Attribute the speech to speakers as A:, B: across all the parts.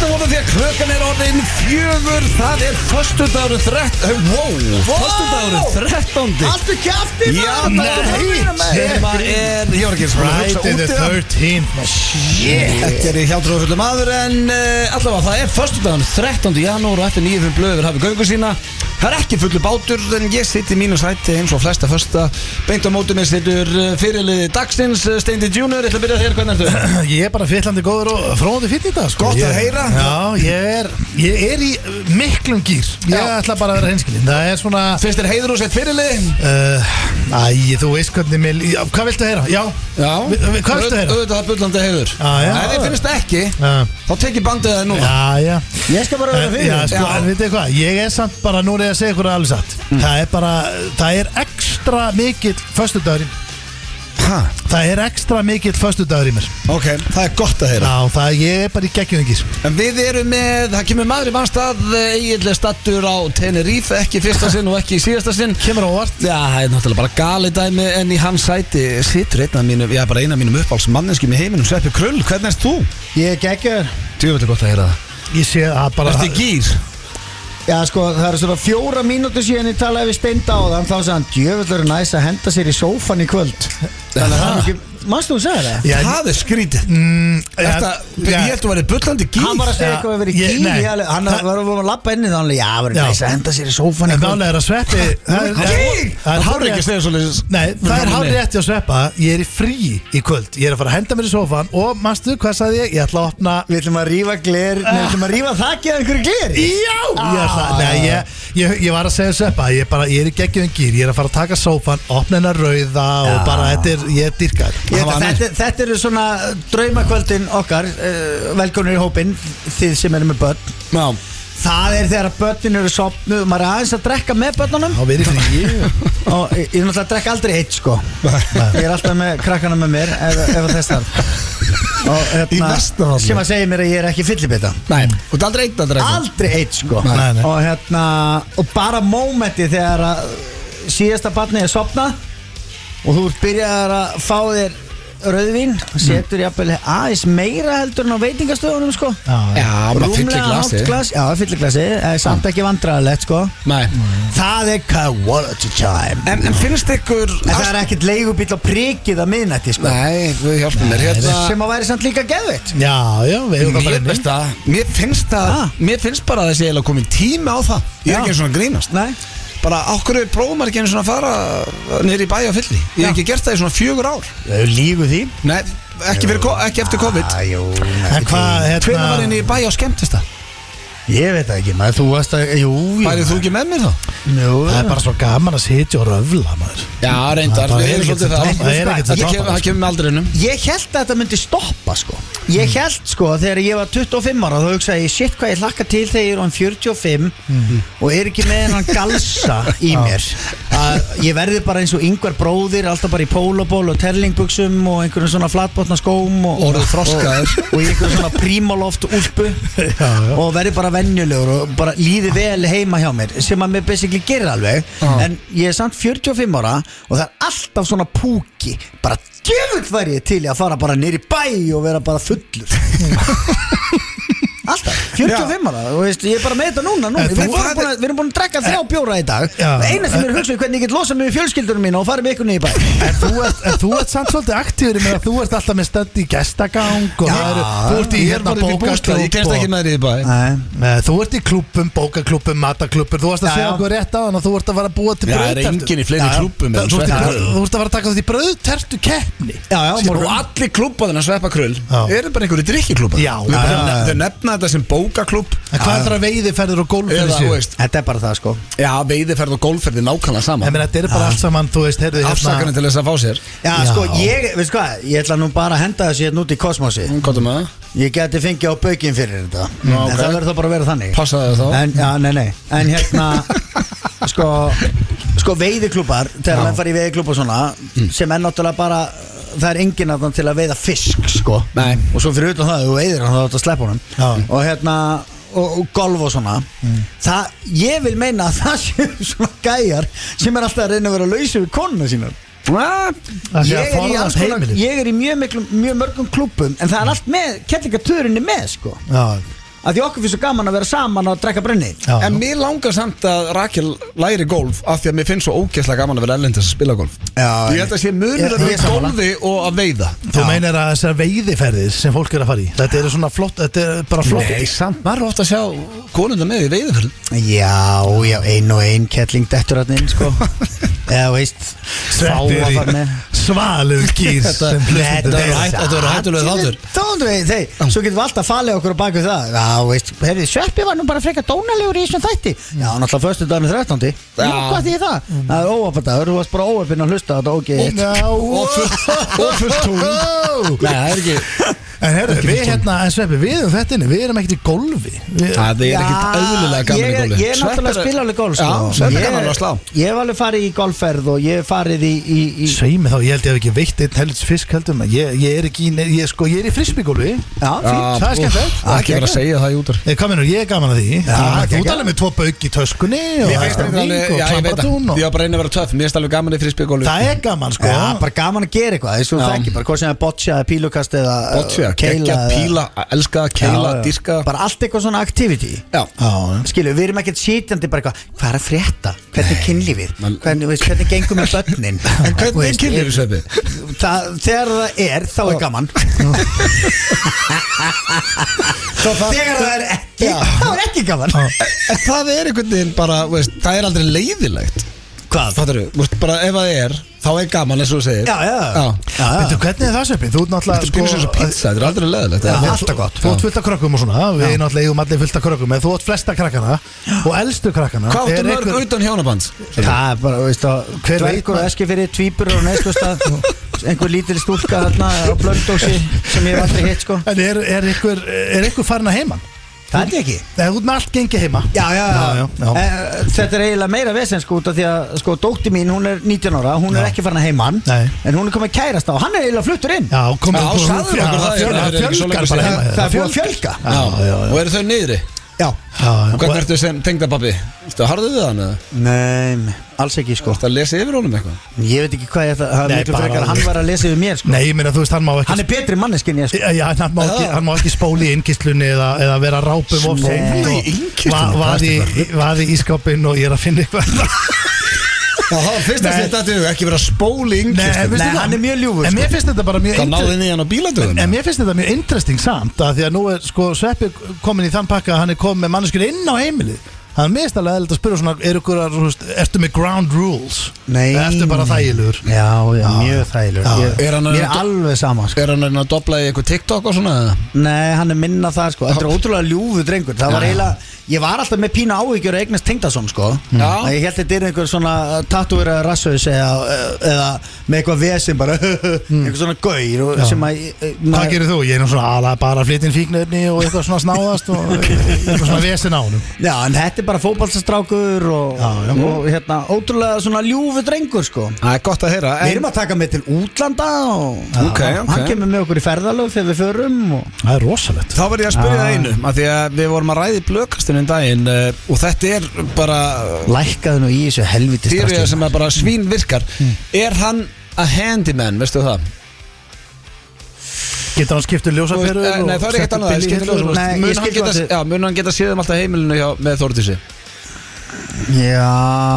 A: klukkan er orðin fjögur Það er föstudagur þrett Wow, föstudagur þrettándi
B: Haldu kæfti
A: Já, nei Sem að er, ég var ekki eins og búin að hugsa út
C: Friday the
A: í það
C: 13th maður.
A: Þetta er í hjáltrúðu fullum aður en uh, allavega það er förstudagan 13. janúar og eftir nýjum blöður hafi göngu sína Það er ekki fullu bátur en ég sitt í mínu sæti eins og flesta första Beint á móti mér sittur eh, fyrirliði dagsins eh, Steindi Junior, ég ætla að byrja þér, hvernig ertu?
C: Ég er bara fyllandi góður og fróðandi fyrir þetta sko.
A: Gott að
C: Ég-
A: heyra.
C: Já, ég er, ég er í uh, miklum gýr Ég
A: Já.
C: ætla bara að vera hinskilin Það er svona
A: Finnst þér heiður og sett fyrirliði?
C: uh, Æ, þú veist hvernig mér já, Hvað viltu að heyra? Já,
A: Já
C: Vi- vi- Hvað viltu að heyra?
A: Auðvitað það bullandi heiður
C: Já, já.
A: Ef þið finnst það ekki,
C: Já.
A: þá tekið bandið það núna
C: Já, já
B: Ég skal bara vera
C: Eh,
B: fyrir
C: Já, sko,
A: Já.
C: en veitir hvað, ég er samt bara, nú er ég að segja ykkur alveg satt Það er bara, það er ekstra mikill Föstudagurinn,
A: Ha,
C: það er ekstra mikill Föstudagur í mér,
A: ok, það er gott að heyra
C: já, það ég er bara í geggjumengir
A: En við erum með, það kemur maður í eh, mannstað eiginlega stattur á Tenerife ekki í fyrsta sinn og ekki í síðasta sinn
C: Kemur á óvart
A: Já, það er náttúrulega bara gali dæmi en í hans sæti situr einn af mínum, já bara einn af mínum uppáls manninskjum í heiminum, Sveppi Krull, hvernig erst þú?
B: Ég er geggjör
A: Tjóðvöldi gott að heyra það
C: Ég sé að bara
A: Ertu í gýr?
B: Já sko það eru svona fjóra mínútur síðan ég talaði við Steinda á þann Þá sagði hann djöfull eru næs að henda sér í sófan í kvöld Þannig að hann ekki Manstu hún sagði það?
C: Já,
A: Það er skrítið
C: mm,
A: Þetta,
C: já,
A: ég held að vera bullandi gýr
B: Hann var að segja
C: Já,
B: eitthvað að vera í
C: ég- nei.
B: kýri Hann
C: Það-
B: var að vera að lappa inn í það Já, það
C: Já.
B: verður næs að henda sér í sófan í
C: En
B: kvöld
C: málega er að sveppi Það er- það er-
A: Gýr!
C: það
A: hárið
C: er hárrétt-
A: ekki að segja svolítið
C: Nei, það er hálf rétti að sveppa Ég er í frí í kvöld Ég er að fara að henda mér í sófan Og manstu, hvað sagði ég? Ég ætla að opna
B: Við ætlum að rífa gler Nei, við ætlum að rífa þakið af einhverju gleri
C: Já! Ég, ætla,
A: Ah.
C: nei, ég, ég, ég var að segja um sveppa Ég, bara, ég er í geggjum gýr Ég er að fara að taka sófan Opna hennar rauða Og bara, þetta er, ég er dyrkað
B: Ég veit
A: Það
B: að
A: var
B: Þetta, þetta eru svona draumakvöldin okkar uh, Velkonur í hópin Þið sem eru með börn
A: Já,
B: Það er þegar börnin eru sopnuð Maður er aðeins að drekka með börnunum
C: Þá verið frí
B: Og ég, ég er náttúrulega að drekka aldrei eitt sko
C: Nei.
B: Ég er alltaf með krakkana með mér Ef, ef þess þarf Og
A: Í
B: hérna
A: Vestmannaeyjum.
B: Sem að segja mér að ég er ekki fyllibita
A: nei, þú ert aldrei einn að drekka
B: Aldrei eitt sko
C: Nei, nei.
B: Og hérna Og bara mómenti þegar að Síðasta barni er sopnað Og þú ert byrjaðar að fá þér Rauðvín
C: Mm.
B: Setur jafnvel aðeins meira heldur en á veitingastöðunum sko
C: Já, Mm.
A: Já, maður fyllir
B: Rúmlega
A: glasið
B: hálft glas Já, fyllir glasi eh, Samt ekki vandræðalegt sko
A: Nei
B: Það er quality time
A: En, en finnst ykkur
B: En það er ekkert leigubíl á prikið að miðnætti sko
A: Nei, við hjálpum mér hérna
B: Sem að væri samt líka geðveitt
C: já, já við erum það bara
A: Mér
C: inni
A: finnst það Mér finnst það
B: Ah.
A: Mér finnst bara að þessi eiginlega komin tími á það Ég er
B: Já.
A: ekki eins og svona að grínast
B: Nei
A: Bara okkur er prófumar ekki eins og svona að fara Nýri í bæ á fyllri Ég hef ekki gert það í svona fjögur ár
B: Þau lígu því
A: Nei, ekki, fyrir, ko- ekki eftir COVID ah,
B: Æjú
C: En hvað,
A: Hvernig var
C: hérna
A: henni í bæ á skemmtist það?
B: Ég veit það ekki maður Þú varst að Jú jú.
A: Bærið þú ekki með mér þá?
B: Jú
C: Það er bara svo gaman að sitja og röfla maður
A: Já,
C: reyndar,
A: Það
C: við
A: er
C: erum
A: ekkert
C: svolítið
A: það
C: það. Það er ekkert að toppa
A: Það
C: það, sko.
A: kemur með aldrinum
B: Ég held að þetta myndi stoppa sko Ég
A: Mm.
B: held sko þegar ég var 25 ára Þá hugsaði ég shit hvað ég hlakka til þegar ég er um 45
A: Mhm.
B: Og er ekki með hennan galsa í mér að Ég verði bara eins og yngvar bróðir Alltaf bara í pólóból og terlingbuxum Og einhverjum svona flatbotna skóm Og,
A: Orðið þroskaður.
B: Og, og í einhverjum svona prímaloft úlpu
C: já.
B: Og verði bara venjulegur Og bara líði vel heima hjá mér Sem að mér basically gerir alveg
A: Já.
B: En ég er samt 45 ára og það er alltaf svona púki bara djöfull var ég til í að fara bara nýri bæ og vera bara fullur alltaf 45 ára og veist, ég er bara með þetta núna, núna.
C: En
B: Við,
C: þú- Eh,
B: vorum búin að, við erum búin að drekka þrjá bjóra í dag
C: Já.
B: eina sem er hugsað hvernig ég get losað mig við fjölskyldunum mína og farið með ykkur nýri bæ
C: En þú ert, en þú ert samt svolítið aktífur með að þú ert alltaf með stönd í gestagang og
B: Já,
C: það eru, þú ert
A: Ég
C: í
A: er
C: hérna
A: bara upp í sko. bústað, ég kemst ekki
C: bókaklúb og,
A: með þér í bæ
B: Nei.
C: Nei, þú ert í klúbum, bókaklúbum, mataklúbur þú varst að
B: Já,
C: segja
B: já.
C: okkur rétt á hann og þú ert að fara að búa til
A: Já, það er
C: brauðtertu.
A: enginn í fleiri
C: Já, já.
A: klúbbum en
C: Þú ert í
A: Sveppi.
C: brauð- þú ert að fara að taka þetta í bröðtertu keppni
B: já, já,
A: Og
B: morgun
A: Sko, allir klúbaðina sveppa krull
C: Já.
A: Eru bara einhverju drikkiklúbar
C: Já,
A: Þau bara
C: já, já, já.
A: nef- þau nefna þetta sem bókaklúb
C: En hvað er það að veiði ferður og gólf
A: Eða, þú veist
B: þetta er bara það sko
A: Já, veiðiferð og gólferð er nákvæmlega sama
C: En þetta er bara allt saman, þú veist, heyrðu hérna-
A: Afsakarinn til þess að fá sér
B: Já,
C: Já.
B: sko, ég, veistu hvað, ég ætla nú bara að henda þessu hérna út í kosmosi
A: Kvartum um að það
B: Ég geti fengið á baukinn fyrir þetta
A: Nú, ok.
B: En það verður þá bara að vera þannig
A: Passaðu það þá.
B: en, Já, nei, nei En hérna Sko Sko veiðiklúpar Þegar menn fara í veiðiklúpa svona Sem er náttúrulega bara Það er engin að til að veiða fisk sko
A: Nei.
B: Og svo fyrir utan það ef Þú veiðir hann þá átt að sleppa honum
C: Já.
B: Og hérna Og, og golf og svona það, ég vil meina að það séu svona gæjar sem er alltaf að reyna að vera lausi við konuna sínar
C: Það sé
B: ég
C: að
B: er, í
C: forðast
B: alls konar,
C: heimilið.
B: ég er í mjög, miklum, mjög mörgum klúpum En það er allt með, kettlingatörinni með sko
C: Já,
B: að því okkur finnst svo gaman að vera saman og að drekka brenni
C: Já.
A: En mér langar samt að Rakel læri golf af því að mér finnst svo ógeðslega gaman að vera ellendis að spila golf
B: Já,
A: Ég held að sé
B: Ég-
A: munur að
B: ég er
A: vera
B: sammála.
A: golfi og að veiða
C: Þú meinar að þessar veiðiferðir sem fólk er að fara í Þetta eru svona flott, þetta er bara flott
A: Nei, samt maður er ofta að sjá konundar með í veiðiferð
B: Já, já, ein og ein kettling dettur hann inn, sko Eða, þú veist, fá að
C: Settur
B: fara
C: í
B: með
C: svalum gýr
A: Þetta-
C: sem hlustendur
A: þetta er
C: eru.
A: hætt- þetta verður hættulegur þáttur.
B: Þáttur við, þeir, svo getum við alltaf falið okkur á baku það Já, þú veist, herri, Sveppi var nú bara frekar dónalegur í þessum þætti Já, náttúrulega föstu daginu 13. Já,
A: Já.
B: hvað því það?
C: Mm.
B: Það er óafadagur, þú varst bara óafinn að hlusta á þetta ógeð
C: Já,
A: Og fullt- og fullt
C: tún
A: Nei, það er ekki
C: En herru, við hérna, en Sveppi, við erum þetta inni, við erum ekkert í golfi Við-
A: Það er ekki
B: Já,
A: auðvitað gaman í
B: ég-
A: golfi
B: Ég er náttúrulega að spila alveg golf sko.
A: Já, sveppir
B: Ég-
A: kann alveg að slá
B: Ég hef alveg farið í golfferð og ég hef farið í, í, í
C: Svei mig þá, ég held ég hef ekki veitt einn helvits fisk heldur maður ég, ég er ekki, í ne- ég, sko, ég er í frisbygólfi
B: Já,
A: Já,
C: Það er
A: úff,
C: skemmtilegt.
A: Það er ekki verið að segja það í útur
C: Ég kom inn og ég er gaman að því
B: það er
C: Þú
B: geggjað.
C: talar með tvo bauk í töskunni og
A: Mér finnst
C: það er
A: þetta alveg,
C: og
A: já ég veit
C: klambratún
A: það
C: og
A: Ég var bara að reyna að vera töff, mér finnst alveg gaman í frísbyggolfi
C: Það er gaman sko
B: Já, bara gaman að gera eitthvað Þessu
A: Já.
B: þekki, bara hvað sem er boccia, eða pílukast eða
A: Boccia,
B: eða
A: keggja,
B: eða-
A: píla, elska, keila,
B: Já, já.
A: dyrka
B: Bara allt eitthvað svona activity
A: Já.
B: Skilu, við erum ekkert sítjandi bara eitthvað Hvað er að frétta? Hvernig er kynlífið?
A: Man-
B: Hvernig, veist, hvernig gengum við börnin? En þú
A: Hvernig
B: veist,
A: kynlir þú sveppi?
B: það, Þegar það er, þá er gaman Þegar það er ekki, þá er ekki gaman
A: En það er einhvern veginn bara, veist, það er aldrei leiðilegt
B: Hvað?
A: Fattar þú, bara ef það er, þá er gaman eins og þú segir
B: Já, sko, já,
A: Já.
B: já,
C: Veitu,
B: já.
C: hvernig er það Sveppi? Þú ert
A: Þetta
C: náttúrulega
A: er pínus eins og pizza, þetta er aldrei leiðilegt
C: Já,
A: Það er-
C: alltaf gott Þú ert fullt af krökkum og svona Við náttúrulega eigum allir fullt af krökkum En þú ert flesta krakkana Og elstu krakkana
A: Hvað áttu
C: er
A: mörg
C: einhver-
A: utan hjónaband?
B: Það er bara, veist það,
C: Hver veit
B: dvergur og
C: maður?
B: eski fyrir tvýpur og neðskustad einhver lítil stúlka þarna á blöndósi sem ég hef aldrei hitt sko
C: En er, er, ykkur, er ykkur farin að heiman?
B: Það er ekki
C: Eða þú ert með allt gengið heima
B: Já, já, já,
C: já, já.
B: Eh, Þetta er eiginlega meira vesen sko út af því að sko dótti mín, hún er 19 ára hún er
C: Já.
B: ekki farin að heimann
C: Nei.
B: en hún er komin að kærast á, hann er eiginlega fluttur inn
C: Já, komum
A: Já, hérna. sagðu okkur það,
C: það fjölgar-
A: það er
C: Það
A: ekki svo lengur
C: fjölgar
A: síðan.
C: bara heima
B: Það er búið að
C: fjölgar.
B: fjölga
A: Já,
C: já, já.
A: Og eru þau niðri?
B: Já,
C: Já, já.
A: Og hvernig ertu sem tengdapappi? Þetta harðuð við hann eða?
B: nei, alls ekki sko
A: Þetta lesi yfir honum eitthvað?
B: Ég veit ekki hvað ég ætla, það
C: Nei,
B: er miklu
C: bara
B: frekar að hann
C: alveg.
B: var að lesa yfir mér sko
C: Nei, ég meina þú veist, hann má ekki
B: Hann er betri manneskinn ég sko
C: Já, já, en hann, má ekki,
A: Já.
C: hann má ekki spóli í innkistlunni eða, eða vera rápum of
B: Spóla
A: í innkistlunni?
C: Vaði va, í skápinn og ég er að finna eitthvað
A: Já, það var fyrsta
C: Nei.
A: sem þetta er ekki verið að spóli
C: en
A: yngir
C: veistu
B: Nei,
C: hvað?
B: hann er mjög ljúfur,
C: En
B: sko.
C: mér finnst þetta bara mjög
A: Það náði
C: inter-
A: inn í hann á bíladöðum
C: En mér finnst þetta mjög interesting samt að Því að nú er sko Sveppi komin í þann pakka að Hann er komin með manneskjur inn á heimilið Það er mest alveg eðlilegt að spyrja svona er ykkur að, þú veist, Ertu með ground rules?
B: Nei.
C: Ertu bara þægilegur?
B: Já, já, mjög þægilegur
C: Já.
B: Ég-
A: Er hann að-
B: Mér er alveg sama sko.
A: Er hann að reyna að dobla í eitthvað TikTok og svona? eða?
B: Nei, hann er minna það sko Þetta er ótrúlega ljúfu drengur Það var
A: Já.
B: eiginlega Ég var alltaf með pína áhyggjur að eignast tengdason sko
A: Já.
B: Að Ég held þetta er einhver svona tattúvera rassus eða, uh, eða með eitthvað vesim bara
C: Hmm.
B: Einhver svona gaur og, sem að uh,
C: Hvað
B: maður-
C: gerir þú? Ég er nú svona ala bara að flytja inn fíknöfni og eitthvað svona snáðast og eitthvað svona vesen á honum
B: Já, en þetta er bara fótballstrákur og,
C: Já, já.
B: og hérna ótrúlega svona ljúfu drengur sko
A: Það er gott að heyra
B: Við
A: en-
B: erum að taka með til útlanda og
A: Ok,
B: Já, hann
A: ok.
B: kemur með okkur í ferðalög þegar við förum og
C: Það er rosalegt
A: Þá verð ég að spyrja
B: Ah.
A: það einu af Því að við vorum að ræði blökastunum daginn uh, Og þetta er bara
B: lækkaði nú í þessu sko. helviti
A: Týrja sem er bara svín virkar Er hann a handyman, veistu það?
C: Getur hann skiptur
A: Þú veist,
C: ljósaperu
A: eh, Nei, það er ekkert annað
B: Nei, ég skil hvað þið-
A: það Mun hann geta séð um alltaf heimilinu hjá, með Þórdísi
B: Já,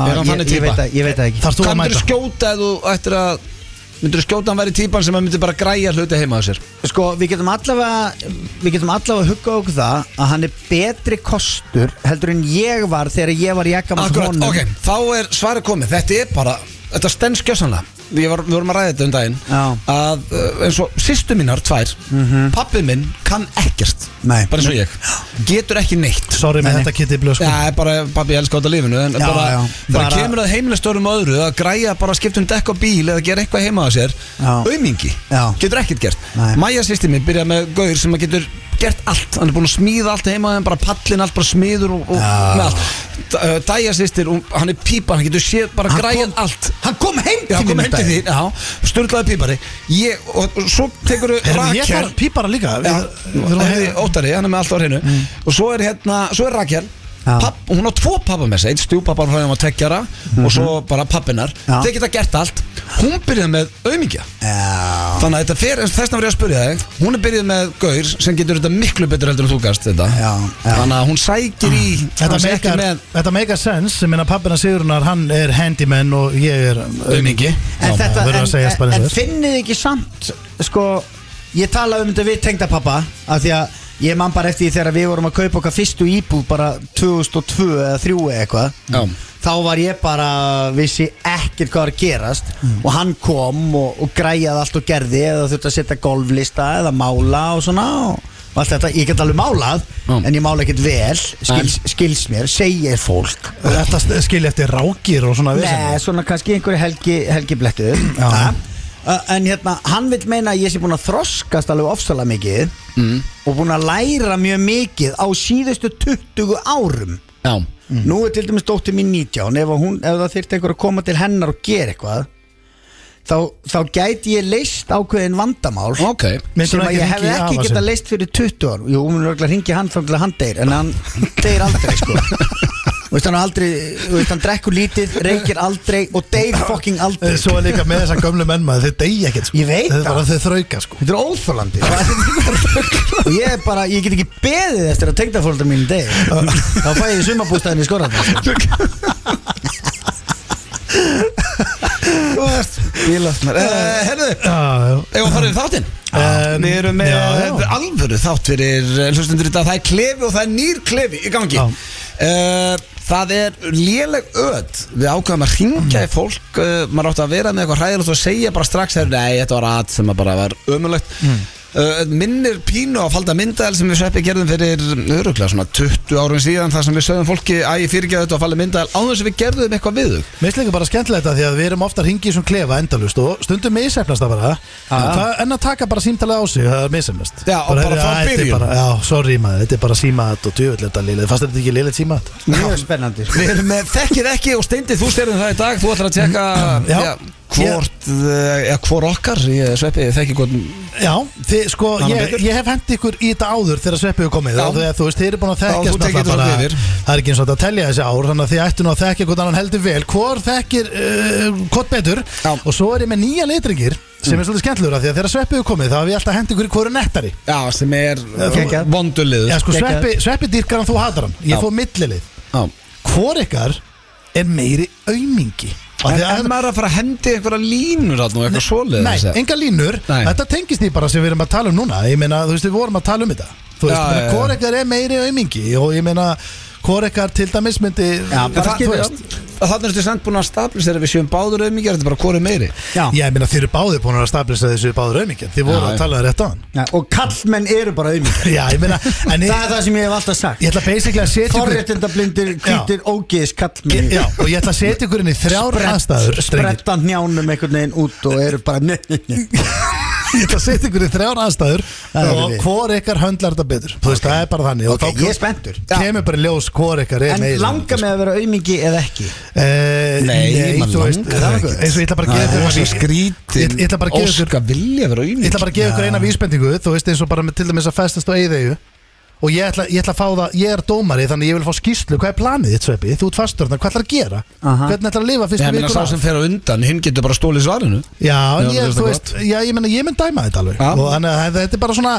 A: Er hann þannig
B: ég, ég,
A: týpa?
B: veit að, ég veit það ekki
C: Þarf þú að
A: Hvað myndur
C: mæta?
A: skjóta eða þú ættir að Myndur skjóta að hann væri típan sem að myndi bara græja hluti heima á sér
B: Sko, við getum allavega Við getum allavega að hugga okkur það Að hann er betri kostur Heldur en ég var þegar ég var í ekkamann
A: Akkurat, ok, þá er svarið komið Þetta er bara, þetta stend skjössanlega Við var, við vorum að ræða þetta um daginn
B: Já.
A: að uh, eins og sýstu mínar tvær mm pappi minn kann ekkert
B: Nei.
A: bara eins og ég, getur ekki neitt
C: Sorry með
B: Nei, nei.
C: þetta Kitty Blöð sko
A: Já, er bara pappi elskar þetta lífinu en
B: Já,
A: bara,
B: já.
A: bara
B: Bara-
A: kemur að heimilistörum og öðru að græja bara að skipta um dekk á bíl eða gera eitthvað heima á sér
B: Já.
A: aumingi,
B: Já.
A: getur ekkert gert
B: Nei.
A: Maja sýsti mín byrjaði með gaur sem að getur gert allt, hann er búin að smíða allt heima hann bara pallin, allt bara smiður og, og
B: Já.
A: með allt D- uh, Dæja sýstir, hún- hann er pípa hann getur séð bara
B: Hann
A: græjað
B: kom-
A: allt
B: Hann kom heim
A: Já,
B: til
A: kom
B: mín um
A: heim til þín,
B: daginn.
A: já, sturlaði pípari ég, og, og svo tekur
C: Heyrðu, Ég
A: Rakel
C: þarf pípara líka Við-
A: Já, Eh,
C: við þurfum að
A: hefði
C: heyra-
A: Óttari, hann er með allt á hreinu Og svo er hérna, svo er Rakel
B: Mm. Já.
A: papp, Hún á tvo pappa með sig, einn stjúpappan frá þeim að tveggjara mm -hmm. Og svo bara pappinar
B: Mhm. Já.
A: Þeir geta gert allt Hún byrjaði með aumingja
B: Já
A: Þannig að þetta fer, þess að verið að spyrja þig Hún er byrjuð með gaur sem getur þetta miklu betur heldur en þú gast þetta
B: Já, já.
A: Þannig að hún sækir í
C: Þetta
A: hann sé ekki
C: meikar,
A: með
C: þetta meikar sens, ég minna pappina Sigurnar, hann er handyman og ég er
A: aumingi
C: Já,
B: En, þetta,
C: maður verður að segja
B: en,
C: spennið
B: en,
C: þér
B: en finnið ekki samt Sko Ég tala um þetta við tengdapappa Af því að Ég man bara eftir því þegar við vorum að kaupa okkar fyrstu íbúð Bara 2002 eða 3 eða eitthvað
A: Já.
B: Þá var ég bara Vissi ekkert hvað var að gerast
C: Mm.
B: Og hann kom og, og græjaði allt og gerði Eða þurfti að setja golflista Eða mála og svona og og Allt þetta, ég get alveg málað
A: Já.
B: En ég mála ekkert vel, skils, skils mér Segir fólk
C: Þetta skilja eftir rákir og svona
B: Nei, sko,
C: vesen.
B: svona kannski einhverju helgi, helgi blettu
C: Já.
B: En hérna, hann vil meina að ég sé búin að þroskast alveg ofsalega mikið og búin að læra mjög mikið á síðustu 20 árum
A: Já,
B: Nú er til dæmis dóttir mín 19 ef, að hún, ef það þyrfti einhver að koma til hennar og gera eitthvað þá, þá gæti ég leist ákveðin vandamál
A: ok
C: Myndir
B: sem
C: hún
B: að ég
C: ekki
B: hef
C: hringja í
B: ekki
C: afa
B: geta
C: sinn?
B: leist fyrir 20 ár Jú, hún er örgulega að ringi hann þá til að hann deyr en hann deyr aldrei sko Þú veist hann er aldrei, þú veist hann drekkur lítið reykir aldrei og deyr fucking aldrei
C: Eh, Svo er líka með þessa gömlu menn maður, þeir deyja ekkert sko
B: Ég veit
C: Þeir bara
B: það.
C: þeir þrauka sko
B: Þetta er óþólandi og ég er bara, ég get ekki beðið eftir að tengdafóldar mín deyr þá fæ ég sumabústæðin í sko. skorðan
A: Þú veist Bílasnar
B: Eh,
A: Eh, Herðu,
C: Já, já.
A: ef að fara við þáttinn
C: Um,
A: Við erum með
C: já, já.
A: þetta er alvöru þátt fyrir eh, hlustendur í dag Það er klefi og það er nýr klefi í gangi
C: Já.
A: Eh, Það er léleg öð Við ákveðum að hringja í fólk eh, Maður átti að vera með eitthvað hræðilegt og segja bara strax þegar Nei, þetta var að sem að bara var ömulegt
C: Mm.
A: Uh, minnir pínu á falda myndaðal sem við sveppi gerðum fyrir öruglega svona 20 árum síðan þar sem við sögðum fólki að ég fyrirgeða þetta á falda myndaðal á þess að við gerðum eitthvað við þau
C: Mér finnst líka bara skemmtilegt þetta því að við erum ofta að ringi í svona klefa endalust og stundum misefnast það bara en, það, en að taka bara símtalið á sig það er misefnast
A: Já, og bara
C: "Æ,
A: frá
C: þetta er
A: byrjun."
C: bara- Já, sorry maður, þetta er bara símat og djöfull er þetta liðið fast er þetta ekki liðið símat
B: mjög spennandi sko.
A: Við erum með þekkir ekki og steindið þú styrðum það í dag Þú ætlar að tjekka
C: Já.
A: ja, hvort, yeah. ja, hvort okkar Ég sveppi þekki hvort
C: Já, þið, sko,
A: Hann
C: ég,
A: Pétur?
C: ég hef hendi ykkur í þetta áður þegar sveppið er komið
A: Já.
C: og þegar, þú veist, þið eru búin að
A: Já,
C: þekkja
A: þú tekið þetta svona yfir.
C: það er ekki eins og þetta að telja þessi ár þannig að þið ættu nú að þekkja hvort annan heldur vel hvort þekkir, uh, hvort betur
A: Já.
C: og svo er ég með nýja litringir sem er svolítið skemmtlur að því að þegar sveppið er komið þá hef ég alltaf hendi ykkur í hverju nettari
A: Já, sem er
B: Kekja.
A: vondulið
C: Já, sko,
B: Geggjað.
C: sveppi, sveppi dýrkar hann, þú hatar hann
A: Já.
C: Ég fór millilið Hvor ykkar er meiri aumingi? Af
A: En
C: því að-
A: ef maður er að fara að hendi einhverja línur þarna og eitthvað svoleið
C: Nei, enga línur
A: Nei.
C: Þetta tengist því bara sem við erum að tala um núna Ég meina, þú veist, við vorum að tala um þetta Þú veist,
A: Já,
C: ja,
A: já, já.
C: hvor ykkar er meiri aumingi Og ég meina, hvor ykkar til dæmis myndi
B: Já, bara
C: það,
B: skilja.
C: þú veist.
A: Þannig ertu samt búin að staplis þegar við séum báður auðmikið er þetta bara hvori meiri
B: Já.
C: Ég meina, þeir eru báðir búin að stabilisa þessu báður aumingi Þið voru
A: Já,
C: að
A: já.
C: tala rétt á hann
B: Já, og kallmenn eru bara auðvitað
C: Já, ég meina, en
B: það
C: ég,
B: er það sem ég hef alltaf sagt
C: ég ætla basically að setja ykkur-
B: forréttindablindir, hvítir, ógeðis kallmenn
C: Já, og ég ætla að setja ykkur inn í þrjár aðstæður drengir.
B: spretta njánum einhvern veginn út og eru bara
C: Ég ætla að setja ykkur í þrjár aðstæður
B: Það er
C: og
B: við.
C: hvor ykkar höndlar þetta betur Þú veist, það er bara þannig
B: Ok,
C: og
B: ég er spenntur
C: þá kemur bara í ljós hvor ykkar er
B: En
C: meira
B: langa með að vera aumingi eða ekki
C: Eh,
A: Nei, mann
C: þú veist,
A: langar
C: það er
A: ekkert.
C: ekkert. eins og ég ætla bara að
A: Það
C: gefa
A: er
C: ykkur
A: rosa
C: eina vísbendingu. Ég- ég ætla bara
A: skrítin
C: að gefa ykkur-
A: Óska vilja vera
C: Ég ætla
A: auðmikið
C: bara að gefa ykkur eina vísbendingu þú veist eins og bara með, til dæmis að festast á eigðegu og ég ætla, ég ætla að fá það, ég er dómari þannig ég vil fá skýrslu, hvað er planið þitt sveppi þú ert fastur þarna, hvað ætlar að gera
B: Aha.
C: hvernig ætlar að lifa fyrstu
A: Ég meina sá
C: vikuna
A: sem fer á undan, hinn getur bara stólið svarinu
C: já, en
A: Já, þú
C: ég,
A: veist
C: þú
A: það
C: veist, já, ég meina ég mun dæma þetta alveg
A: Já.
C: og þannig að þetta er bara svona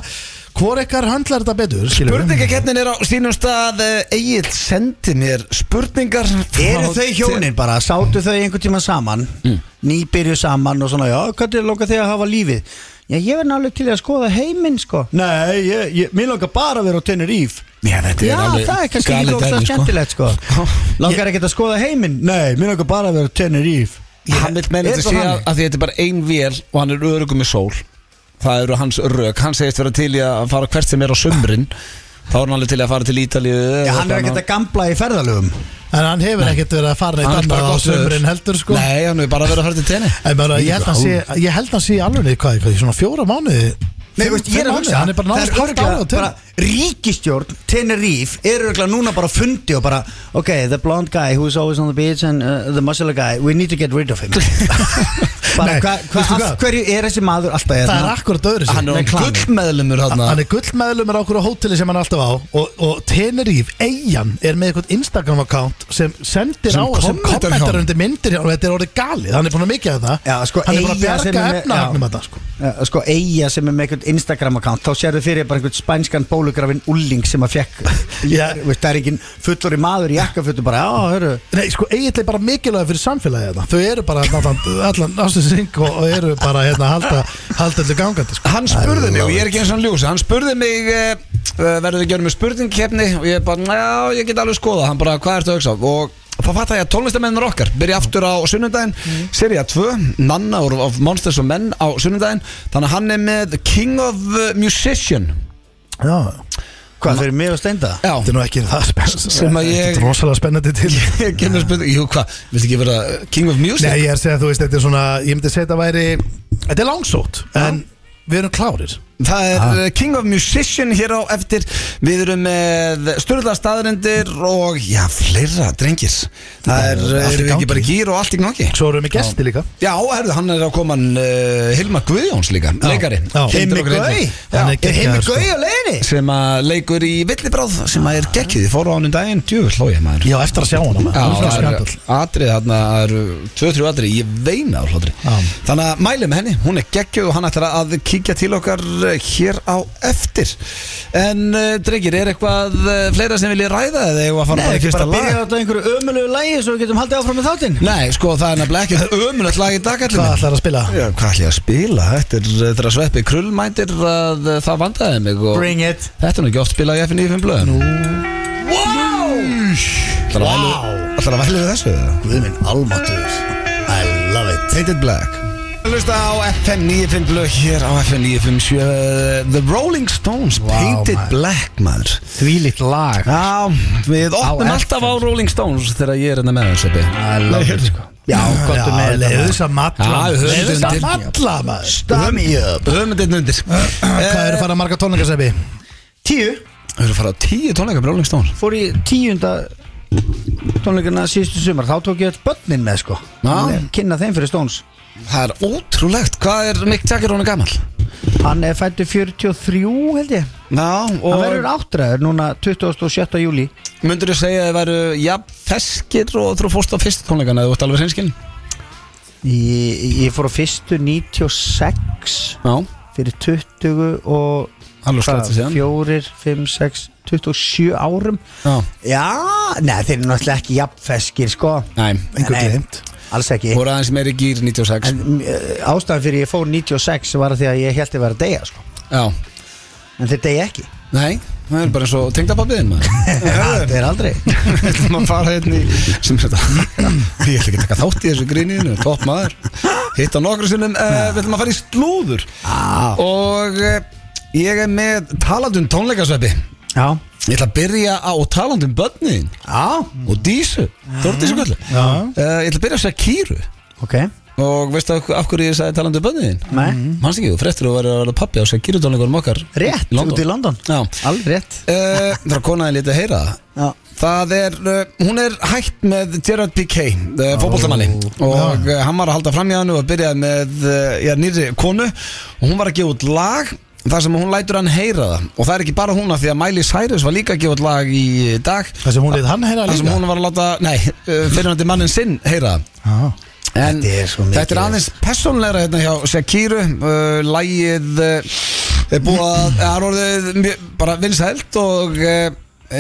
C: hvor ykkar höndlar þetta betur skilur við?
A: Spurningakeppnin er á sínum stað Egil sendi mér spurningar
B: Eru
A: frá-
B: þau hjónin bara, Mm. sátu þau einhvern tíma saman Nýbyrju saman og svona Já, hvað er langar þau að hafa lífið Já, ég verð nálega til að skoða heiminn sko Nei, ég, ég, mér langar bara að vera á Tenerife
A: Já, þetta
B: Já,
A: er alveg
B: það er kannski
A: galið
B: ekki ógst
A: dæmi, sko.
B: skemmtilegt sko Langar ekkert að skoða heiminn Nei, mér langar bara að vera á Tenerife
A: Hann vil menna
B: Er
A: þetta
B: það
A: sé að
B: þannig?
A: að því þetta er bara ein vél og hann er örugum með sól Það eru hans örug, hann segist vera til í að fara hvert sem er á sumrin Þá er hann alveg til í að fara til Ítalíu
B: Já, hann er ekkert að gamla í ferðalöfum
C: en hann hefur ekkert verið að fara
A: Hann
C: neitt
A: er bara
C: annað á
A: gott veður.
C: sömurinn heldur sko
A: Nei, hann er bara að vera að fara til tenni
C: En bara, ég held að hann sé, ég held að hann sé alveg hvað, hvað, í svona fjóra mánuði
D: Nei, veist, ég er að hugsa
C: hann er bara
D: það
C: náðast hálft ára
D: örugglega
C: og tönn
D: bara Ríkistjórn, Tenerife eru örugglega núna bara á fundi og bara
B: Ok, the blonde guy who is always on the beach and uh, the muscular guy, we need to get rid of him Bara
C: Nei,
B: hva, hva,
C: veistu
B: af
C: hvað?
B: hverju er þessi maður alltaf
C: Það er
B: hérna?
C: akkurat öðru
A: Hann er
B: Reklami.
A: gullmeðlumur hann
C: Hann er gullmeðlumur á okkur á hóteli sem hann er alltaf á og, og Tenerife, Eyjan, er með eitthvað Instagram account sem sendir
A: Sem
C: á sem
A: kommentar hjá
C: kommentar
A: honum.
C: undir myndir hjá og þetta er orðið galið, hann er búin að mikið að það
B: Já, sko,
C: hann er búin að
B: Eyja sem er
C: bjarga efnahagnum
B: með- já.
C: þetta sko.
B: Uh, sko eiga sem er með einhvern Instagram account þá sérðu fyrir þér bara einhvern spænskan bólugrafin ulling sem að fekk
C: Já.
B: veist, það er enginn fullori maður í jakkafötu bara já, hörru
C: Nei, sko, eiginlega er bara mikilvæg fyrir samfélagið þetta Þau eru bara allan, allan ásins ring og, og eru bara hérna að halda, halda allir gangandi sko.
A: Hann spurði mig, og ég er ekki eins og hann ljúsa Hann spurði mig, uh, verður þið gjörum með spurningkeppni Og ég bara, já, ég get alveg skoða Hann bara, hvað ertu að hugsa? Og þá fatt að ég að tónlistamennir okkar Byrja aftur á sunnundaginn mm. Serja 2, Nanna úr- of Monsters og Menn á sunnundaginn Þannig að hann er með King of uh, Musician
C: Já,
B: hvað fyrir mig og steinda
A: Já,
C: þetta er nú ekki það spennandi
A: Sem að ég-
C: Þetta er rosalega spennandi til
A: ég kemur spurning Jú, hvað, viltu ekki vera uh, King of Music?
C: Nei, ég er að segja, þú veist, þetta er svona Ég myndi segja þetta væri, þetta er langsótt En við erum klárir
A: Það er ah. King of Musician hér á eftir Við erum með styrla staðrendir og já, fleira drengir Það er, eh, erum
C: Allt í
A: við
C: gangi.
A: ekki bara gýr og allt í gangi
C: Svo erum við með gesti líka
A: Já, herðu, hann er á koman uh, Hilmar Guðjóns líka, leikari
C: já.
A: Kynntir
B: Heimi
A: okkur
B: Gaui?
A: einnig. Já,
C: Hann er
A: er
C: geggjaður,
A: Heimi
C: sko.
A: Gaui á leiðinni Sem að leikur í Villibráð sem að er geggið, ég fór á hann um daginn djöfull hló ég maður
C: Já, eftir að sjá hana maður.
A: Já,
C: Alveg
A: það eru
C: skandall.
A: atrið, þarna það eru tvö, þrjú atrið, ég veina á hlátri
C: Já.
A: Þannig að mælum henni, hún er geggjöð og hann ætlar að kíkja til okkar eh, hér á eftir En uh, drengir, er eitthvað uh, fleira sem vilja ræða eða eigum við að
B: Nei,
A: fara bara í
B: ekki
A: fyrsta
B: bara
A: lag?
B: byrja þetta á einhverju ömulegu lægi svo við getum haldið áfram með þáttinn
A: Nei, sko, það er nefnilega ekki ömulegt lag í dag allir
C: Hvað
A: minn.
C: ætlar að spila?
A: Já, hvað ætlum ég að spila? Þetta er eh, þegar sveppi krull mændir að eh, það vandaði mig og
B: bring it
A: Þetta er nú ekki oft spilað í FNF blöðum Nú Wow Ætlar að væli við þessu eða?
B: Guðminn almatur I love it
A: Tainted Black Hlusta á FM 95 blöð hér á FM 957 eh, The Rolling Stones, Painted
C: maður.
A: Black maður
B: þvílitt lag
A: Já, við opnum
B: FM.
A: alltaf á Rolling Stones þegar ég er hérna með þessu
B: I love it, sko. Já, gott um með
C: leiðu
B: þetta
C: þess að matla
A: Já, hérna. við höfum
C: Leiðu þess að
A: þetta hérna. undir.
C: matla maður
B: Stam í upp
A: Ömundinn undir
C: Hvað
A: Hvað
C: eru farað marga tónleikarseppi?
B: Tíu
A: Þau eru eh, að fara á tíu tónleika með Rolling Stones
B: Fór í tíunda tónleikana síðustu sumar Þá tók ég öll börnin með sko
A: Já.
B: Kynna þeim fyrir Stones
A: Það er ótrúlegt, hvað er Mick Jagger hún er gammal?
B: Hann er fættur 43 held ég
A: Já,
B: Hann
A: og
B: verður áttræður núna 27. júli
A: myndur þú segja að þið væru jafn feskir og þú fórst á fyrstu tónleikana eða þú ert alveg hreinskinn?
B: ég, ég fór á fyrstu 96
A: Já,
B: Fyrir 20 og
A: alveg slætti síðan
B: 4, 5, 6, 27 árum
A: Já,
B: Já, neða þeir eru náttúrulega ekki jafnfeskir sko
A: næm,
C: Engu
B: Nei.
C: glemt
B: Alls ekki
A: voru aðeins meiri gýr 96
B: En uh, ástæðan fyrir ég fór 96 var að því að ég held að vera að deyja sko.
A: Já,
B: En þeir deyja ekki
A: nei, það er bara eins og tengdapappiðin maður
B: Það er aldrei
A: Við ætlum að fara hérna í sem þetta Ég ætla ekki að taka þátt í þessu gríniðinu Topp maður Hitta nokkru sinnum uh, Við ætlum að fara í slúður
B: Já,
A: Og uh, ég er með talandum tónleikasveppi
B: já,
A: Ég ætla að byrja á talandum börniðin Og Dísu Þórdísu kallu uh, Ég ætla að byrja á Sakiru
B: ok
A: Og veistu af, af hverju ég sagði talandum börniðin?
B: Nei,
A: Manst ekki, þú frettir að vera að vera pappi á Sakiru tónleikunum okkar
B: rétt,
A: í London.
B: út í London
A: Já
B: Alveg rétt
A: Uh, það er konaðin lítið að heyra það
B: Já,
A: Það er, uh, hún er hægt með Gerard Piqué, uh, fótboltamanni og uh, hann var að halda fram í hann og byrjaði með uh, já, nýri konu og hún var að gefa út lag þar sem hún lætur hann heyra það og það er ekki bara hún að því að Miley Cyrus var líka að gefa út lag í dag
C: Það sem hún leiði hann heyra
A: þar sem
C: líka
A: hún var að láta, nei, uh, fyrirhandi mannin sinn heyra það
C: Já.
A: En
B: Þetta er svo mikið.
A: þetta er aðeins personleira hérna hjá Shakiru uh, Lægið uh, er búið að það er orðið mjög- bara vinsælt og uh,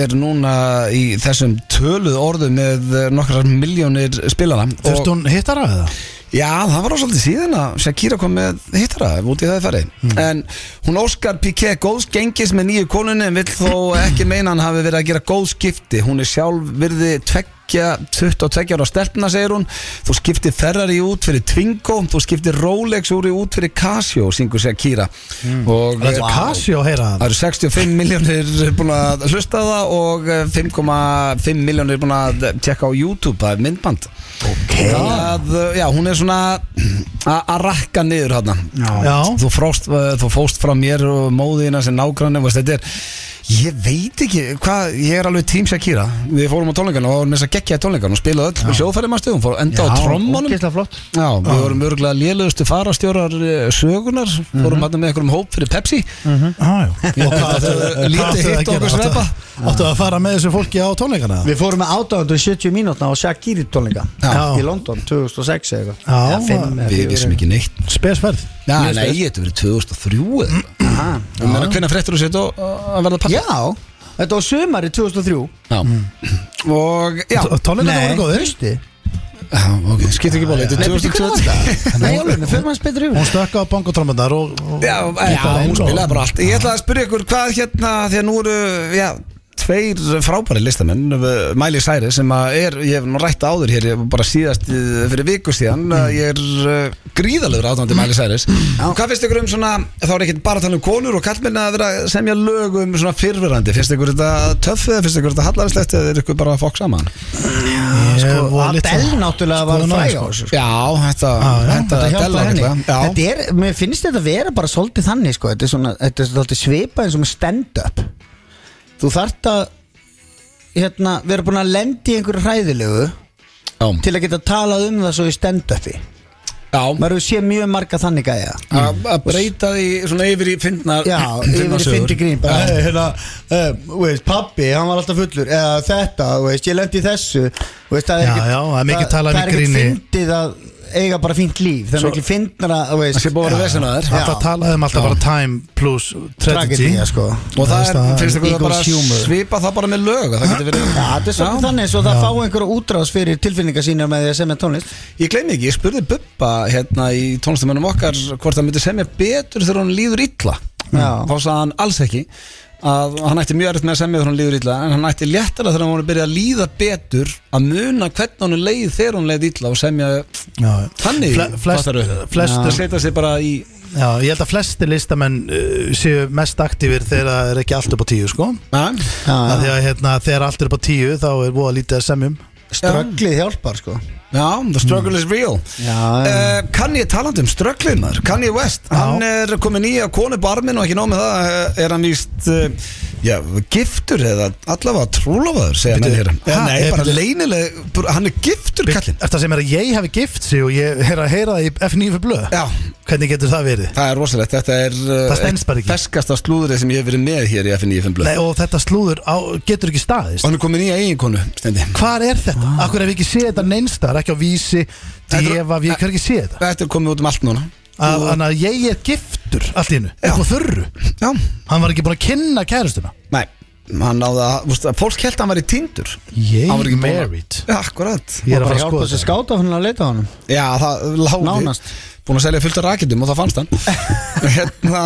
A: er núna í þessum töluð orðu með uh, nokkrar miljónir spilara
C: Þurft
A: og
C: hún hittara eða?
A: já, það var á svolítið síðan að Shakira kom með hittara út í það færi en hún Óskar Piqué góðs gengis með nýju konunni en vill þó ekki meina hann hafi verið að gera góð skipti hún er sjálf virði tvekk tveggja- 22 ára stelpna segir hún þú skiptir Ferrari út fyrir Twingo þú skiptir Rolex úr í út fyrir Casio syngur sér Kira og eh,
C: Þetta er Casio að heyra
A: Það
C: það
A: eru 65 miljónir búin að hlusta á það og eh, 5,5 miljónir búin að tjekka á YouTube, það er myndband Ok að, eh, Já, hún er svona að að rakka niður hann
C: Já.
A: þú, fróst, eh, þú fóst frá mér og móðina sem nágrann veist, þetta er, ég veit ekki hvað, ég er alveg tím Shakira við fórum á tónleikana og vorum þess að gegja í tónleikana og spilaði öll sjóðfæri maður stöðum, fór að enda á trommunum
E: ógeðslega flott
A: Já, við vorum örgulega lélugustu farastjórar eh, sögunar, fórum hann með einhverjum hóp fyrir Pepsi
C: Já, já. Og hvað
A: Þetta
C: áttu-
A: er
C: hvað
A: lítið
C: áttu að
A: hitt
C: gera?
A: okkur
C: Áttu-
A: sveppa.
C: Áttu að fara með þessu fólki á tónleikana?
B: Við fórum með 870 mínútna á Shakiri tónleika
C: Já.
B: í London 2006 eða eitthvað
C: Já,
B: Eða fimm, eða
A: Við
B: fjögur,
A: vissum ekki neitt
C: Spesferð
A: Já, nei, þetta verið 2003 eða eitthvað.
B: Aha.
A: Ég meina, Hvenær fréttur þú sér þetta að verða pappi?
B: Já, þetta var sumari 2003
A: Já. Og, já,
C: Tónleikana voru góðir
B: hausti
A: Já, ok, skipt ekki bóli, þetta er 2020
B: Nei, alveg, fyrir maður spytur
C: Hún
B: yfir
C: stökk á bongotrommandar og, og
A: Já, já, hún spilaði bara allt Ég ætla að spyrja ykkur hvað hérna, því að nú eru, já tveir frábæri listamenn eh, Miley Cyrus sem að er, ég hef nú rætt áður hér ég bara síðast eh, fyrir viku síðan mm. ég er uh, gríðalegur átandi Miley Cyrus hvað finnst ykkur um svona þá er ekki bara að tala um konur og kallmenn að vera að semja lög um svona fyrverandi finnst ykkur þetta töff eða finnst ykkur þetta hallarslegt eða er ykkur bara fokk saman sko,
C: Ég var litt
B: Sko, Adele
C: svona-
B: náttúrulega
C: Sko,
B: var
C: náði,
B: fræg á
C: sko.
B: þessu sko.
A: já, þetta
C: já,
A: þetta
C: þetta hjálpaði
A: Adele
C: henni.
A: ágætlega. Já.
B: Þetta er, mér finnst þetta að vera bara svolítið þannig sko. Þetta er svona, þetta er svolítið svipað eins og með stand-up Þú þarft að hérna, vera búin að lendi í einhverju hræðilegu
A: Já.
B: til að geta talað um það svo í stand-upi
A: já,
B: Maður hefur séð mjög marga þannig gæja
A: að að breyta því svona yfir í fyndnar
B: Já, yfir í fyndi grín bara, hey, hérna, uh, veist, Pappi, hann var alltaf fullur eða þetta, þú veist, ég lendi í þessu Þú veist, það er
C: Já,
B: ekkert-
C: já, það er mikið talað um í
B: Það er
C: gríni.
B: ekki fyndið að eiga bara fínt líf Það er ekki fyndnar að, þú
A: það sé
B: veist,
A: búið að vera vesina þér
B: Já.
C: Alltaf talaði um alltaf bara time plus tragedy
B: tragedía, sko
A: og það
C: Það
A: er,
C: er
A: finnst ykkur
B: equals
A: það bara
B: humor.
A: svipa það bara með lög að það getur verið
B: Já, þetta er svolítið þannig svo það fá einhverja útrás fyrir tilfinningar sína með því að semja tónlist
A: Ég gleymi ekki, ég spurði Bubba hérna í tónlistamönnum okkar hvort hann myndi semja betur þegar hann líður illa
B: Já.
A: þá sagði hann alls ekki að hann ætti mjög erfitt með að semja þegar hann líður illa en hann ætti léttara þegar hann voru að byrja að líða betur að muna hvernig hann leið þegar hann leið illa og semja
C: Já, já.
A: þannig
C: Fle- flest,
A: fattarðu?
C: flest,
A: að setja sig bara í
C: já, Ég held að flesti listamenn uh, séu mest aktífir þegar það er ekki allt upp á tíu sko.
A: Já,
B: Já,
C: að því að hérna, þegar allt er upp á tíu þá er voða lítið að um. semjum
B: Strögglið hjálpar, sko
A: the struggle is real
C: Mm.
B: Já, já.
A: Uh, Kanye talandi um strögglimar Kanye West, hann er komin í að konu barmin og ekki nóg með það eh, er hann víst uh, já, giftur eða allavega trúlofaður segja menn
C: Bíddu,
A: hér
C: ha,
A: ja, Nei,
C: eh,
A: bara
C: bíddu.
A: leynileg, bara- hann er giftur kallinn
C: Eftir að sem er að ég hefði gift sig og ég er að heyra það í F9 fyrir blöð
A: Já,
C: Hvernig getur það verið?
A: það er rosalegt Þetta er
C: Það stenst bara ekki.
A: feskasta slúðrið sem ég hef verið með hér í FNF
C: Nei, og þetta slúður á, getur ekki staðist
A: Og hann er komin í að eiginkonu stendi.
C: Hvar er þetta? Akkur hef ég ekki séð þetta neinstar, ekki á vísi
A: Þetta er-
C: Deva, ég hver ekki séð þetta
A: Þetta er komið út um allt núna
C: Að- Þannig að ég er giftur allt í hennu Upp á þurru
A: Já,
C: Hann var ekki búin að kynna kærustuna
A: nei Hann náði að, vúst, fólk held að hann var í tindur
C: Ég
A: Hann var ekki búinn að-
C: married
A: Já, akkurat
C: Ég er að
B: bara
C: fara að
B: hjálpa
C: skoða
B: þessi
C: þetta
B: skáta hann að leita á hann
A: Já, það láði
B: Nánast.
A: Búin að selja fullt af raketum og það fannst hann Hérna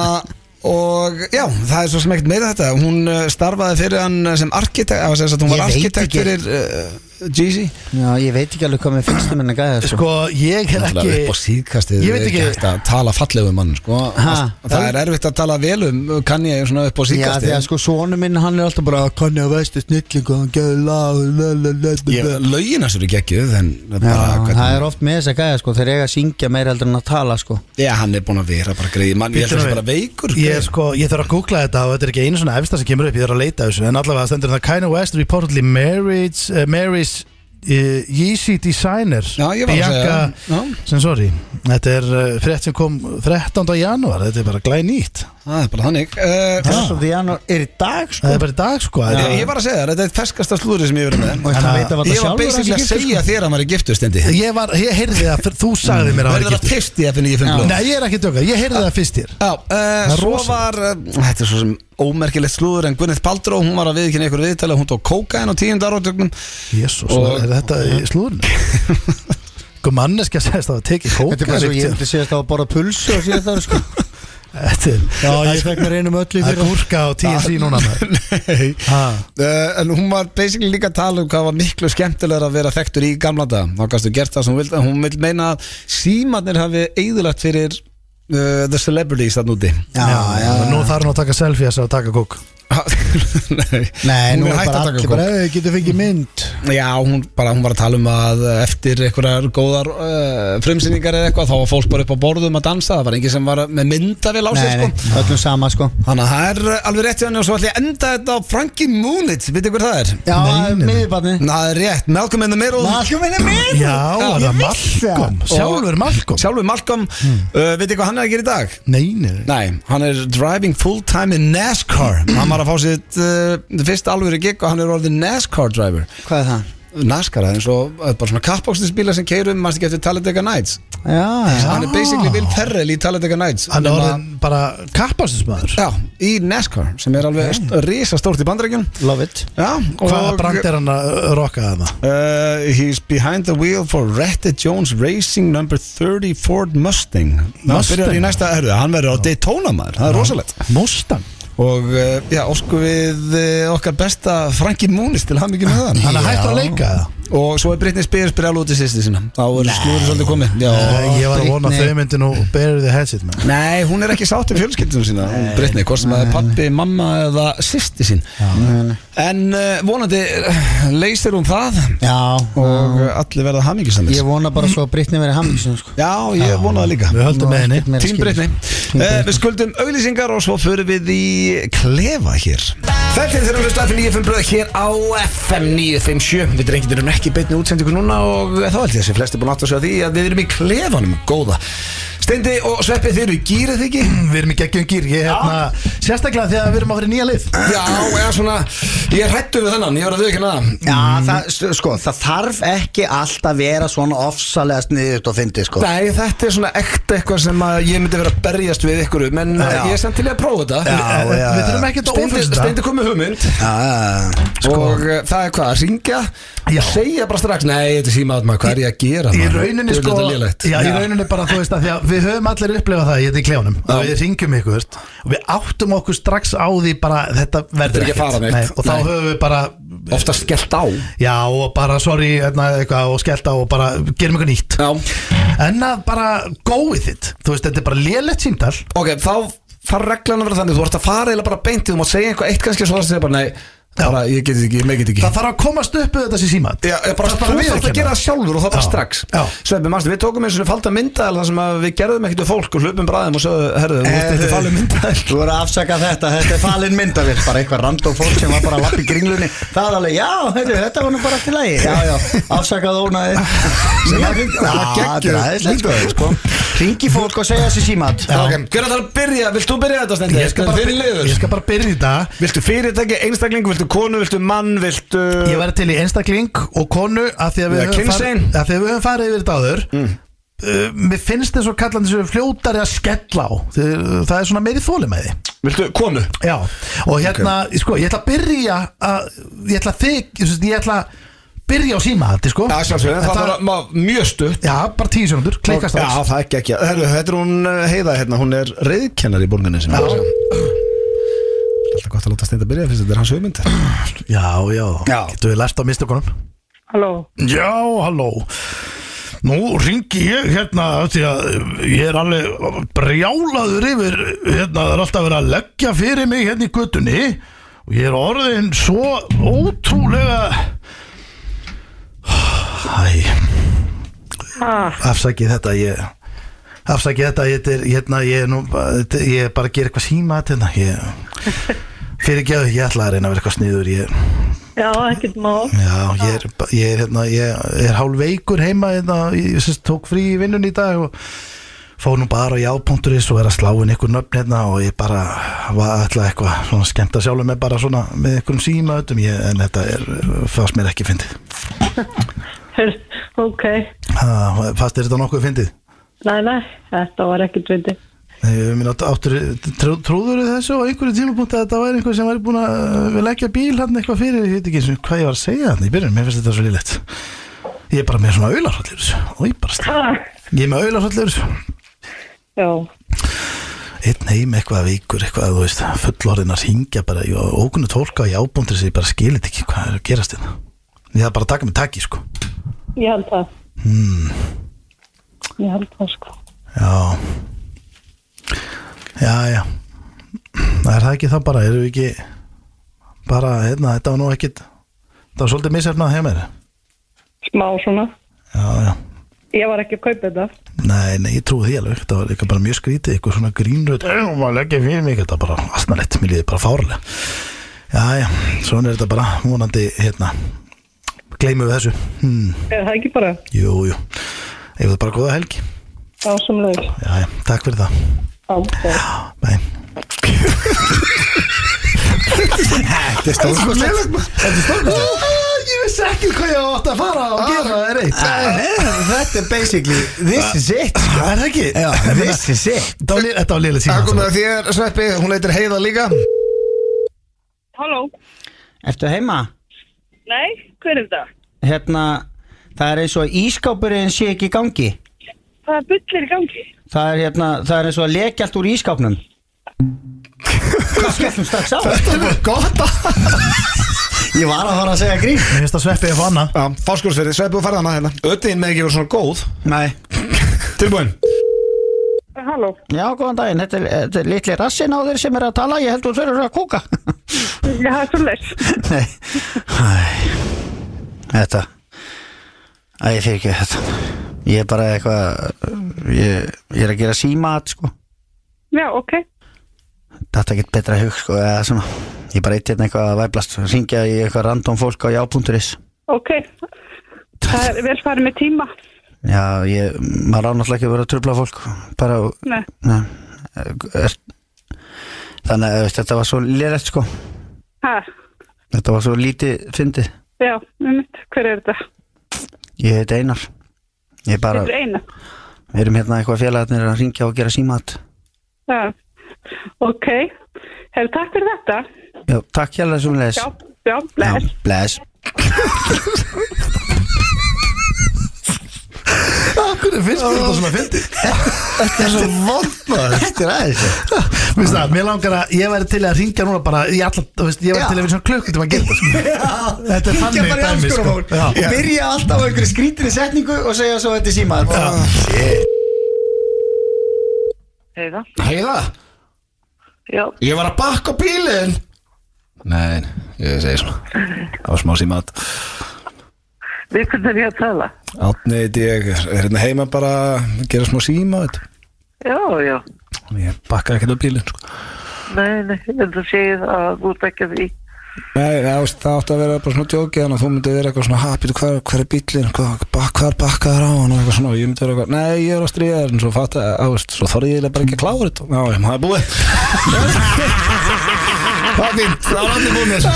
A: Og já, það er svo sem ekkert meira þetta Hún eh, starfaði fyrir hann eh, sem arkitekt eða sem sagt, Hún var
B: Ég veit
A: arkitekt
B: ekki.
A: fyrir uh, Jeezy
B: Já, ég veit ekki alveg hvað mér finnst um henni gæja, sko
C: Sko, ég er
A: Náttúrulega upp á
C: ekki
A: síðkastið
C: Ég veit
A: er
C: ekki-
A: hægt að tala fallegum mann sko.
B: Ha?
A: Það er erfitt að tala vel um kann ég svona upp á
B: Já, því
A: síðkastið
B: að sko sonu minn, hann er alltaf bara Kanye West er snillingu, hann geður lag la, la, la, la, la.
A: Ég- Lögin hans eru geggjuð en bara,
B: Já,
A: hvernig-
B: það er oft með þess að gæja, sko Þeir eiga að syngja meira heldur en að tala, sko
A: Já, hann er búin að vera bara greið mann Ég
C: Bíddu
A: held að
C: nú
A: það
C: við.
A: bara veikur
C: Ég,
A: greyið.
C: er sko, ég þarf að googla þetta og þetta er ekki einu svona efsta sem kemur upp, ég þarf að leita að þessu en allavega stendur það Kanye West reportedly married, uh, marries uh, Yeezy designer
A: Já, ég var að
C: Bianca
A: segja, já.
C: Sensori Þetta er uh, frétt sem kom 13. janúar, þetta er bara glænýtt
A: Það er bara þannig uh,
B: Þess að því hann er í dag, sko
C: Það er bara í dag sko
A: Já.
C: þetta
A: Ég
C: er-
A: var að segja þér, þetta er ferskasta slúri sem ég hef verið með
B: Mm, Og
C: En
B: hann
C: að-
B: veit að var
A: uh, Ég
B: það
A: var
B: sjálfur
A: basically að segja þér að maður er giftur stendi
C: Ég var, ég heyrði það, fyrir- þú sagði mér að
A: Verður
C: vera
A: það
C: giftur
A: fyrst í FNF blöð
C: Nei, ég er ekki að döka, ég heyrði það fyrst hér
A: Já, uh,
C: er
A: svo
C: rosalegt.
A: var uh, Þetta er svo sem ómerkilegt slúður En Gwyneth Paltrow, hún var að viðkynna ykkur viðtala Hún tók kókain á tíundaróttögnum
C: Jésús,
A: Og-
C: er þetta í slúðurinn? Hvað manneskja segist að það tekið
B: Þetta er bara svo ég
C: kókar
B: myndi síðast á að borða pulsu og síðast á, sko
C: Þetta er-
F: Já, ég
C: Það
F: fekk mér einum öllu
C: er
F: fyrir
C: gúrka á TNC núna maður.
A: Nei
C: Ha.
A: Uh, en hún var basically líka að tala um hvað var miklu skemmtilegur að vera þekktur í gamla dag þá kannstu gert það sem hún vildi hún vil meina að símanir hafi eigðulegt fyrir uh, the celebrities þann úti
B: Já, já,
C: Nú þarf hann að taka selfies og taka kók
A: Ha, Nei,
B: Nei,
A: hún
B: nú
A: er
B: er
A: hægt
B: bara
A: að taka
B: allir
A: kók
F: Bara ef þið getur fengið mynd
A: Já, hún, bara, hún var að tala um að uh, eftir einhverjar góðar uh, frumsýningar eða eitthvað þá var fólk bara upp á borðum að dansa það var engin sem var með myndavél á sig
B: Nei,
A: sko.
B: nei, öllum sama sko
A: Þannig að það er uh, alveg rétt hjá henni og svo ætlum ég að enda þetta á Frankie Moonitz, veitir hver það er?
B: Já,
C: Nei, nei, nei.
B: miðbarni
A: Ná, það er rétt, Malcolm in the Middle
B: Malcolm in the middle
C: Já, það
B: ég
C: er
B: vissi það.
C: Malcolm Sjálfur Malcolm
A: Sjálfur Malcolm, hmm. uh, veitir hvað hann er að gera í dag?
C: Nei, nei
A: Nei, hann er driving full time in NASCAR Hann var að fá sitt uh, fyrst alvöru gig og hann er orðið NASCAR driver
B: Hvað er það?
A: NASCAR, það er eins og það er bara svona kappbókstisbíla sem keirum, mannst ekki eftir Talladega Nights
B: Já, já
A: Hann er basically Will Ferrell í Talladega Nights
C: Hann er
A: nema-
C: orðin bara kappastismæður
A: Já, í NASCAR sem er alveg okay. risastórt í bandrækjum
B: Love it
A: Já,
C: Hvaða
A: og
C: brand er hann að uh, rokka að það?
A: Uh, he's behind the wheel for Retta Jones Racing number 30 Ford Mustang Hann
C: Mustang?
A: byrjar í næsta erðu, hann verður á Daytona maður, það er rosalegt
C: Mustang
A: Og uh, já, ósku við uh, okkar besta Franki Múnis til hann með það
C: Hann er hægt að leika það
A: Og svo er Britney Spears byrjað út í sýsti sína Þá er slúður svolítið komið já,
C: Nei, Eh, Ég var að vona að
B: Britney.
C: þau myndi nú Bury the hatchet man
A: Nei, hún er ekki sátt við fjölskyldunum sína hún Britney, hvort sem það er pappi, mamma eða sýsti sín En uh, vonandi eh, leysir hún það
B: Já,
A: Og uh, allir verða hamingisamir
B: ég vona bara svo að Brittany verið hamingsun sko
A: Já, ég vona það líka
C: Við höldum með henni
A: Tím Brittany uh, Við skuldum auglýsingar og svo förum við í klefa hér Þetta er þeirra hlusta fyrir 95 bröð hér á FM 957 Við drengir erum ekki í beinni útsendingu núna og þá held ég að sem flesti búin átt að sjá því að við erum í klefanum góða Steindi og Sveppi þeir eru í gýrið ekki?
C: Við erum í geggjum gýr Ég hérna Sérstaklega þegar við erum að fara í nýja lið
A: Já, eða svona, ég er hrættu við þennan, ég var að þau ekki naða
B: Já, það, sko, það þarf ekki allt að vera svona ofsalega sniðut og fyndi sko
A: Nei, þetta er svona ekta eitthvað sem að ég myndi vera að berjast við ykkur um, En
B: Já.
A: ég er samt til í að prófa þetta
B: Já,
C: Við
B: já,
C: þurfum ekki að
A: Steindi,
C: ofrista
A: Steindi kom með hugmynd
B: Já, sko. já, já.
A: og uh, það er hvað, að ringja
C: Já.
A: og segja bara strax, nei, þetta er símaður maður, hvað er ég að gera
C: Í
A: maður? Djöfull
C: rauninni sko
A: þetta er lélegt.
C: Já, í rauninni bara þú veist að því að við höfum allir upplifað það Ég þetta í klefunum
A: Já.
C: að við ringjum ykkur Og við áttum okkur strax á því bara Þetta
A: er
C: verður
A: ekki að fara neitt.
C: Nei, Og þá
A: Nei.
C: höfum við bara
A: ofta skellt á
C: Já og bara sorry hérna, eitthvað, og skellt á og bara gerum eitthvað nýtt
A: Já.
C: En að bara go with it Þú veist þetta er bara lélegt síndal
A: ok, þá þarf reglan að vera þannig þú ert að fara eða bara beintið, þú mátt segja eitthvað eitt kannski og svo það segja bara, nei, bara, ég get ekki, ég megin ekki
C: Það þarf að komast upp við þessi símat
A: Já, ég bara,
C: Það er
A: þú þarfst að
C: viðurkenna.
A: gera það sjálfur og það bara
C: Já.
A: strax
C: Já.
A: Sveppi, mannstu, við tókum eins og falda myndaðal þar sem að við gerðum ekkert við fólk og hlupum bræðum og sögðu, herðu, þú veist, þetta er falda myndaðal
B: Eh, Þú voru að afsaka þetta, þetta er falin myndavill Bara eitthvað random fólk sem var bara að lappa í kringlunni Það er alveg, já, heyrðu, þetta var nú bara til lagi Já, já, afsakað ónaði Sem að Já, þetta er aðeins sko. sko. Ringi fólk og segja sér símat
A: Ok, hver er það að byrja, vilt þú byrja þetta stendi?
C: Ég skal bara,
A: Þinn liður.
C: ég skal bara byrja í dag
A: Viltu fyrirtæki, einstakling, viltu konu, viltu mann, viltu...
C: Ég væri til í einstakling og konu að því að við,
A: Já,
C: höfum farið-
A: kynsegin.
C: að því að við höfum farið yfir þetta áður mm. Mér finnst þess að kallandi sem fljótari að skella á Þið, Það er svona meiri þóli með því
A: Viltu konu?
C: Já, og hérna, sko, ég ætla að byrja að, ég ætla að þig, ég ætla- ég ætla að byrja á síma þetta, sko
A: Já, sjálfsögðu, það
C: Þetta-
A: þarf að má- mjög stutt
C: Já, bara tíu sekundur, klikast
A: Já,
C: á
A: það er ekki ekki Herru, þetta er hún uh, Heiða hérna, hún er reyðkennar í borginni sem er að segja Alltaf gott að láta steinda byrja fyrst þetta er hans hugmynd
C: Já, já, getur við lært á mistökunum
G: Halló,
C: Já, halló Nú ringi ég hérna af því að ég er alveg brjálaður yfir hérna það er alltaf verið að leggja fyrir mig hérna í göttunni og ég er orðin svo ótrúlega Æ
G: ah,
C: afsakið þetta ég afsakið þetta ég er, hérna, ég, er nú, bara- þetta- ég er bara að gera eitthvað síma hérna, ég fyrir ekki ég ætla að reyna að vera eitthvað sniður ég
G: já, ekkert má
C: Já, ég er, ba- ég er, hérna, ég er hálf veikur heima hérna, ég sem sagt tók frí í vinnun í dag og fór nú bara á já.is og er að slá inn ykkur nöfn hérna og ég bara var alltaf eitthvað svona skemmt að sjálfum með bara svona með ykkurum síma öllum ég, en þetta er, fannst mér ekki fyndið
G: Heyrðu, ok,
C: Ha, fannst þér þetta nokkuð fyndið
G: næ, næ, þetta var ekkert viti
C: Nei, ég meina, áttur, trú, trúður þessu á einhverju tímapunkti að þetta væri einhver sem væri búin að uh, leggja bíl hann eitthvað fyrir, ég veit ekki eins og hvað ég var að segja hann í byrjun, mér finnst þetta svo lillett ég er bara með svona aularhallir og ég bara stið
G: ah,
C: Ég er með auðlarsallur
G: Já,
C: einn heim eitthvað veikur eitthvað, þú veist, fullorðin að hringja bara, jú, ókunni tólka í ábúndur sem ég bara skilit ekki hvað er að gerast þetta ég þarf bara að taka mig takki, sko
G: Ég held það Hmm. Ég held það sko
C: já já, já það er það ekki þá bara, erum við ekki bara, hérna, þetta var nú ekkit það var svolítið misefnað hjá mér
G: Smá svona
C: já, já
G: Ég var ekki að kaupa þetta
C: Nei, nei, ég trúi því alveg, þetta var eitthvað bara mjög skrítið, eitthvað svona grínröð og maður leggja fyrir mig, þetta var bara asnalett, mér líði bara fárlega Jæja, svona er þetta bara, vonandi, hérna gleymum við þessu hmm,
G: Er það ekki bara
C: Jú, jú, eigum við bara góða helgi
G: ásumlegur
C: Jæja, takk fyrir það
G: Ámstæð
C: Bæ
B: Þetta er stórkostlegt
C: Ég vissi ekki hvað ég átt að fara og gera það er eitt
B: Eh, Þetta er basically This is it sko.
C: Það er ekki
B: Já, This is it
C: Þetta var lé- Þetta var liðlega
H: Það komið
C: síma
H: að þér, Sveppi, hún leitir heiða líka
G: Halló
B: Ertu heima?
G: Nei, hver er þetta?
B: Hérna Það er eins og að ískápurinn sé ekki í gangi
G: Það er bullir í gangi
B: Það er, hérna, það er eins og að leki allt úr ískápnum Hvað skellum strax á?
H: Þetta var gott að
B: Ég var að fara að segja grín
C: Ég veist að sveppið er fanna
H: Já, fáskólsverði, Sveppi og ferðana hérna Öttin með ekki verið svona góð
B: Nei
H: Tilbúin
G: Halló
B: Já, góðan daginn, þetta er, þetta er litli rassin á þér sem er að tala, ég held þú þurfur að kúka
G: Já, það er svo les
B: Nei Æ, Þetta Æ, ég fyrir ekki þetta Ég er bara eitthvað ég, ég er að gera símat, sko
G: Já, ok
B: Þetta er ekkert betra hug, sko, eða svona Ég bara eitt hérna eitthvað að væblast Ringja í eitthvað random fólk á já.is
G: Ok Það er vel farið með tíma
B: Já, ég, maður á náttúrulega ekki að vera að trubla fólk Bara,
G: Nei,
B: nei eh, er, Þannig að þetta var svo lélegt, sko
G: hæ,
B: Þetta var svo lítið fyndið.
G: já, mitt, hver er þetta?
B: Ég heiti Einar. Ég bara,
G: Þetta er eina
B: við erum hérna eitthvað félagarnir að ringja og gera símat.
G: Já, ok Hefur takk fyrir þetta
B: Já, takk hérlega sem leðis.
G: Já, já, les
B: bless.
C: Akkur er fyrst þetta svona fyndi
B: Þetta er svo vondmaður. Þetta er aðeins.
C: Veist það, mér langar að ég væri til að ringja núna bara í alla, þú veist, ég væri
B: Já.
C: til að vera svona klukkutum að gera þetta, sko. Þetta er
B: Ringja
C: þannig
B: bara í
C: dæmi, sko. Já.
B: afskurðarmál. Byrja alltaf á einhverju skrítinni setningu og segja svo þetta er símat.
G: Heiða
H: Heiða,
G: Já,
H: ég var að bakka bílinn
A: Nei, ég segi svona Það var smá símat
G: við hvernig er ég að tala
A: Átni, ég er hérna heima bara að gera smá símat
G: Já, já,
A: Ég bakka ekkert á bílinn sko.
G: nei, nei, en þú segir að þú ert ekki að því
A: Nei, það ást- það átti að vera bara svona djókið Þannig að þú myndi vera eitthvað svona happy Hver, hver er bílinn, hvað bakkar bakkaður á hann og Eitthvað svona, og ég myndi vera eitthvað Nei, ég er að stríða þér En svo fatta, ást, svo þorði ég eiginlega bara ekki að klára þetta Já, ég maður búið Það er fínt, það var allir búið mér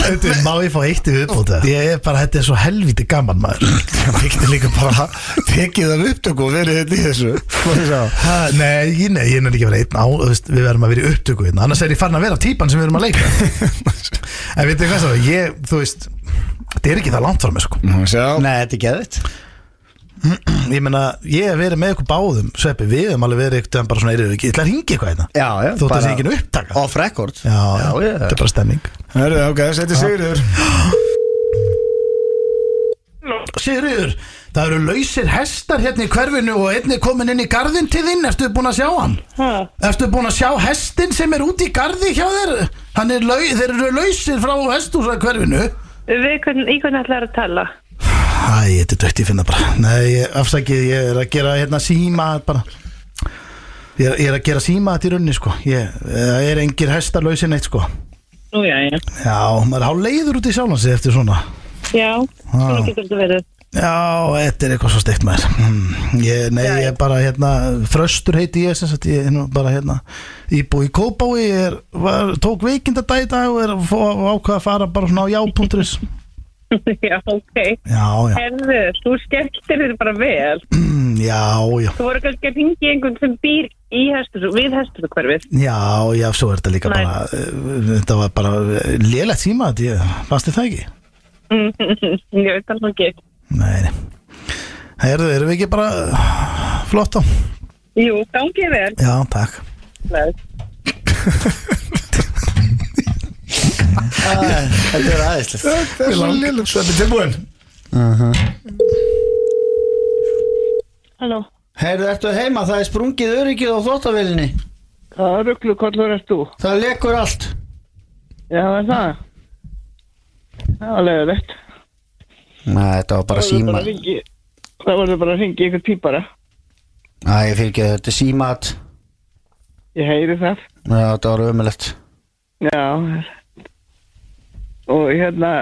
C: Þetta er- Má ég fá eitt í viðbóta? Ég er bara, þetta er svo helviti gaman maður
H: Það fíkti líka bara tekið af upptöku og verið hérna í þessu Hvað þið sá?
C: ha, Nei, ég- nei, ég er ekki að vera einn á þú veist, Við verðum að vera í upptöku hérna Annars er ég farin að vera típan sem við erum að leika En veitir hvað það, ég, þú veist Þetta er ekki það langt frá mig, sko
H: Sjá,
B: Nei, þetta er geðvitt.
C: Ég meina, ég hef verið með ykkur báðum Sveppi, við hefum alveg verið ykkur bara svona "Eyrðu, Ég ætla að ringi eitthvað hérna
B: Já, já.
C: Þú
B: bara
C: þetta sé ekki nú upptaka
B: Off record.
C: Já,
B: já.
C: þetta er bara stemning
H: herru, ok, þetta er Sigurður
C: Sigriður, það eru lausir hestar hérna í hverfinu og einni komin inn í garðin til þín, ertu búin að sjá hann?
G: Ha,
C: Ertu búin að sjá hestin sem er úti í garði hjá þér? Hann Er lau, þeir eru lausir frá hestúsa hverfinu
G: við hvernig, í hvernig ætlar að tala
C: Æ, þetta er dögt, ég finna bara Nei, ég- afsakið, ég er að gera hérna síma bara Ég er, ég er að gera síma þetta í rauninni sko Ég það er engir hestar lausir neitt sko
G: Nú, já, já
C: Já, maður er hálf leiður út í sjálfansi eftir svona
G: Já, svona getur þetta verið
C: Já, þetta er eitthvað svo steikt maður Hmm, ég, Nei, ég er bara hérna Fröstur heiti ég sem sagt Ég er nú bara hérna Íbúi í Kópái Ég er, var, tók veikinda dag í dag Og er að fá- ákvað að fara bara svona á já.is
G: Já, ok
C: Já, já,
G: Herðu, þú skemmtir þér bara vel
C: Hmm, já, já
G: Þú voru kannski að ringi einhvern sem býr í hestur, við hestur hverfið
C: Já, já, svo er þetta líka
G: Nei.
C: bara eh, Þetta var bara lélegt síma Þetta ég, fannst þið það ekki?
G: Ég veit alveg ekki
C: Nei, nei Herðu, erum við ekki bara eh, flott á?
G: Jú, gangið vel
C: Já, takk
G: bless.
B: Þetta er aðeinslegt
I: Þetta er svo lélug Þetta er tilbúin
G: Halló,
B: Heyrðu, ertu heima? Það er sprungið öryggið á þóttavélinni
G: hvaða rugglukollur ert þú?
B: Það lekur allt
G: Já, er það? Það var leiðilegt.
B: Nei, þetta var bara
G: Það
B: síma
G: var bara að hringja- Það voru bara að ringi ykkur pípara.
B: Æ, ég fyrir ekki þetta er símat
G: Ég heyri það.
B: Já, þetta var ömulegt
G: Já. Og hérna,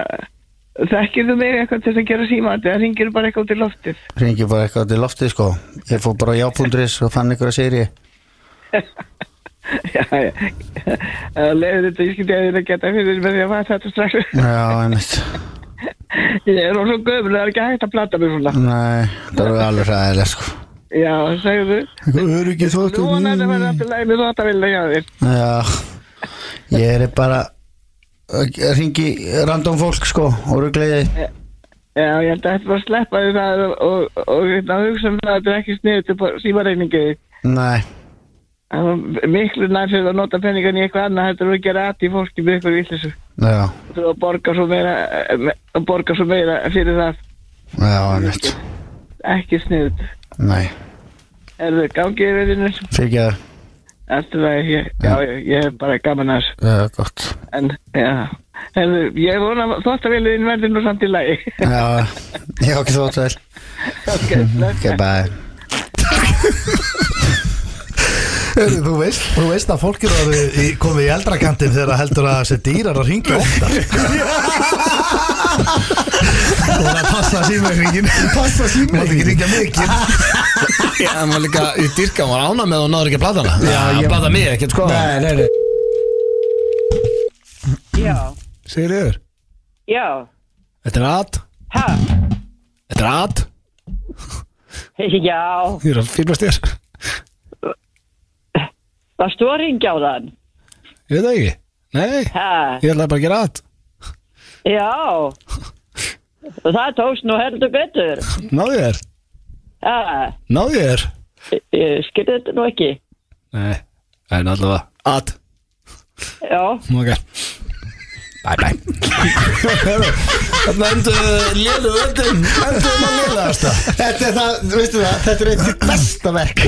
G: þekkir þú mig eitthvað til þess að gera símandi? Það ringir bara eitthvað út í loftið.
B: Ringi bara eitthvað til loftið sko Ég fór bara á jápundris og fann ykkur að séri
G: Já, já. Það leiður þetta, ég skilti að ég er að geta fyrir með því að maður þetta strax.
B: Já, einmitt
G: Ég er orðin svo gömul, það er ekki hægt að plata mig svona.
B: Nei, þetta var alveg ræðilegt sko
G: Já, segðu.
J: Eitthvað öryggi þóttu
G: Nú hann er að vera alltaf leið með þóttavilna hjá þér.
B: Já, ég er bara að ringi random fólk sko og ruggleiði
G: Já, ég held að þetta bara að sleppa því það og, og, og hérna, hugsa um það að þetta er ekki sniðu til símareikningu.
B: Nei,
G: Það var miklu nær fyrir að nota penningan í eitthvað annað heldur en að gera aðt í fólki með eitthvað villisu.
B: já,
G: Þú þurfa að borga svo meira, eh, me- að borga svo meira fyrir það.
B: já, einmitt
G: Ekki sniðut.
B: Nei,
G: Er þau gangið í viðinu?
B: fyrir ekki það,
G: Alltaf að ég, já, ég, ég er bara gaman að þessu.
B: já, gott
G: En, já, herðu, ég vona að þóttaviliðin verður nú samt í lagi.
B: Já, ég hef ekki þótt vel
G: ok, bless.
B: Ok, bye
C: Heyrðu, Þú veist, þú veist að fólk eru orðið í- komið í eldra kantinn þegar það heldur að þessi dýrar að ringja oftar og það passa símreikningin passa símreikningin maður ekki ringja mikið
A: Já, hann var líka í dyrka, hann var ána með og náður ekki að blata hana Já, ég blata mig ekkert sko
B: Nei, nei, nei
G: Já,
A: Segir yfir
G: já,
A: Þetta er að
G: ha,
A: Þetta er að
G: já,
A: Ég er að fýrblast þér
G: varst þú að ringja á þann?
A: Ég veit það ekki Nei,
G: Ha,
A: ég ætlaði bara að gera að
G: já, og það tókst nú heldur betur.
A: Náðu ég þér
G: Ha,
A: Náðu ég þér
G: ég- ég skilði þetta nú ekki.
A: Nei, það er náttúrulega að
G: Já,
A: Ok Bye bye Þarna endur lélu öllum Endur maður lélaðast það
B: Þetta er það, veistu það, þetta er eitt besta verk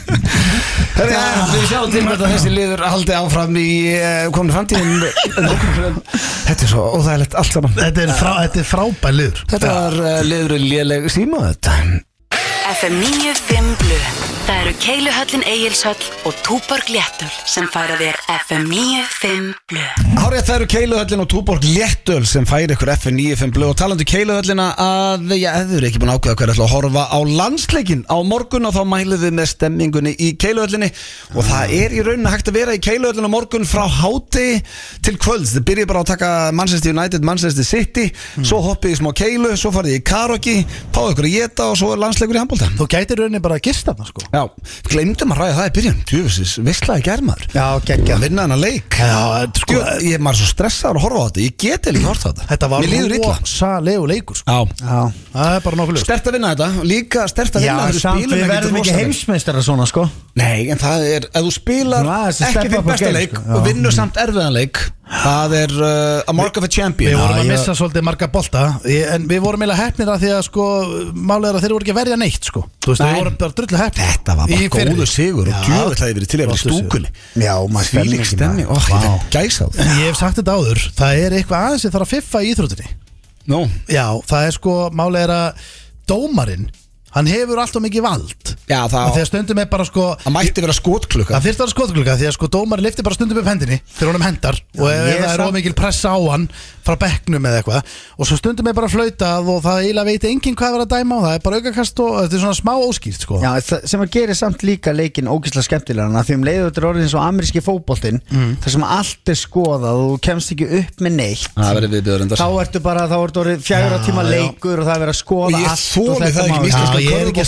A: Herra, ja, við sjáum til með að þessi liður haldi áfram í uh, kominu framtíðin Þetta er svo óþægilegt allt saman
C: þetta er, frá, þetta er frábær liður
A: Þetta var uh, liður léleg síma þetta
K: FM 95 Blu Það eru Keiluhöllin Egilshöll og Túborg Léttul sem færa þér FM 95 Blu
A: Hárið það eru Keiluhöllin og Túborg Léttöl sem færi ykkur F95 blöð og talandi um Keiluhöllina að já, ef þau eru ekki búin að ákveða hver ætla að horfa á landsleikin á morgun og þá mælum við með stemmingunni í Keiluhöllinni og það er í rauninu hægt að vera í Keiluhöllin á morgun frá háti til kvölds þau byrjið bara á að taka Manchester United, Manchester City svo hoppið í smá Keilu, svo farið í Karoki fáið ykkur að geta og svo er landsleikur í handbólta
C: þú gætir rauninni bara að gista það sko
A: Já, glemdum að ræða það í byrjun Djöfisins, visslaði germaður
C: já,
A: ekki
C: geggja
A: að vinna hennar leik
C: Já, þetta sko-
A: Djú, ég er maður svo stressaður að horfa á þetta ég get ekki horfa á þetta
C: þetta var
A: mér líður illa
C: rosalegu leikur sko.
A: já
B: Já,
C: það er bara nokkuð ljóst
A: stert að vinna þetta og líka stert að
B: já
A: vinna þegar við
B: samt
A: spilum
B: við
A: ekkert
B: verðum ekki
A: rosalega.
B: heimsmeistara svona sko
A: nei en það er ef þú spilar
B: Nú, aðeins að
A: ekki
B: steppa
A: þitt
B: upp á
A: besta
B: game,
A: leik
B: sko.
A: og vinnur samt erfiðan leik það er uh, a mark of a champion
C: Við vorum að
B: ég-
C: missa svolítið marga bolta ég- en við vorum eiginlega heppnir að því að sko málið er að þeir voru ekki að verja neitt sko þú veist,
A: Nei.
C: við vorum bara drullu heppnir
A: þetta var
C: Í
A: bara
C: fyrri.
A: góðu sigur og
C: Já.
A: djöfell hefði verið til að vera í
C: Flottur sigur.
A: stúkunni
B: Já, maður
A: fylg stemmi og ég
B: Vá.
A: fekk gæsa á það
C: Ég hef sagt þetta áður, það er eitthvað aðeins sem þarf að fiffa í íþrótinni
A: nú
C: Já, það er sko, máli er að dómarinn, hann hefur alltaf mikið vald
A: já
C: og
A: það
C: þegar stundum er bara sko
A: það mætti vera skotklukka
C: Það fyrst var skotklukka því að sko dómarinn lifti bara stundum upp hendinni þegar honum hendar og ef
B: ég
C: ef það er
B: samt-
C: ómikil pressa á hann frá bekknum eða eitthvað og svo stundum er bara flautað og það eiginlega veit enginn hvað er að dæma og það er bara aukakast og þetta er svona smá óskýrt sko
B: Já, það- sem að gera samt líka leikin ógislega skemmtilegan að því um leiðu þetta er orðin svo ameríski fótboltinn þar sem allt er skoðað og þú kemst ekki upp með neitt
A: það verður viðbjöður endast
B: þá ertu bara, þá ertu orðið fjögra tíma leikur og það er verið að skoða
A: og ég
B: allt
A: þóli það ekki
B: mál.
A: með íslenska
C: ég er ekki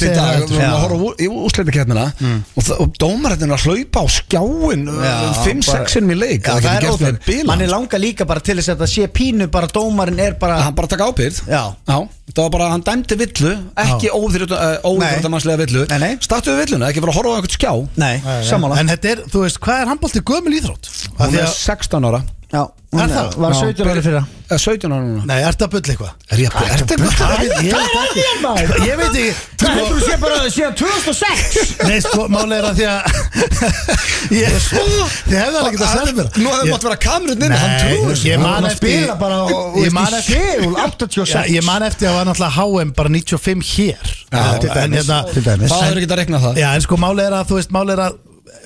L: körfubolti í dag
C: að segja það,
L: Við vorum að horfa á ú- í úrslitakeppnina
B: Mm.
L: og, það- og dómarinn að hlaupa á uh, skjáin
B: Já,
L: 5-6 innum í leik
B: Já, það er
L: óþægt
B: óþægt Mann er langa líka bara til þess að það sé pínu bara dómarinn er bara
L: hann bara taka ábyrð
B: Já.
L: það var bara að hann dæmdi villu ekki óþjóðamannslega villu
B: Nei, nei.
L: startu við villuna, ekki bara að horfa á einhvern skjá
B: Nei, samanlega
C: En þetta er, þú veist, hvað er handbólti gömul íþrótt? Af
L: hún
C: því
L: er
C: að-
L: 16 ára
B: Já, hún
C: Er
B: er-
C: það?
B: var
L: Já.
B: 17 ári fyrir
L: Eh, 17 ára núna
C: Nei, ertu að bulla eitthvað?
L: er ég að byrja
C: Ég veit ekki Ég veit ekki
B: Það heldur þú sé bara síðan 2006
C: Nei, sko, máli er að því að Ég Þið hefðu alveg getað sagt mér
L: nú hefur mátt vera kamerun inn hann trúður
C: Ég man
B: Hann
C: eftir
B: spila bara og-
C: Ég
B: og-
C: man
B: í
C: eftir
B: segul, 86.
C: Já, Ég man eftir að var náttúrulega HM bara 95 hér
L: Já,
C: En
L: til
B: dæmis,
C: hérna-
B: til dæmis.
L: það er ekki að rekna það
C: Já, en sko, máli er að, þú veist, máli er að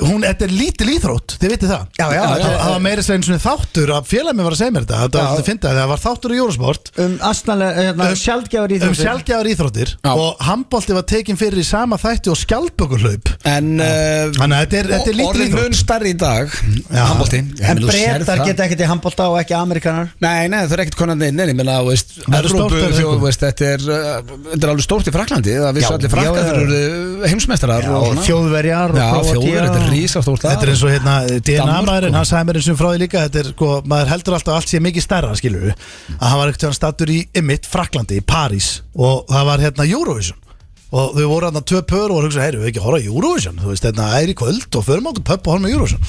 C: Hún, þetta er lítil íþrótt, þið vitið það
B: Já, já,
L: já,
C: Það
L: já.
C: það var meira segni svona þáttur að félagmi var að segja mér þetta Þetta var að finna það var þáttur í Eurosport
B: Um astanlega, hérna,
C: Um-
B: sjaldgjafur í
C: um
B: þessu
C: sjálfgjafar íþróttir
L: Já.
C: og handbólti var tekin fyrir í sama þætti og skjálpökulhlaup
L: En uh,
C: Þannig að þetta er, þetta er lítið
L: orðin
C: íþrótt
L: mun starri í dag
C: Já.
L: handbolti. Ég
B: En
L: meina, þú sérð
B: brettar
L: það.
B: geta ekkert í handbólta og ekki amerikanar
L: Nei, nei, það er ekkert konar neinn Nei, ég meina, þú veist,
C: Það eru
L: Evrópu,
C: stórt að
L: þjóð,
C: leikum.
L: veist, þetta er uh, Þetta er alveg stórt í Fraklandi Það vissu
B: Já,
L: allir
B: já,
L: Frakka
B: já.
L: þegar eru heimsmeistarar og svona.
B: Þjóðverjar og
L: Já,
B: Króatía
L: þjóður, þetta er
B: og-
L: rísastórt
C: Þetta er eins og hérna DNA
L: Danmörk
C: maðurinn,
L: og-
C: hann sagði mér eins og frá því líka Þetta er, sko, maður heldur alltaf að allt sé mikið stærra, skilur við Að hann var ekkert hann stattur í Emmitt, Fraklandi, í París Og það var hérna Eurovision Og þau voru hérna tvö pör og voru hugsa, heyrðu, við ekki að horfa á Eurovision Þú veist, þetta er í kvöld og förum okkur pöpp og horfum á Eurovision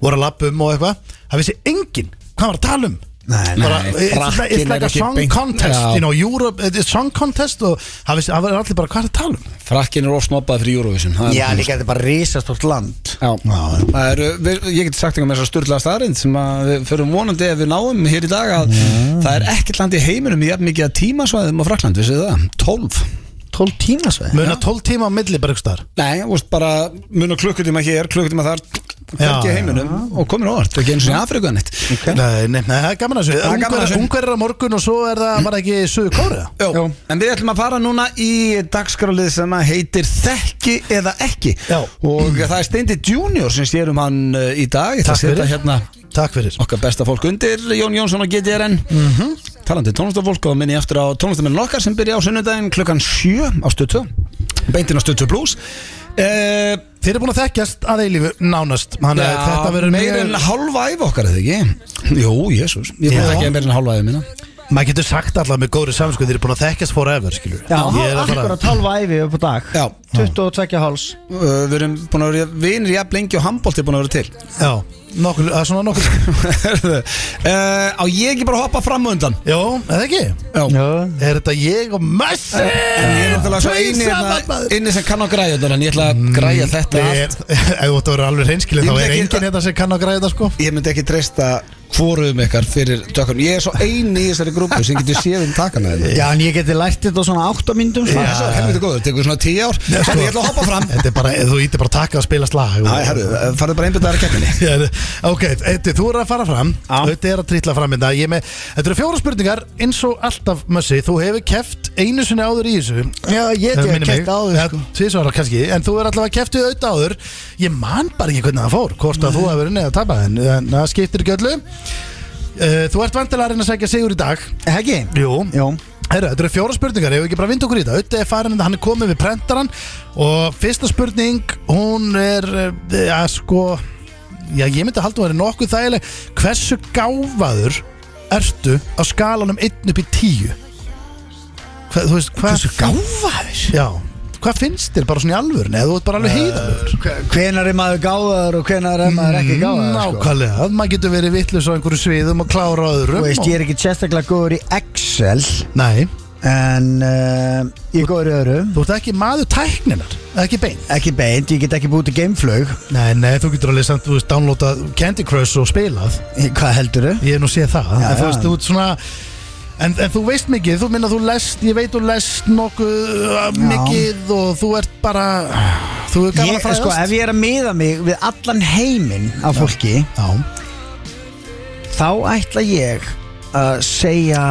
C: Voru að labba um og eitthvað Það vissi enginn hvað hann var að tala um
L: Nei, nei,
C: bara, it's, like,
L: frakkinn
C: it's like
L: er
C: a
L: ekki
C: song
L: beint-
C: contest
L: Já.
C: you know, Europe, eh, it's a song contest og það vissi- það var allir bara hvað er að tala um
L: Frakkin er ofsnobbað fyrir Eurovision það er
B: Já,
L: bara-
B: líka þetta er bara risastórt land
L: Já. Það eru, við, ég geti sagt einhver með þessar styrlaða staðrind sem að við förum vonandi ef við náum hér í dag að það er ekkert land í heiminum í jafn mikið að tímasvæðum á Frakland, við séu það, 12
B: 12 tímasveið
C: Muna 12 tíma á milli bara ykkur staðar
L: Nei, þú veist bara muna klukkutíma hér, klukkutíma þar hvergi í
C: já,
L: heiminum og komin á orð, ekki eins og í Afrika neitt
C: Nei, nei, nei, það er gaman að þessu
L: Það er gaman að
C: Ungverjar-
L: þessu.
C: Ungverjar á morgun og svo er það bara ekki Suðu Kóra
L: Jó. En við ætlum að fara núna í dagskrálið sem að heitir Þekki eða ekki
C: Já.
L: og það er Steindi Junior sem sér um hann uh, í dag Ég ætla
C: Takk
L: að setja
C: fyrir.
L: hérna
C: Takk fyrir
L: okkar besta fólk undir Jón Jónsson og GTRN mm
C: Mhm.
L: -hmm. talandi tónlistafólk og minni eftir á tónlistamennin okkar sem byrja á sunnudaginn klukkan 7 á stötu beintin á stötu plus uh,
C: Þið eru búin að þekkjast að eilífu nánast Þannig að þetta verður
L: meir en hálfa æf okkar eða ekki Jú, jésús, ég
C: Já.
L: búið ekki meir en hálfa æf mína
C: Maður getur sagt alltaf með góðri samsku Þið eru búin að þekkjast forever, skilju
B: Já,
C: Ég er að
B: akkur
C: fara
B: að 12 æfi upp á dag
L: Já,
B: 22 háls
L: uh, við erum búin að vera vinir jafn lengi og handbólt er búin að vera til
C: Já, nokkur, það er svona nokkur
L: uh, Á ég ekki bara að hoppa fram og undan
C: Jó, eða ekki
L: Já
C: Er þetta ég og Messi?
L: En ég er náttúrulega svo eini, hérna, eini sem kann á græja þetta En ég ætla að græja þetta allt
C: Ef þú ætti að vera alveg reynskilin
L: Ég
C: þá
L: myndi
C: er
L: ekki-
C: enginn hérna sem kann að græða þetta sko
L: Ég myndi ekki treysta hvorum ykkar fyrir tökum Ég er svo eini í þessari grúpu sem getur séð um takana þetta
B: Já, en ég geti lært þetta á svona 8 myndum
L: Það er svo helviti góður, tekur svona 10 ár
C: sko.
L: Herru, Ég ætla að hoppa fram
C: Þetta er bara, þú ítti bara að taka að spila slag
L: Æ, herru, farðu bara einbyrðar að keppinni
C: Já, ok, Eiti, þú eru að fara fram Þetta er að trýtla fram hérna Ég er með, Þetta eru fjóra spurningar eins og alltaf Mössi, þú hefur keft einu sinni áður í þessu
M: Já, ég hef
C: Minnir mig.
M: kæft áður sko.
C: Ja, Tvisvar kannski, en þú er allavega keft við auðvitað áður Ég man bara ekki hvernig það fór Hvort að þú hefur verið neða að tapa en, en það skiptir ekki öllu Uh, Þú ert vantilega að reyna að segja sigur í dag
B: Heggi?
C: Jú,
B: Jú
C: Herra, þetta eru fjóra spurningar, ef við ekki bara vind okkur í þetta Ötti er farin, hann er komið við prentaran Og fyrsta spurning, hún er eh, Já, sko Já, ég myndi að halda að vera nokkuð þægileg Hversu gáfaður ertu á skalanum 1 upp í 10? Hva, þú veist, hvað Hversu gáfaður? Já, hvað finnst þér bara svona í alvöru? Nei, þú ert bara alveg heiðalur
B: Hvenar er maður gáðar og hvenar er Eh, maður ekki gáðar sko?
C: Nákvæmlega, maður getur verið vittlust á einhverju sviðum og klára á
B: Þú
C: öðrum
B: veist, ég er ekki sérstaklega góður í Excel
C: og... Nei,
B: En uh, ég er góður í öðru
C: þú ert ekki maður tækninar, ekki bein
B: Ekki beint, ég get ekki búið til gameflög
C: Nei, nei, þú getur alveg samt, þú veist, downloada Candy Crush og spilað
B: Hvað heldur þau?
C: Ég hef nú séð það
B: Já,
C: En þú
B: já.
C: veist, þú ert svona En, en þú veist mikið, þú minna þú lest, ég veit þú lest nokkuð uh, mikið og þú ert bara, þú er gaman
B: Ég,
C: að fræðast
B: sko, ef ég er að miða mig við allan heiminn af fólki
C: Já,
B: Þá ætla ég að segja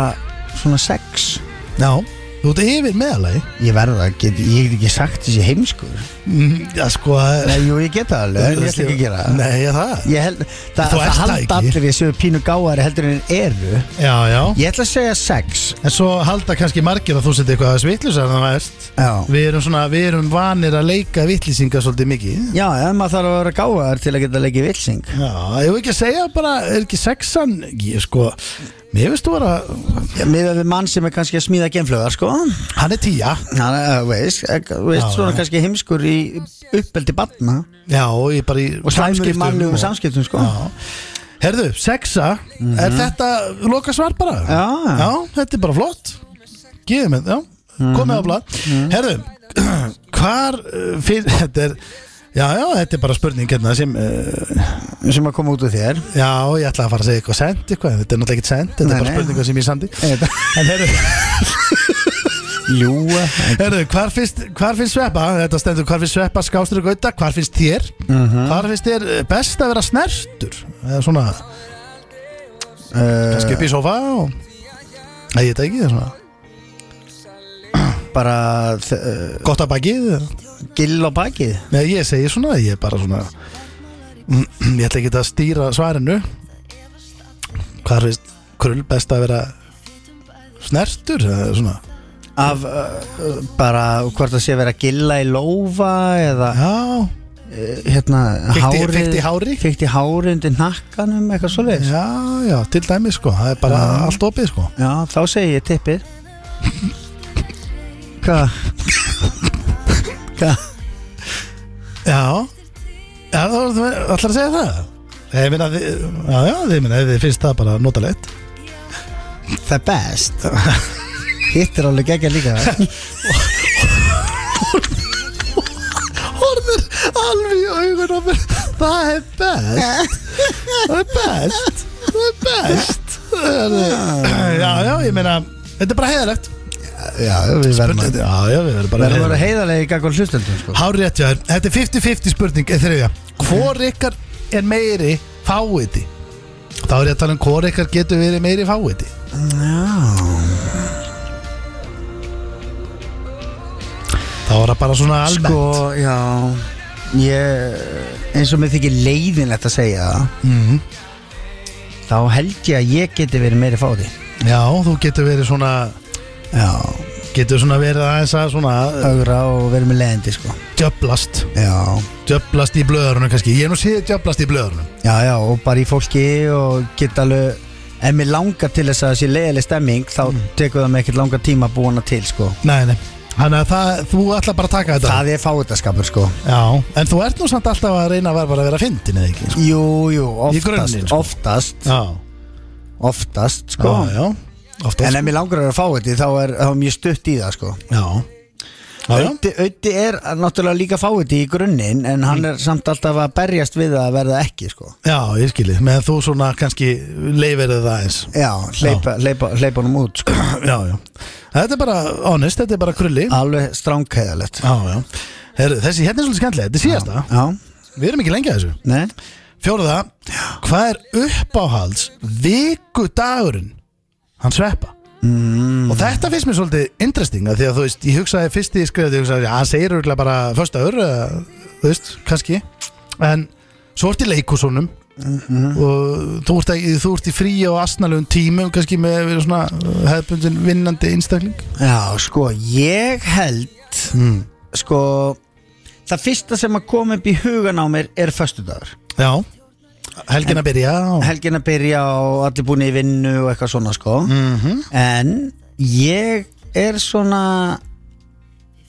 B: svona sex
C: já, Þú ert yfir meðalagi
B: Ég verða að geta, ég get ekki sagt þessi heimskur
C: Já sko
B: Mhm. Nei, jú, ég geta alveg, en ég ætla ekki að gera það
C: Nei, ég það
B: Ég held, það,
C: Þú ert
B: það
C: það
B: halda
C: ekki.
B: allir ég séu pínu gáðari heldur en eru
C: Já, já
B: Ég ætla að segja sex
C: En svo halda kannski margir að þú setja eitthvað að svitlusa þannig að veist
B: Já.
C: Við erum svona, við erum vanir að leika vitlýsingar svolítið mikið
B: Já, en maður þarf að vera gáðar til að geta leikið vilsing
C: Já, ég vil ekki að segja bara, er ekki sexan Ég sko, mér veist þú vera
B: Miðað við mann sem er kannski að smíða genflöðar, sko
C: Hann er tíja
B: Hann er, uh, veist, ek- veist
C: Já,
B: svona
C: já.
B: kannski heimskur í uppeldi batna
C: Já, og ég bara í
B: Og slæmur í
C: samskiptum
B: mannlegum
C: og-
B: samskiptum, sko
C: Já. Herðu, sexa Er þetta loka svar bara?
B: Já.
C: þetta er bara flott Gifum þetta, já, komið á blað Herðu, hvar uh, fyrir, þetta er Já, já, þetta er bara spurning hérna sem, uh,
B: Sem að koma út úr þér
C: já, ég ætla að fara að segja eitthvað sent eitthvað, en þetta er náttúrulega ekkert sent, þetta
B: Nei,
C: er bara
B: nei.
C: spurninga sem ég sandi. En herðu,
B: Ljúa
C: herðu, hvar finnst, hvar finnst sveppa, þetta stendur, hvar finnst sveppa skástur og gauta, hvar finnst þér,
B: Mhm.
C: hvar finnst þér eh, best að vera snertur, eða svona,
B: uh,
C: kannski upp í sofa og Nei, ég veit ekki, það er svona
B: Bara uh,
C: Gott að bakið
B: gill á bakið
C: Nei, ég segi svona, ég er bara svona Ég ætla ekki að stýra svarinu Hvað er veist Krull best að vera Snertur, eða svona
B: Af uh, bara hvort það sé verið að gilla í lófa Eða
C: Já,
B: uh, hérna
C: Fikti-
B: hárið-
C: fikti í hári?
B: Fikti í hári undir nakkanum Eitthvað svoleiðis
C: já, já, til dæmi sko Það er bara allt opið sko
B: Já, þá segi ég tippið Hvað? Hvað?
C: Já, já þú þú ætlar að segja það Ég meina, þið- já, já, þið meina, þið finnst það bara notalegt
B: The best Hitt er alveg geggja líka
C: Horfir alveg í augun á mér Það er best Það er best Það er best Það er- Já, já, ég meina Þetta er bara heiðalegt
B: Já, við verðum að
C: Já, já, við verðum bara
B: Verðum að vera
C: heiðalegt
B: heiðarlega í gagvar hlustendum sko.
C: Hár rétt, já, þetta er 50-50 spurning eða Þriðja, hvor ykkar er meiri fáviti? Þá er ég að tala um hvor ykkar getur verið meiri fáviti Þá er það bara svona almennt
B: Sko, já Ég eins og mér þykir leiðinlegt að segja það
C: Mhm.
B: Þá held ég að ég geti verið meiri fáti
C: Já, þú getur verið svona
B: Já
C: Getur svona verið aðeins að svona
B: Ögra og verið með leiðindi sko
C: Djöblast
B: Já
C: Djöblast í blöðurunum kannski Ég er nú síðan djöblast í blöðurunum
B: Já, já, og bara í fólki og geta alveg Ef mér langar til þess að þessi leiðileg stemming Þá
C: Mm.
B: tekur það mig ekkert langar tíma að búa hana til sko
C: Nei, nei Þannig að það, þú ætla bara að taka þetta
B: Það er fáitaskapur sko
C: Já, en þú ert nú samt alltaf að reyna að vera bara að vera fyndin eða ekki sko.
B: Jú, jú,
C: Í
B: oftast
C: grunninn, sko.
B: Oftast,
C: Já,
B: oftast sko
C: já, já Oftast sko.
B: En ef mér langar að vera fáið þá er, þá er mjög stutt í það sko
C: Já Já, já
B: Ötti, ötti er náttúrulega líka fáið í grunninn En hann
C: Mm.
B: er samt alltaf að berjast við það að verða ekki sko
C: Já, ég skilji Meðan þú svona kannski leifir það eins
B: Já, hleypa, hleypa, hleypa honum út sko
C: Já, já Þetta er bara honest, þetta er bara krulli Já,
B: Alveg stránkæðalegt
C: já Heru, Þessi hérna er svolítið skemmtilega, þetta er síðasta
B: Já,
C: Við erum ekki lengi að þessu
B: nei
C: Fjóruða, hvað er uppáhalds vikudagurinn hann sveppa og þetta finnst mér svolítið interesting að því að þú veist, ég hugsaði fyrst í skrifað ég hugsaði, já, hann segir auðvitað bara föstaður eða, þú veist, kannski en svo ert í leikúsunum og þú ert, ekki, þú ert í frí og asnalegum tímum kannski með að vera svona uh, hefðbundin vinnandi einstakling
B: Já, sko, ég held
C: Mm.
B: Sko Það fyrsta sem að koma upp í hugan á mér er föstudagur
C: já, helgin að byrja og...
B: Helgin að byrja og allir búin í vinnu og eitthvað svona sko -hmm. En ég er svona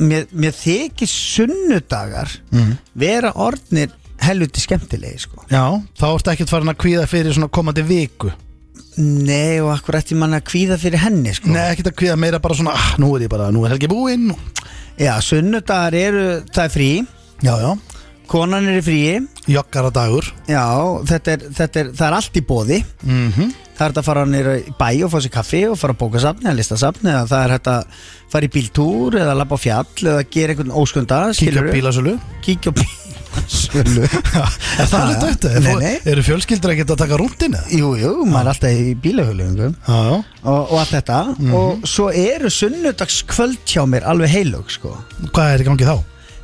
B: Mér, mér þykir sunnudagar vera orðnir helviti skemmtilegi sko
C: já, þá ertu ekkert farin að kvíða fyrir svona komandi viku
B: Nei og akkur ætti mann að kvíða fyrir henni sko
C: Nei, ekkert að kviða meira bara svona ah, Nú er ég bara, nú er helgi búinn
B: Já, sunnudagar eru, það er frí
C: Já, já,
B: Konan er í fríi
C: joggara dagur
B: Já, þetta er, þetta er, það er allt í bóði
C: Mhm.
B: Það er þetta að fara nýra í bæ og fá sér kaffi og fara á bókasafni eða listasafni eða það er þetta að fara í bíltúr eða labba á fjall eða gera einhvern óskunda
C: Kíkja á
B: skilurðu?
C: bílasölu
B: Kíkja á bíl sölu
C: Er það alveg döttu?
B: Nei, nei.
C: Eru fjölskyldur ekkert að taka rúndina?
B: Jú, jú, maður er alltaf í bílahulungum
C: Já, já
B: og, og allt þetta
C: Mhm.
B: og svo eru sunnudagskvöld hjá mér alveg heilug sko
C: Hvað er í gangi þá?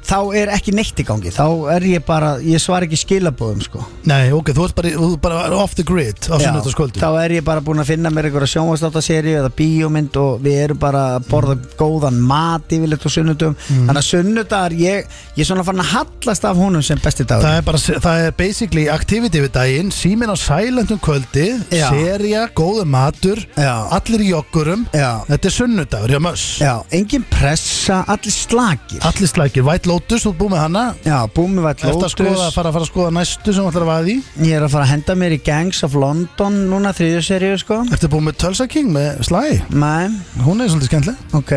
B: þá er ekki neitt í gangi þá er ég bara, ég svar ekki skilabóðum sko
C: Nei, ok, þú ert bara, þú ert bara off the grid á
B: Já,
C: sunnudagskvöldu
B: þá er ég bara búin að finna mér einhverja sjónvarsláttaseríu eða bíómynd og við erum bara að borða góðan mat yfirleitt á sunnudum
C: Mhm.
B: þannig að sunnudagar, ég, ég er svona farin að hallast af honum sem besti dagur
C: Það er bara, það er basically activity við daginn Símin á silent um kvöldi
B: Já.
C: Serja, góður matur
B: Já.
C: Allir í joggurum
B: Já.
C: Þetta er sunnudagur hjá möss
B: Já, engin pressa, allir slagir
C: Allir slækir, White Lotus, þú ert búið með hana
B: Já, búmi vært
C: Eftir að
B: lótus
C: skoða, að fara, að fara að skoða næstu sem þú ætlar að vaða í
B: Ég er að fara að henda mér í Gangs of London núna þriðju seríu sko
C: Eftir að búið með Tulsa King með Sly
B: Nei,
C: Hún er svolítið skemmtileg
B: ok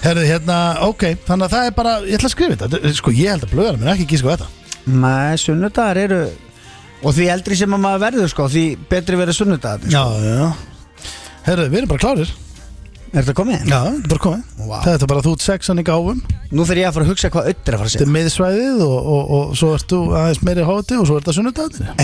C: Herðu, hérna, ok, þannig að það er bara, ég ætla að skrifa þetta Þetta- Sko, ég held að blöðar, mér ekki gíska á þetta
B: Nei, sunnudagar eru Og því eldri sem að maður verður sko Því betri verður sunnudagar
C: Já, já Herðu, við erum bara klárir
B: Er þetta komið?
C: Já, þetta er bara komið
B: Vá.
C: Þetta er bara þú ert sexan í gáfum Þetta
B: Nú þarf ég að fara að hugsa hvað öll er að fara að segja
C: er miðsvæðið og, og, og svo ert þú aðeins meiri hóti og svo ert það sunnudagarnir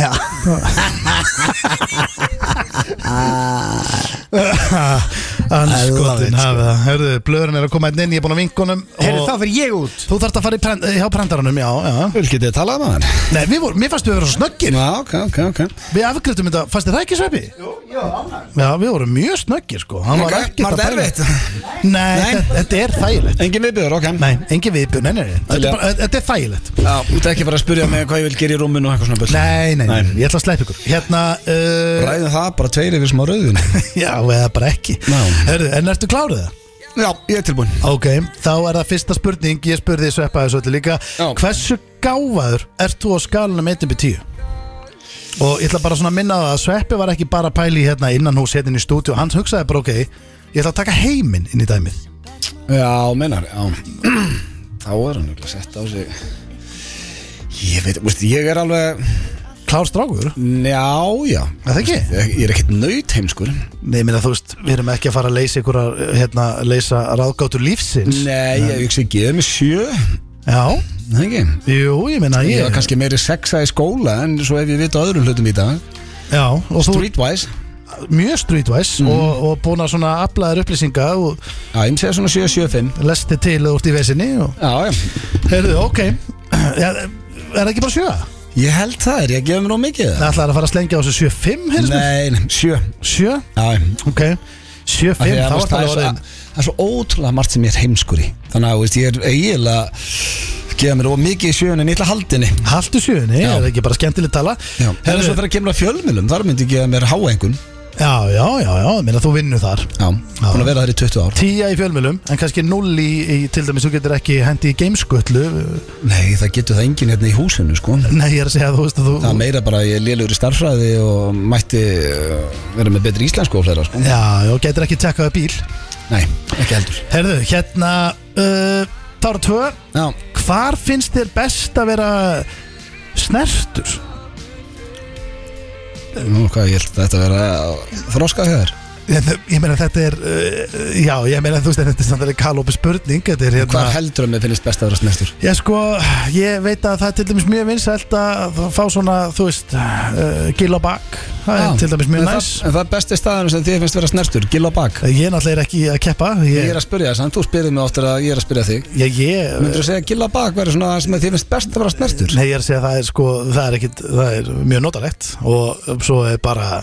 B: Já, love it,
C: Anskotin hafa sko. það Herðu, blöðurinn er að koma einn inn, ég er búin að vinkunum
B: heyrðu þá fyrir ég út
C: Þú þarft að fara í prent, hjá prentaranum, já, já
L: Vil getið að tala um hann?
C: Nei, við vorum, mér fannst við að vera svo snöggir
L: Já, ok, ok, ok
C: Við afgriðtum þetta, fannst þið það ekki sveppi? Jú, já, við vorum mjög snöggir, sko Hann
L: Ok,
C: ekkert
L: var
C: að
L: þetta
C: pæla. Nei,
L: Nei.
C: þetta- þetta er þægilegt
L: Engin viðbjör, ok
C: Nei, engin viðbjörn, nei, nei, nei Þetta
L: Til
C: er
L: ég.
C: bara- Þetta er þægilegt
L: Já, þú ert ekki bara að spyrja mig hvað ég vil gera í rúminu og eitthvað svona bull
C: Nei, nei, nei,
L: Nei.
C: ég ætla að sleppa ykkur Hérna, uh,
L: Ræðum það bara tveir yfir smá rauðin
C: já, eða bara ekki
L: Ná.
C: Herðu, en ertu klárið það?
L: Já, ég er tilbúin
C: Ok, þá er það fyrsta spurning Ég spurði sveppa þessu öllu líka
L: Já.
C: Hversu gáfaður ert þú á skalanum 1-10? Og ég ætla bara svona að minna á það að Sveppi var ekki bara að pæli hérna innan hús hérna inn í stúdíu Hann hugsaði bara ok, ég ætla að taka heiminn inn í dæmið
L: Já, mennar, já Þá er hann ekki að setja á sig Ég veit, veist, ég er alveg
C: Klár strákur?
L: Já, já
C: Er það ekki?
L: Ég, ég er ekkert nöyt heimskur
C: Nei, minna þú veist, við erum ekki að fara að leysa ykkur að hérna, leysa ráðgátur lífsins
L: Nei, ég hugsi að gefa mig sjö
C: Já,
L: Nei, ekki
C: jú, ég minna
L: Ég
C: ég
L: var kannski meiri sexa í skóla En svo ef ég vita öðrum hlutum í dag
C: Já, og þú
L: Streetwise
C: mjög streetwise
L: Mhm.
C: og, og búin að svona aflaðir upplýsinga og
L: Já, ég sé svona 7-7-5
C: lesti til að þú ert í vesinni og
L: Já, já
C: heyrðu, ok ja, er það ekki bara sjö?
L: Ég held það, er ég að gefa mig nóg mikið
C: Það ætlaði að fara að slengja á þessu sjö fimm heyrðist mér?
L: Nei, nei, sjö
C: sjö,
L: Já, já
C: ok sjö
L: Af því
C: fimm,
L: að,
C: þá
L: þú
C: var
L: veist, Það er
C: það
L: svo-
C: orðin
L: það er svo ótrúlega margt sem ég er heimskur í Þannig að þú veist, ég er eiginlega að gefa mér of mikið í sjöun en illa haldinni
C: haldu sjöunni,
L: Já.
C: er það ekki bara skemmtileg tala
L: Já, það er
C: Heyrðu,
L: svo fyrir að kemur að fjölmjölum Þar myndi ég gefa mér háengun Já,
C: já, já, já, já, ég meina þú vinnur þar
L: búin að vera þar í 20 ár
C: tíja í fjölmjölum, en kannski null í, í til dæmis, þú getur ekki hendi í gamesköllu
L: Nei, það getur það enginn hérna í húsinu, sko
C: nei, ég er að segja, þú veist að þú
L: Það er meira bara að ég er lélugur í starfræði og mætti uh, vera með betri íslensku og fleira, sko
C: já, já, getur ekki tekkaða bíl
L: Nei, ekki heldur
C: heyrðu, hérna uh, þá eru tvö
L: Já,
C: Hvar finnst þér best að vera snertur?
L: nú hvað, ég held þetta vera þroska hér
C: Ég, ég meina þetta er uh, Já, ég meina þú veist en þetta er samtalið kalópi spurning Þetta er hérna
L: Hvað heldur að mér finnist best að vera snertur?
C: Já sko, ég veit að það er til dæmis mjög vinsælt að fá svona, þú veist uh, Gil á bak, það
L: Já,
C: er til dæmis
L: en
C: mjög
L: það-
C: næs
L: En það er besti staðan sem þið finnst vera snertur, gill á bak
C: Ég er náttúrulega ekki að keppa
L: Ég
C: Ég,
L: er að spyrja þess, en þú spyrir mig oftar að ég er að spyrja þig
C: ég, ég
L: Myndur þú segja að gilla bak verður svona það sem að þið finnst best að vera snertur?
C: Eh. Nei, ég er að segja að það er sko, það er ekkit, það er mjög notalegt og svo er bara,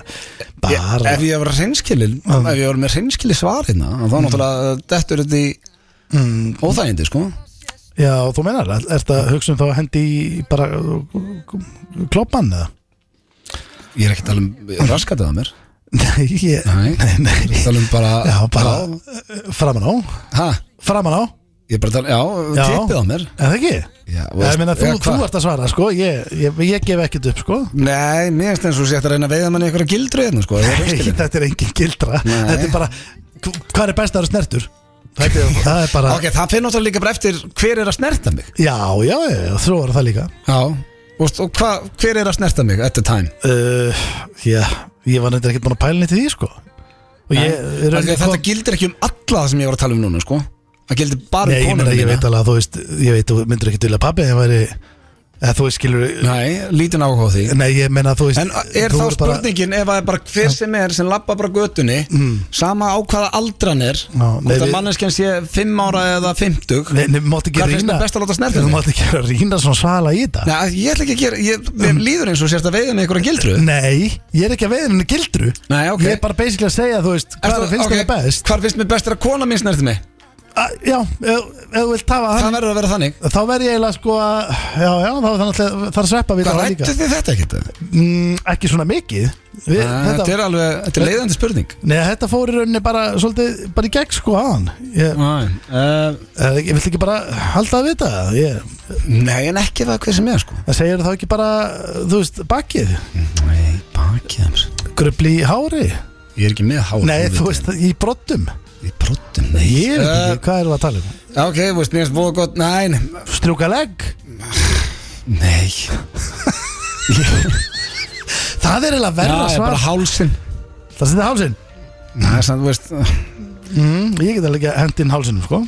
L: Ég,
C: bara,
L: ef ég var reynskilin, ef ég var með reynskili svar hérna þá
C: Mm.
L: náttúrulega dettur þetta í óþægindi, sko
C: já, þú meinar, er þetta hugsun þá að hendi í bara kloppan eða?
L: um, Ég er ekkert alveg raskat að það mér
C: Nei, ég,
L: Nei.
C: nei, nei.
L: Það er bara,
C: Já, bara
L: Já,
C: framan á
L: Ha,
C: Framan á,
L: ég er bara tala, já,
C: Já.
L: tippið á mér
C: er það ekki?
L: Já,
C: Já, ég meina, þú,
L: já,
C: þú
L: hvað?
C: ert að svara, sko Ég, ég, ég gef ekkert upp, sko
L: Nei, mér finnst eins og sé eftir að reyna að veiða manni eitthvað gildru hérna, sko ef ég er hreinskilinn.
C: Þetta er engin gildra
L: Nei.
C: Þetta er bara, hvað er best að vera snertur? Þetta er, það er bara
L: Ok, það finnst náttúrulega líka bara eftir hver er að snerta mig
C: Já, já, já, já, þú er það líka
L: Já, og, og hva, hver er að snerta mig at the time?
C: uh, Já, ég var neitt ekki búin að pæla neitt í því, sko Og ég,
L: Af
C: í
L: því
C: rauninni
L: að
C: kom-
L: Þetta gildir ekki um alla það sem ég var að tala um núna sko. Það gildir bara
C: Nei,
L: um
C: ég meina,
L: konuna
C: ég
L: mína.
C: veit alveg að þú veist Ég veit, þú myndir ekki til að pappi en væri eða þú veist skilur
L: Nei, lítinn áhuga á því
C: nei, ég meina þú veist
L: En er
C: þú
L: þá
C: verður bara-
L: spurningin ef að er bara hver sem er sem lappa bara götunni sama á hvaða aldran er
C: Mm. Já,
L: hvort
C: nei,
L: að
C: við-
L: manneskjan sé 5 ára eða 50
C: Nei, nei, mátt ekki
L: Hvað finnst
C: rýna
L: þér best að láta snerta
C: Þú
L: mig?
C: mátt ekki vera að rýna svona svala í þetta
L: Nei, ég ætla ekki að gera, ég, mér líður eins og sérst að veiða með einhverjum gildru
C: Mm. Nei, ég er ekki að veða henni gildru
L: Nei, ok.
C: Ég er bara basically að segja, þú veist, hvað finnst okay. best
L: Hvað finnst mér best er að kona mín snerti mig?
C: A, Já, ef ef þú vilt tafa
L: Það
C: hann
L: verður að vera þannig
C: Þá verð ég eiginlega sko að Já, já, þá er þannig að það er sveppa við
L: Hvað
C: það líka
L: rættu þið þetta ekkert?
C: mm, Ekki svona mikið
L: Þetta,
C: við,
L: þetta
C: þetta,
L: er alveg, þetta er leiðandi spurning
C: Nei, þetta fór í rauninni bara svolítið bara í gegn sko aðan Ég,
L: uh,
C: uh, ég vilt ekki bara halda að vita það Ég-
L: Nei, en ekki það hver sem er sko
C: Það segir þá ekki bara, þú veist, bakið
L: Nei, bakið hans
C: Grubli í hári
L: Ég er ekki með hár
C: Nei, þú veist, í brottum
L: Ég brotum, nei
C: Ég veit
L: Eh,
C: ekki, hvað erum við að tala um?
L: Ok, þú veist, mér finnst búið gott, nei, nei,
C: Strjúka legg
L: Nei
C: Það er eiginlega verra
L: er
C: svar
L: bara hálsin
C: Það setið hálsinn
L: Það er samt, þú veist Mhm.
C: mm, Ég get alveg hent inn hálsinnum sko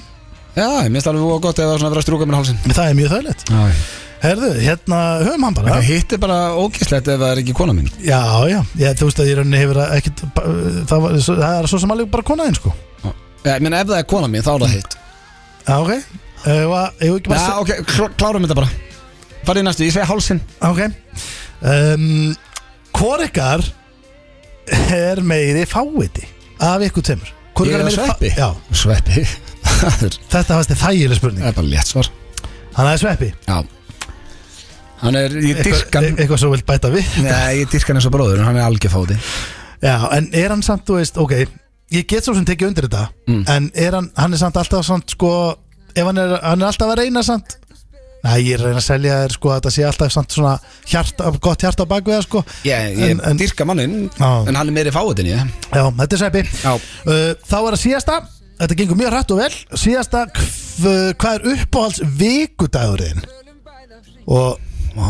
L: Já, ég minnst alveg voða gott ef það var svona að vera að strúka mér hálsin
C: En Það er mjög þægilegt
L: Já
C: Herðu, hérna höfum hann bara
L: Það hitt er bara ógislegt ef það er ekki kona mín
C: Já, já, ég, þú veist að ég rauninni hefur ekki það, var, svo- það er svo sem alveg bara konaðinn sko
L: Já, ég meina ef það er kona mín, þá er það hitt
C: Já, ok Eh, Ég var ekki
L: Já,
C: bara
L: ok, klá, klárum þetta bara Farið í næstu, ég segi hálsin
C: Já, ok um, Hvor ykkar er meiri fáviti af ykkur temur? Hvor
L: Ég
C: ykkar
L: er
C: er meiri
L: sveppi
C: fá- Já,
L: Sveppi Það er-
C: þetta fannst þið þægileg
L: það
C: spurning
L: er bara létt svar
C: Hann er sveppi
L: Já Hann er, ég dyrka
C: Eitthvað,
L: hann
C: eitthvað svo vilt bæta við
L: Nei, ég dyrka hann eins og bróður, en hann er algjafáti
C: Já, en er hann samt, þú veist, ok Ég get svo sem tekið undir þetta
L: Mm.
C: En er hann, hann er samt alltaf samt, sko Ef hann er, hann er alltaf að reyna samt Nei, ég er að reyna að selja þér, sko að Þetta sé alltaf samt svona hjarta, gott hjarta á bak við það, sko
L: Ég, ég
C: En- en-
L: dyrka manninn,
C: Já.
L: en hann er meiri fáti en ég
C: Já, þetta er sæpi
L: Já.
C: uh, Þá er að síðasta, þetta gengur mjög hrætt og vel Síðasta, hv, uh, hvað er uppáhalds vikudagurinn? Og,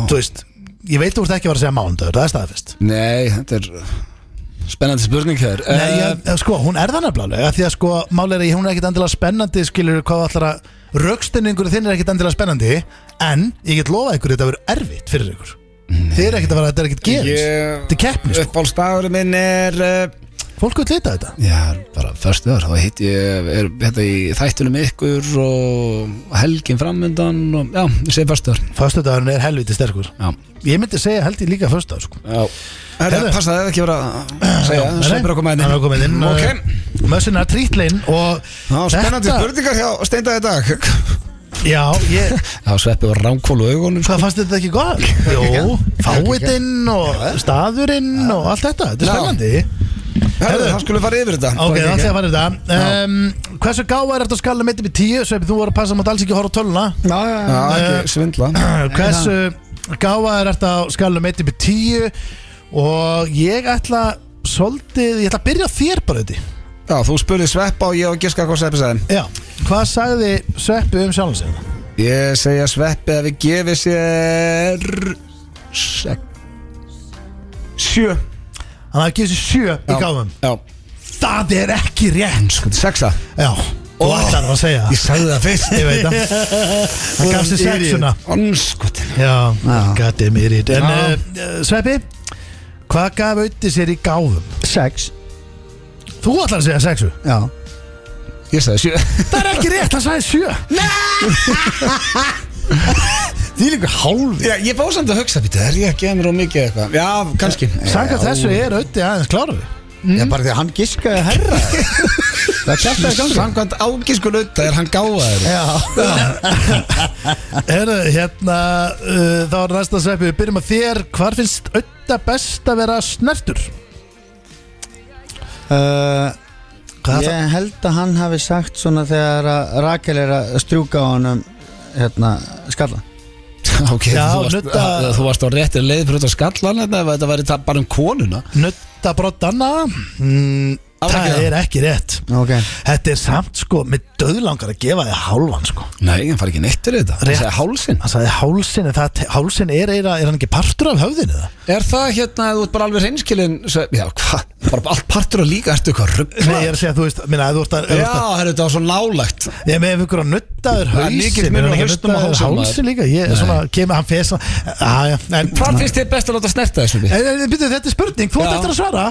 C: þú veist Ég veit þú ert ekki að vera að segja mánudagur, það er staðfest
L: Nei, þetta er Spennandi spurning hér
C: Nei, ég, sko, hún er það nefnilega alveg, af Því að sko, máli er að hún er ekkit endilega spennandi Skilur hvað þú ætlar að Rökstinningur þinn er ekkit endilega spennandi En ég get lofað ykkur þetta verður erfitt fyrir ykkur Þið er ekkit að vera þetta er ekkit gerist Þetta er keppni, sko.
L: Uppbólstagurinn Eh, minn er uh,
C: fólk vil lita þetta
L: Já, bara förstu þar Þá hitt ég er, hérna í þættunum ykkur og helgin framundan og, Já, ég segi förstu þar
C: Föstudagurinn er helviti sterkur
L: Já,
C: Ég myndi segja held ég líka föstudagur sko.
L: já Herðu,
C: Heyrðu.
L: passa það er ekki verið að segja
C: Nei, nei.
L: Sveipur að koma
C: Hann er að koma
L: inn
C: inn Eh,
L: Ok,
C: Mössin er trítlein og
L: já, spennandi
C: þetta-
L: spurningar hjá Steinda í dag
C: Já, ég,
L: Já, Sveppi var ránkólu augunum sko.
C: hvað fannst þetta ekki gott? Jó, fáitinn og staðurinn og allt þetta Þetta er
L: Já.
C: spennandi
L: Herðu, það skulle fara yfir þetta
C: Ok,
L: Bara
C: það
L: ekki.
C: sé að fara þetta um, Hversu gáðar er þetta skala mitt upp í tíu Sveipi, þú voru að passa mátt alls ekki horfa á töluna
L: Já, já, já,
C: Eh,
L: ekki svindla
C: Hversu gáðar er þetta skala mitt upp í tíu Og ég ætla Svolítið, ég ætla að byrja á þér bara þetta
L: Já, þú spurði Sveppa og ég og giska hvað Sveppi sagði
C: Já, hvað sagði Sveppi um sjálfum sig?
L: Ég segja Sveppi að við gefið sér Sek Sjö
C: Hann hafði gefið sér sjö í gáðum
L: Já,
C: Það er ekki rétt
L: sko, sexa
C: Já, þú
L: Ó.
C: ætlar að segja það.
L: Ég sagði það fyrst
C: Ég veit það Hann gaf sér sexuna
L: Onskot
C: Já, gætið mér í En
L: Já.
C: uh, Sveppi, hvað gaf auðvitað sér í gáðum?
B: Sex
C: Þú ætlar að segja sexu
B: Já
L: Ég sagði sjö
C: Það er ekki rétt, það sagði sjö
B: Því líka hálfi
L: Já, ég fór samt að hugsa Býta, er ég að gefa mér á mikið eitthvað Eh, Já, kannski
C: Sankar þessu er auðvitað aðeins kláruð
G: Ég bara því að hann giskaði herra Það kæfti að gangi
L: Samkvæmt ágísku lauta er hann gáðaður
C: Herru, hérna uh, Þá er næsta sveppi, við byrjum að þér Hvar finnst auðvitað best að vera snertur?
B: uh,
C: Hvað yeah.
B: Ég held að hann hafi sagt svona þegar að Rakel er að strjúka á honum hérna, skalla
L: Ok,
C: Já,
L: þú, varst,
C: nudda-
L: að, þú varst á réttir hérna, leið fyrir út að skallan þetta ef þetta væri ta- bara um konuna
C: það? Nutta brott annað mm, það er ekki rétt
B: Ok.
C: Þetta er samt sko með döðlangar að gefa þig hálfan sko
L: Nei, hann fari ekki neitt til þetta Það
C: Rétt.
L: er hálsinn
C: Hann sagði hálsin, en það, hálsin er, er, er hann ekki partur af höfðinu það?
L: Er það hérna, ef þú ert bara alveg reynskilin Já, hvað, bara allt partur og líka Ertu eitthvað
C: Nei, ég
L: ruggla
C: er að segja, þú veist, minna, ef þú ert að, ef þú
L: Já,
C: ert að
L: herru, þetta var svo nálægt
C: Ég með ykkur að nuttaður
L: Það er mikill munur
C: hausin Er
L: á
C: hann ekki
L: hausnum og
C: nuttaður
L: hálsinum,
C: hálsin líka? Ég er svona, kemur hann fesa Æja, en
L: Hvað finnst þér best að láta snerta þessu við?
C: En, en byrju, þetta er spurning, þú átt
L: Já.
C: eftir að svara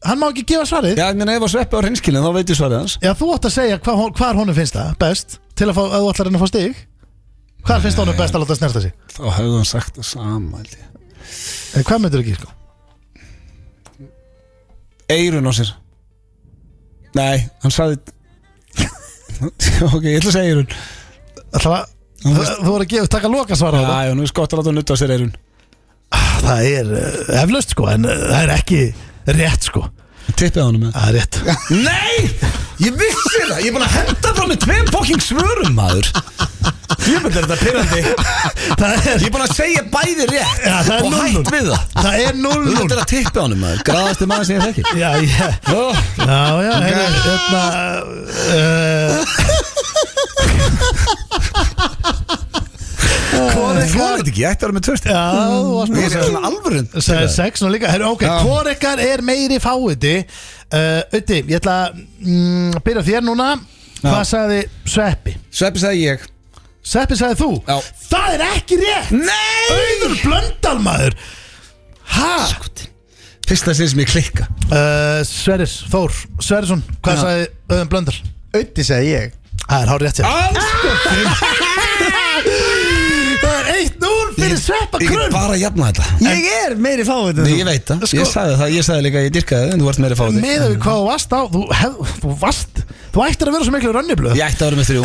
C: Hann má ekki gefa svarið
L: Já, ég meina ef að sveppi á reynskilin, þá veit ég svarið hans
C: Já, þú átt að segja hvar, hon- hvar honum finnst það best Til að fá, að þú ætlar að reyna að fá stig Hvar finnst honum best að láta snerta sig?
L: Þá hefðu hann sagt það sama, held ég
C: En hvað myndir ekki, sko?
L: Eirun á sér Nei, hann sagði Ok, ég ætla að segja eirun
C: Ætlar að, þú þú voru að gefa, taka loka svara á það
L: Já, já, nú er skott að láta hann nutta á sér eirun
C: Það er eh, eflaust, sko, en eh, það er ekki rétt, sko
L: Tippið á hann með
C: Það er rétt
L: Nei, ég vissi það Ég er búin að henda fram með tveim fokking svörum, maður Ég myndi þetta pyrrandi
C: Það er,
L: Ég er búin að segja bæði rétt
C: Já, það er
L: Og
C: núll,
L: hætt
C: núll.
L: við það
C: það er
L: Þú þetta
C: 0-0
L: er að tippa honum maður Graðasti maður sem ég þekkir
C: Já, já
L: oh,
C: Já, já, hérna, hérna uh,
L: Hvað er það? Ég ætti að vera með tvösti
C: Já, þú varst
L: Ég er svona alvörund
C: Sæði sex nú líka, hérna, ok, hvor ykkar er meiri fáiði uh, Ötti, ég ætla að mm, byrja á þér núna Hvað sagði Sveppi?
L: Sveppi sagði ég
C: Sveppi sagði þú?
L: Já.
C: Það er ekki rétt
L: Nei
C: Auður blöndal maður Hæ?
L: Fyrsta sinn sem ég klikka
C: Uh, Sverris, Þór, Sverrisson Hvað sagði Auður blöndal?
G: Ötti segi ég
C: Það er hár rétt
L: Ah!
C: hjá Það er 1-0 fyrir Sveppa
L: Ég er
C: Krömm
L: bara að jafna þetta
G: Ég er meiri fáið
L: Nei, ég veit það Ég
C: Sko-
L: sagði það, ég sagði líka að ég dyrkaði það En þú vart meira fáið
C: miða við hvað þú varst á þú, hef, þú varst, þú ættir að vera svo miklu rönniblöð
L: Ég ætti að vera með þrjú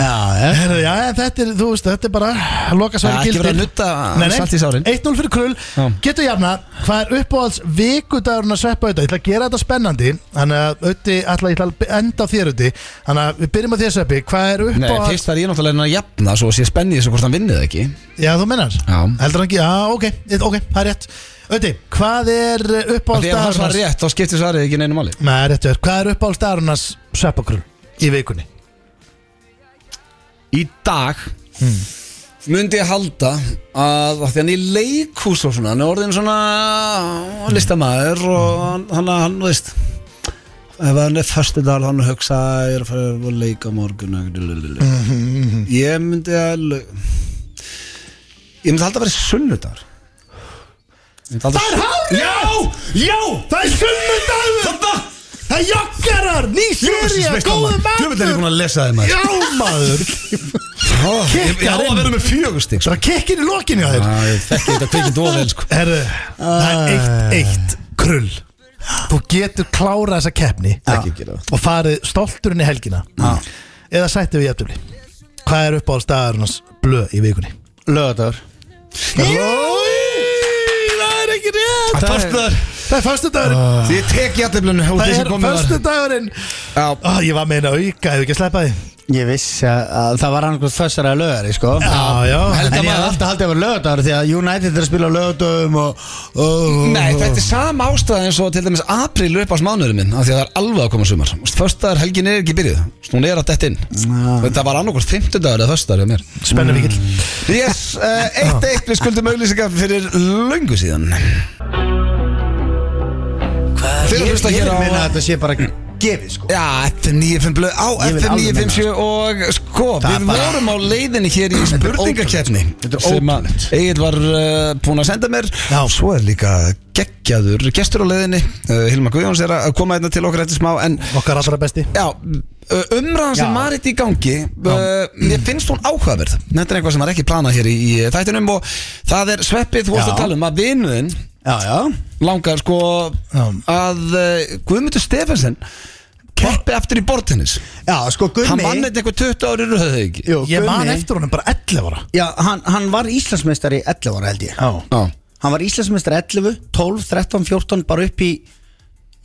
C: Herru, já, en þetta er, þú veist, þetta er bara loka svar
L: Já, ekki verið að nudda salt í sárin.
C: 1-0 fyrir krull,
L: Já.
C: getur jafna hvað er uppáhalds vikudagurinn að sveppa auðvitað, ég ætla að gera þetta spennandi þannig að auðvitað, ég ætla ég ætla að enda á þér auðvitað þannig að við byrjum á þér sveppi, hvað er
L: Nei,
C: uppáhalds
L: fyrst þarf ég náttúrulega að jafna Svo sé spenni þessu hvort hann vinnið ekki
C: já, þú mennar,
L: Já.
C: heldur hann ekki, já, ok ok, það er rétt, auðvitað, hvað er uppáhalds
L: Þegar hann svar
C: dagurinn
L: rétt, þá skiptir svarið ekki neinu máli
C: Nei, réttu er, hvað er uppáhalds dagurinn að sveppa krull í vikunni?
L: í dag myndi ég halda að af því hann er í leikhús og svona hann er orðin svona listamaður og hann, hann, hann veist ef hann er fyrstu dag hann hugsa ég er að fara að leika á morgun ég myndi að lau- ég myndi halda að vera sunnudagar Það er hálf Já, já
C: Það er sunnudagur Það er joggarar, ný serja, góðu
L: Jöfnveld er ég búin
C: matur
L: að lesa þið maður
C: Já maður
L: Ó, Ég ég á
C: Kikkar
L: að
C: inn.
L: vera með sko. fjögustík
C: Það er kekkin í lokinu á þér
L: Já, ég þekki þetta kvikið dóvel sko.
C: Herru, það er eitt, eitt krull Þú getur klárað þessa keppni
L: Ekki gera
C: Og farið stolturinn í helgina Eða sætti við jæftumli Hvað er uppáhalds dagarnas blöð í vikunni?
G: Lögadagur
L: Það er ekki rétt Það er föstudagur
C: Það er föstudagurinn
L: Því Ég tek jættiblunni
C: Það er föstudagurinn
L: Já.
C: Ó, Ég var meina auka, hefur ekki sleppað því
G: Ég vissi að, að það var annað þessari að lögari sko
C: Já, já
G: En ég
L: maður.
G: hef alltaf haldið að vera lögadagur því að United er að spila á lögadagum og, og
L: Nei, þetta er sama ástæða eins og til dæmis april uppás mánuðurinn minn af því að það er alveg að koma sumar Föstudagur helgin er ekki byrjuð Þú veist, Hún er að dett inn Þetta var annarkvort fimmtudagur eða föstudagur hjá mér
C: Spennum vikill
G: Mm.
L: Yes, eh, eitt eitt við skuldum auðlýsingar fyrir löngu síðan Þeir eru að hlusta
G: Ég
L: hér
G: vil
L: á
G: minna að þetta sé bara gefið sko
L: Já, FM 95 blöð á
G: Ég vil
L: FM
G: alveg
L: 957 og sko,
G: Það
L: við
G: bara-
L: vorum á leiðinni hér í spurningakeppni
G: Þetta er
L: sem að
G: ótrúlegt.
L: Egil var uh, búin að senda mér Já. svo er líka geggjaður gestur á leiðinni, uh, Hilma Guðjóns er að koma hérna til okkar eftir smá en
C: Okkar allra besti
L: Já, uh, umræðan sem
G: Já.
L: Marit í gangi uh, Mér finnst hún áhugaverð Þetta er eitthvað sem er ekki planað hér í, í þættinum og það er sveppið þú varst
G: Já.
L: að tala um að vinuðin
G: Já, já
L: langar sko að uh, Guðmundur Stefansson keppi aftur í bortinnis
G: Já, sko
B: Um
G: Gummi
L: Hann vann þetta eitthvað 20 ári röðu þegar ekki
G: Jú,
C: Ég man
G: Gummi-
C: eftir honum bara 11 ára
G: Já, hann, hann var Íslandsmeistari 11 ára held ég
L: Já.
G: Hann var Íslandsmeistari 11, 12, 13, 14 bara upp í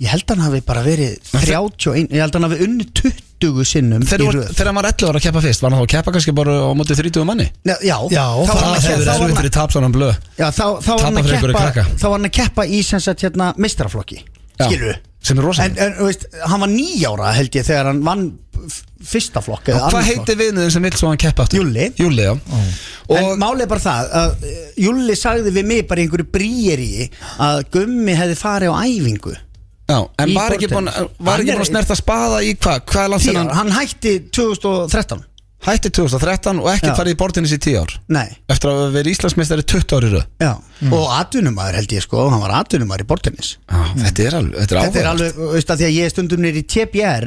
G: Ég held hann hafi bara verið 31 Ég held hann hafi unni 20 sinnum
L: Þegar,
G: í
L: var,
G: röð
L: þegar maður 11 ára að keppa fyrst Var hann þá að keppa kannski bara á móti 30 manni
G: Já, já,
C: Já,
G: þá var
L: Það
G: hann að
L: hefur
G: keppa þá var
L: erfitt
G: hann-
L: fyrir tapsanum blöð
G: Já, þá, þá
L: Tapa
G: var hann að
L: fyrir einhverju
G: keppa
L: krakka.
G: Þá var hann að keppa í sem sagt hérna meistaraflokki
L: Já.
G: Skilur við
L: sem er
B: En,
L: rosalega
B: en þú veist, hann var nýjára held ég þegar hann vann f- fyrsta flokk eða
L: Og hvað
B: annan flokk.
L: heitir viðniðin sem vill svo hann keppa aftur?
B: Júlli.
L: Júli, já
B: En
L: Og
B: málið er bara það að eh, Júlli sagði við mig bara í einhverju brýjeri að Gummi hefði farið á æfingu
L: já, en
B: í
L: var ekki búin
B: borðtennis.
L: var ekki
B: Hann er-
L: búin að snerta spaða í hvað? Hvað er langt
B: Tíu,
L: sinna?
B: Hann hætti 2013
L: Hætti 2013 og ekki
B: Já.
L: farið í bortinni sér 10 ár
B: Nei,
L: Eftir að vera Íslandsmeistari 20 ár í röð
B: já
L: Mm.
B: Og atvinnumæður held ég sko, hann var atvinnumæður í bortinnis
L: Þetta er alveg, þetta er
B: Þetta er
L: áhugavert.
B: alveg, þú veist að því að ég er stundum nýri í TBR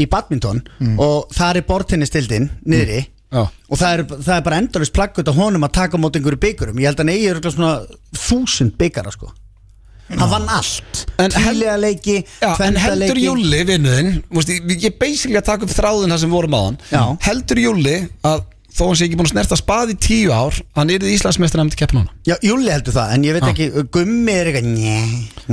B: í badminton
L: Mm.
B: og það er bortinnistildin niðri
L: Já.
B: og það er, það er bara endalist plaggut á honum að taka á móti einhverju byggurum ég held að hann eigi örugglega svona þúsund byggara sko hann vann allt
L: En hel-
B: tílega leiki,
L: Já, en heldur
B: kvendaleiki
L: Júli vinnuðinn veist, ég, ég er basically að taka upp þráðin það sem við vorum á hann
B: Já.
L: heldur Júli að þó hann sé ekki búin að snerta spað í tíu ár hann yrði Íslandsmeistar nefndi keppin hana
B: já, Júli heldur það, en ég veit ekki Gummi er eitthvað njæ,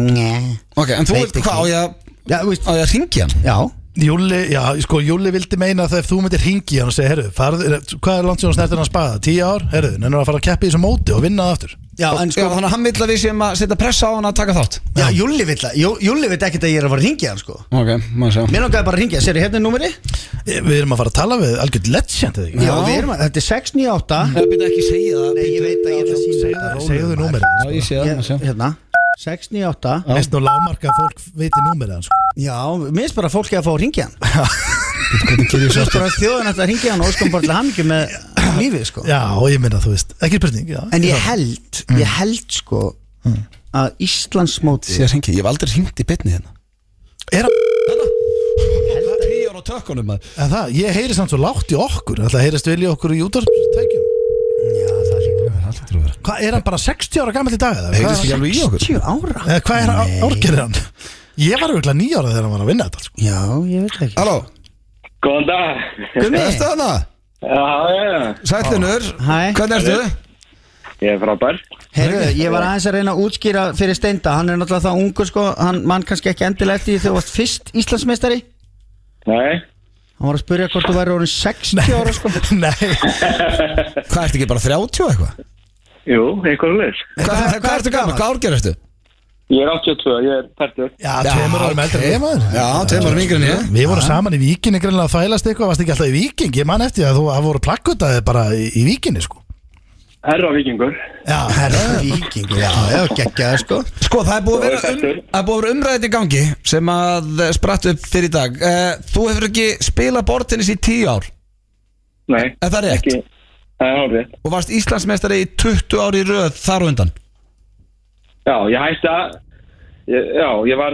B: njæ
L: ok, en þú
B: Veit
L: veit
B: ekki.
L: hvað á ég að-
B: já, þú veist,
L: á ég að ringi hann
B: já
C: Júli, já, sko, Júli vildi meina að ef þú myndir hingi hann og segja, herru, farð, hvað er langt sem hún snertir hann að spaða? Tíu ár, herru, nennur að fara að keppa í þessu móti og vinna það aftur
B: já, en
L: já,
B: sko,
L: þannig að hann vill að við séum að setja pressa á hann að taka þátt
B: já, Júli vill að- Jú- Júlli veit ekkert að ég er að fara að ringja hann sko
L: ok, maður sjá
B: Mér langaði bara að ringja, sér hérna er númeri?
C: Eh, Við erum að fara að tala við algjörð legend, eða ekki?
B: Já, við erum að, þetta er 698
L: það byrja ekki að segja það
B: Nei, ég veit að ég ætla að sína þetta
C: Segðu
B: rólegur,
C: númerið,
L: já, ég sé það, maður
B: maður.
L: sjá
B: Ég- Hérna 698
C: veist nú lámarka að fólk veiti númerið hans sko.
B: Já, mér finnst bara að fólk er að fá að ringja hann
L: hvernig gerir
B: Mér finnst bara að þjóðan ætti að ringja hann og óskum bara til hann ekki með lífið sko
C: Já, og ég minna, þú veist, ekki spurning já.
B: En ég held, ég held sko að Íslandsmóti
L: Sér hringi, ég hef aldrei hringt í bytni hérna
C: Er að,
L: Tíu ára á tökkunum maður
C: en það, ég heyri samt svo lágt í okkur Það heyrist vel í okkur í útvarpstækjum
B: Já, það líka
C: Hvað, er hann bara 60 ára gammal í dag? eða? Hvað
L: Heyrðist
C: er
L: ekki
C: hann-
L: alveg í okkur
B: 10 ára
C: eða Hvað er hann, árgerðir hann? Ég var auðvitað nýja ára þegar hann var að vinna þetta sko.
B: Já, ég veit ekki
L: Halló,
N: Góðan dag.
B: Gummi,
L: erstu hana?
N: Já, já,
L: Sællinur,
B: Hæ.
L: hvernig ertu?
N: ég er frábær.
B: heyrðu, ég var aðeins að reyna að útskýra fyrir Steinda Hann er náttúrulega það ungur sko, hann mann kannski ekki endilega eftir því þegar þú varst fyrst Íslandsmeistari
N: Nei,
B: Hann var að spyrja hvort þú væri orðin 60 ára sko
C: Nei,
L: Hvað ertu ekki bara 30 og eitthvað?
N: jú, einhverju leys.
L: Hvað hvað ertu gaman? Hvað árgerð ertu?
N: Ég er 82, ég er pertur.
C: já, tveimur árum eldri en ég maður
L: Já, tveimur árum yngri en ég
C: Við vorum saman í vikinni greinlega að þælast eitthvað Varst ekki alltaf í viking, ég man eftir að þú að voru plakkutaði bara í, í vikinni sko
N: Herra vikingur.
C: Já,
B: Herra vikingur, já, já, geggjaði sko
L: Sko, það er búið að vera,
N: Það
L: um,
N: er fættur.
L: það er búið að vera umræðið í gangi sem að eh, spratt upp fyrir í dag Eh, Þú hefur ekki spilað bortinnis í 10 ár
N: Nei.
L: Er það rétt?
N: Ekki. Það er hálfrið.
L: og varst Íslandsmeistari í 20 ár í röð þar og undan
N: Já, ég hætti að, ég, já, ég var,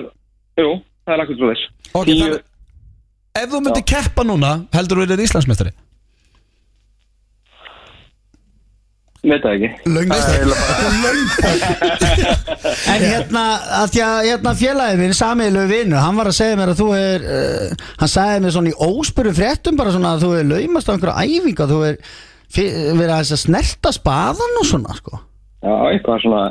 N: jú, það er akkur svo leys.
L: Ok, það er- Ef þú myndir keppa núna, heldur þú verið Íslandsmeistari?
N: Veit það ekki.
B: En hérna, að því að hérna félagið minn, samiðilegu vinnu, hann var að segja mér að þú er, uh, hann sagði mér svona í óspyrum fréttum bara svona að þú er laumast á einhverja æfinga, þú er fi- verið aðeins að snerta spaðan og svona sko.
N: Já, eitthvað svona,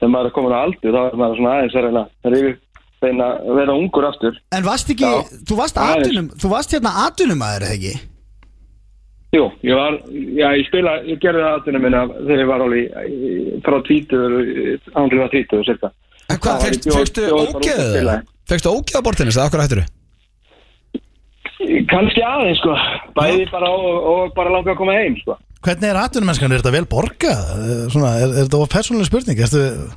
N: þegar maður er komin á aldur, þá er maður svona aðeins að reyna, að reyna, reyna að vera ungur aftur.
B: En varst ekki,
N: Já.
B: þú varst
N: Aðeins.
B: atvinnum, þú varst hérna atvinnumæður eða ekki?
N: Jú, ég var, já, ég spila, ég gerði það aðtunum minna þegar ég var alveg frá tvítur, ánrið var tvítur, cirka.
L: En hvað,
N: Það var í
L: fegst-
N: bjór-
L: fegstu
N: bjór- bara út að
L: ógeðu?
N: spila.
L: Fegstu ógeðu bortinnis, eða okkur hættur þú?
N: Kanski aðeins, sko. Bæði bara og, og bara langa að koma heim, sko.
C: Hvernig er atvinnumennskan, er þetta vel borgað? Eh, Svona, er, er þetta of persónuleg spurning? Ertu,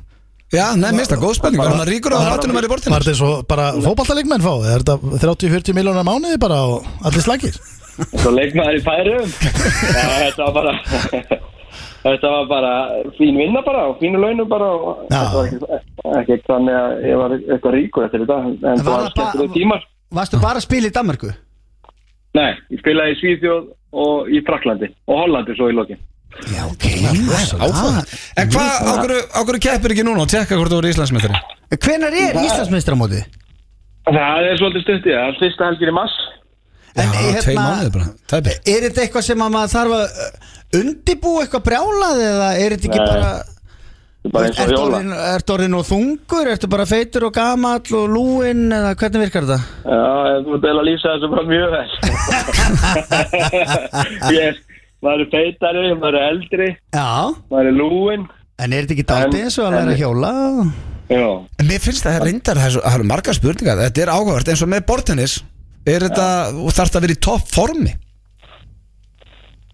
L: Já, nei, minnst það, góð spurning, hann ríkur á að hattunum er í
C: var
L: bortinnis
C: þetta eins og bara fótballtaleikmenn fá? Er þetta 30-40 miljónar mánuði bara og allir slagir?
N: Svo leikmaður í færum. Já, þetta var bara, þetta var bara fín vinna bara og fínu launum bara og
C: Já.
N: þetta var ekki, ekki þannig að ég var eitthvað ríkur eftir þetta, en
B: En var
N: það var
B: það bara-
N: skemmtileg tímar.
B: Varstu bara að spila í Danmarku?
N: Nei, ég spilaði í Svíþjóð og í Fraklandi og Hollandi svo í lokin.
B: Já, ok. Ah,
L: En hvað, á hverju- á hverju keppir ekki núna og tekka hvort þú verið Íslandsmeistari?
B: Hvenær er Íslandsmeistramótið?
N: Það er svolítið stuttið, það er fyrsta helgir í mass.
B: En eh, hérna,
L: Já, tvei mánuði bara, tæpi
B: Er þetta eitthvað sem að maður þarf að uh, undirbúa eitthvað brjálað eða er þetta ekki
N: Nei,
B: bara
N: Það er bara eins og
B: Ertu
N: hjóla.
B: orðin, ertu orðin og þungur, ertu bara feitur og gamall og lúinn eða hvernig virkar þetta?
N: Já, þú ert eiginlega að lýsa þessu bara mjög vel. ég, maður er feitari, maður er eldri,
B: Já,
N: maður er lúin.
B: en er þetta ekki daldið
N: En-
B: eins og að læra
N: en-
B: að hjóla?
N: já,
L: En mér finnst að það reyndar, það eru- það eru margar spurningar Þetta er áhugavert eins og með bortennis Er þetta, og þarf þetta að vera í topp formi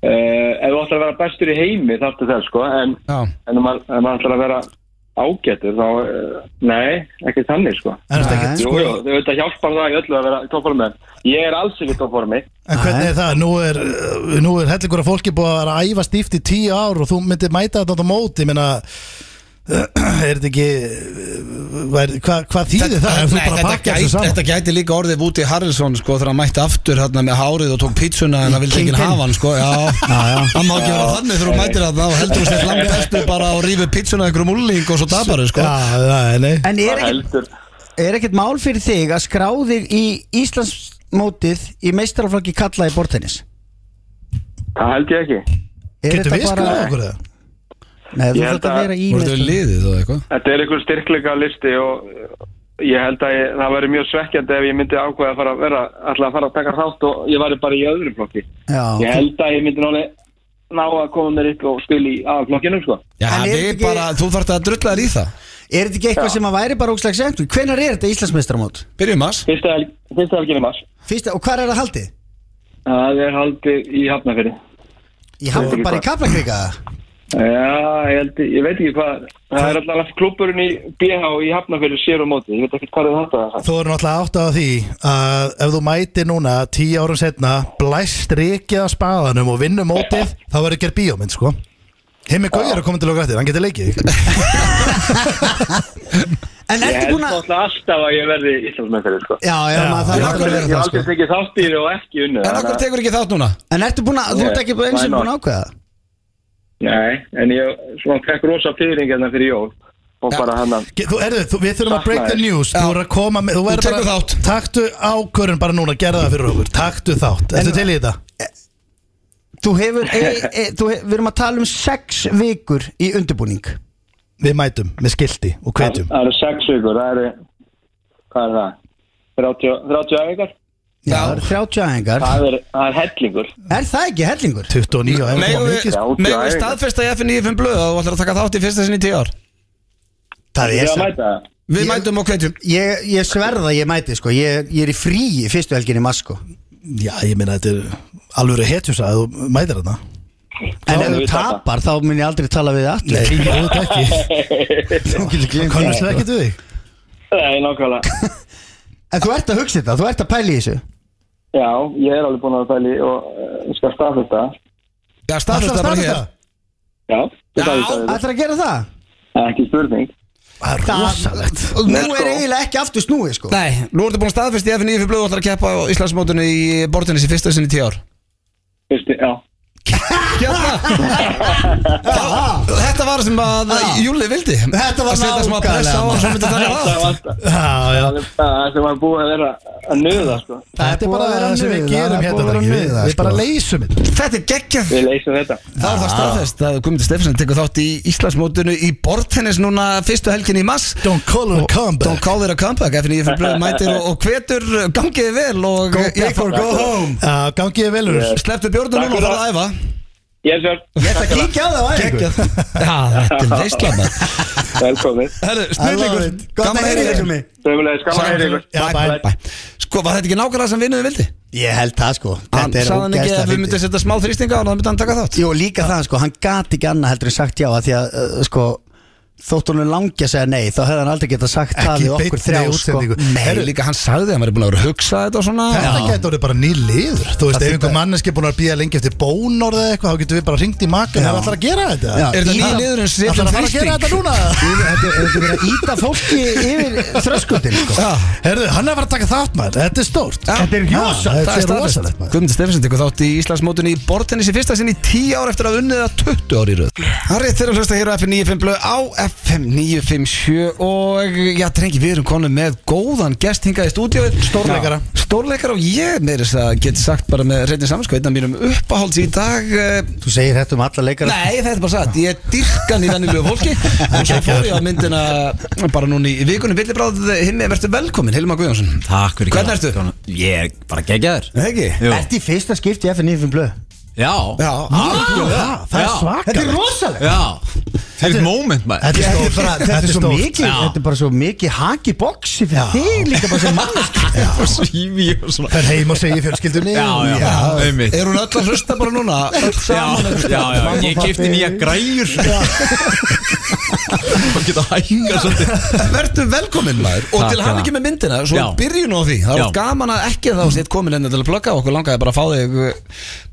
N: Uh, ef þú ætlar að vera bestur í heimi þarftu þess sko en,
L: Já.
N: en ef maður ef maður ætlar að vera ágætur þá, uh, nei, ekki þannig sko
C: En þetta er ekkert-
N: Jú, jú, þau veit að hjálpar það í öllu að vera í toppformi Ég er alls ekki í toppformi
C: En hvernig er það? Nú er, uh, nú er hellingur að fólki búið að vera að æfa stíft í tíu ár og þú myndir mæta þetta á móti ég meina, er þetta ekki uh, væri- hvað hva þýðir það? Ef þú
L: Nei,
C: bara
L: þetta,
C: pakkar
L: gæti,
C: þessu saman
L: þetta gæti líka orðið Woody Harrelson sko, þegar hann mætti aftur hérna, með hárið og tók pítsuna en það vildi ekki hafa hann sko, já, hann má ekki vera þannig þegar hún mætir hann og heldur hún sér langbestu bara og rífur pítsuna einhverjum úlling og svo dabari sko.
C: Já, nei, nei
B: En er
N: Það
B: ekkert
N: heldur
B: er ekkert mál fyrir þig að skrá þig í Íslandsmótið í meistaraflokki kalla í bortennis
N: Það held ég ekki
B: Er
C: Getur við skoðað okkur það?
B: Nei, þú
N: Ég held
B: þurft að
N: að-
B: vera í
L: voru þau liðið og eitthvað
N: Þetta er einhver styrkleika listi og uh, ég held að ég, það væri mjög svekkjandi ef ég myndi ákveða að fara að vera ætla að fara að taka þátt og ég væri bara í öðrum flokki Ég
B: Já,
N: held að ég myndi náli ná að koma mér upp og spila í aðflokkinum sko
L: já,
B: En er
L: við
B: þetta ekki-
L: bara, þú þarft að drulla þér í það
B: er þetta ekki eitthvað
N: Já.
B: sem að væri bara ógslags eftir? Hvenær er þetta Íslandsmeistaramót?
L: byrjum að
N: Fyrsta helg- fyrsta helginni mars
B: Fyrsta, og hvað er það haldið?
N: Það er haldið í hafnafyrir
B: Ég hafði
N: ekki
B: bara í
N: hvað.
B: Kaplakrika
N: Já, ég, held, ég veit ekki hvað Það er alltaf klubburinn í BH í hafnafyrir sér og móti Ég veit ekki hvað er þetta
C: Þú eru náttúrulega átt á því að ef þú mætir núna tíu árum setna blæst reikið að spaðanum og vinnur mótið þá verður gerð bíómynd sko Himmi Gauja er að koma til okkar eftir, hann getur leikið
B: En
N: Ég
B: ertu
N: held
B: búin að
N: alltaf alltaf að ég verði Íslandsmennfyrir sko.
B: Já, já, maður
N: Ég
B: þarf
N: hef
B: alltaf að
N: aldrei-
B: vera
N: ég hef
B: það
N: aldrei
B: sko
N: tekið þáttýri og ekki unnu
L: en okkur tekur ekki þátt núna
B: En ertu búin að, þú ert ekki eins
N: Nei,
B: og búin
N: why
B: að
N: not?
B: ákveða það?
N: Nei, en ég svona fekk rosa fyrring hérna fyrir jól og bara hann að
C: Ge- Þú, erðu, þú, við þurfum að
N: Sakna
C: break the
N: þér.
C: news
L: Já.
C: Þú verður að koma með, þú verður
L: tekur
C: bara
L: þátt.
C: Taktu ákvörun bara núna, gerða það fyrir okkur Taktu þátt, ertu til í þetta?
B: Þú hefur, e, e, þú hef, við erum að tala um sex vikur í undirbúning
C: Við mætum með skilti og kvetjum
N: Það eru sex vikur, það eru hvað er það? 30 30 æfingar?
B: Já, það eru 30 aðingar
N: Það er, það er hellingur
B: Er það ekki hellingur?
C: 29 og
L: megum
C: 11
L: við,
C: mikið sko.
N: Já,
L: megum við
N: já,
L: staðfesta í FN95 blöð að þú ætlar að taka þátt í fyrsta sinni í tíu ár
B: Það
N: Ég
B: er
N: að
B: það
N: mæta það
L: við
B: Ég-
L: mætum og kveitjum
B: Ég, ég sverða að ég mæti sko Ég, ég er í fríi fyrstu helginni í sko
C: Já, ég meina þetta er alveg hetjusa að þú mætir þarna
B: En
N: Já,
B: ef þú
N: við tapar.
B: tapar þá mun ég aldrei tala við þig aftur
C: Nei, þú veit ekki Kannast það ekki við þig?
N: Nei, nákvæmlega
B: En þú ert að hugsa þetta, þú ert að pæla í þessu
N: Já, ég er alveg búin að pæli og uh, skal staðfesta það.
L: já,
C: Ætlarðu að
L: staðfesta bara
C: staðfesta
L: hér
C: það?
N: Já, ég staðfesta þetta.
B: Ætlar að gera það?
N: Það er ekki spurning
C: Það er rosalegt
B: Og nú
N: Nei, sko.
B: er eiginlega ekki aftur snúið sko
L: Nei, nú ertu búin að staðfesta í FN95 blöð og ætlar að keppa á Íslandsmótinu í bortinni í fyrsta sinni í tíu ár
N: Fyrst, já
L: Hérna Þá- Þetta var sem að Júli vildi
B: Þetta var
L: Að setja smá press á
B: nákvæmlega,
L: hann, svo myndi það vera
N: Það
L: allt.
N: var
C: Já, já
N: það sem var búið að vera að nöða sko.
C: Þetta er bara það sem við gerum
B: það er
C: hérna
B: búið að vera
C: drengir.
B: miða,
C: Við við
B: sko.
C: bara leysum þetta
L: Þetta er geggjað
N: Við leysum þetta
L: Það er það staðfest að Guðmundur Stefánsson tekur þátt í Íslandsmótinu í bortennis núna fyrstu helgin í mass
C: Don't call it a
L: Don't
C: comeback
L: call it a comeback FN í fyrir blöð mætir og, og hvetur gangiði vel og
C: Go big or go home Já, Gangi ég velur
L: Sleftu bjórnum núna og farðu að æfa
N: Yes sir,
B: Ég ætla að kíkja á það á æfingu
C: Geggjað.
L: Já, þetta er veistlamar
N: velkomið
L: Herru,
B: I love
L: snurðingur
B: it. Gott að heyra þessu mig
N: Sömulegis, gaman að heyra ykkur
C: Já, bye.
L: Bæ. Sko, var þetta ekki nákvæmlega sem vinnuði vildi?
B: Ég held það sko
L: Hann
B: Þetta er
L: sagði hann ekki að
B: ógeðslega
L: við
B: fyndið.
L: myndum setja smá þrýstinga og það myndi hann taka þátt
B: Jú, líka það, sko, hann gati ekki annað heldur en sagt já að því að, uh, sko þótt honum langi að segja nei, þá hefði hann aldrei geta sagt það
C: Ekki
B: við okkur
C: beinni
B: þrjá, sko
C: útsendingu
L: Herru, líka hann sagði að hann væri búin að vera að hugsa þetta og svona
C: Þetta
L: Já.
C: getur orðið bara ný liður Þú veist, ef einhver manneski búin að býja lengi eftir bónorð eða eitthvað þá getum við bara ringt í makka Það er alltaf að gera þetta
B: Já.
L: Er þetta
B: Í-
L: nýja liðurinn sem
C: Það
L: setjum
C: að fara að gera þetta
L: þrýsting?
C: núna
B: Yfir- Þetta er- þetta er verið að íta fólki yfir þröskutin, sko
L: Já,
C: Herðu, hann er að fara að taka þátt maður Þetta er stórt
L: Já.
C: Þetta er
L: það er
C: rosalegt Þetta er
L: staðfest
C: rosalegt maður
L: Guðmundur Stefánsson tekur þátt í Íslandsmótinu í bortennis í fyrsta sinn í 10 ár eftir að unnið að 20 ári í röð Það er rétt þeirra að hlusta hér á FM 95 blöð á FM 957 og já, drengi, við erum konum með góðan gest hingað í stúdíu
C: Stórleikara.
L: Stórleikara og ég meiri þess að geti sagt bara með reyndin samanskvæð einn af mínum uppáhalds í dag eh,
B: Þú segir þetta um alla leikara
L: Nei, þetta er bara satt, ég dyrkan í venjulegu fólki og svo fór ég á myndina bara núna í vikunum villibráð himmi, verður velkomin, Hilma Guðjónsson
J: Takk fyrir
L: Hvernig ertu?
J: Ég er bara geggjaður
L: Nei, ekki?
J: Jú.
B: Ertu í fyrsta skipti í FN9 blöð?
J: Já
B: Ah,
L: Já,
J: Já,
C: Það er
J: Já.
C: svakalegt
B: rosalegt
J: Já
A: Fyrir moment maður
C: Þetta er stórt.
B: bara, þetta, er svo
C: stórt.
B: mikið,
A: Já.
B: þetta er bara svo mikið haki boksi fyrir þig líka bara sem mannesk
A: Og svífi og svona
C: Fer heim og segir fjölskyldunni
A: Já, já, einmitt
L: Er hún öll að hlusta bara núna? Öll
A: Já,
L: saman
A: já, já, ég kefti nýja græjur Og geta hækka svolítið
L: Verður velkominn maður Og
A: Takk
L: til
A: fyrir
L: hann
A: það.
L: ekki með myndina Svo
A: Já.
L: byrjun á því Það
A: Já.
L: var gaman að ekki þá sétt komin enn hérna til að plugga Okkur langaði bara að fá þig uh,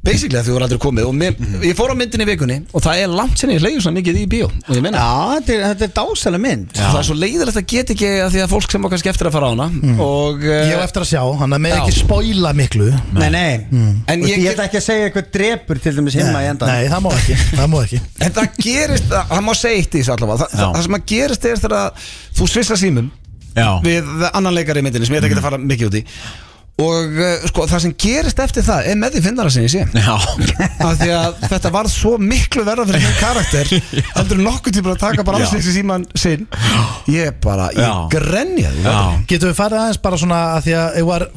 L: Basically að þú voru aldrei komið Og mér,
A: Mhm.
L: ég fór á myndin í vikunni Og það er langt sinni ég leiði svo mikið í bíó Og ég meina
B: Já, þetta er, þetta er dásalega mynd
L: Það er svo leiðilegt að geta ekki að því að fólk sem okkar skeftir að fara á hana
A: Mhm.
L: og,
C: Ég á
L: uh,
C: eftir að sjá, hann er með
L: Já.
C: ekki spoila miklu
B: Nei, nei,
L: En
B: Þú veist,
L: ég-
B: Mm. ég ætla ekki að segja eitthvað drepur til dæmis himma í endan
C: Nei, það má ekki, það má ekki
L: En það gerist, það, það má segja eitt í þessu allavega Þa, það,
A: Já.
L: það sem að gerist er þegar að þú svissa símum
A: Já,
L: við annan leikari í myndinni sem ég ætla ekki að fara mikið út í og uh, sko, það sem gerist eftir það er með því finnara sem ég sé
A: já
L: af því að þetta var svo miklu verða fyrir minn karakter heldur en nokkuð tíma að taka bara
A: Já.
L: alls þessi síman sinn ég bara, ég
A: Já.
L: grenja því
A: Já,
C: Getum við farið aðeins bara svona að því að ef var,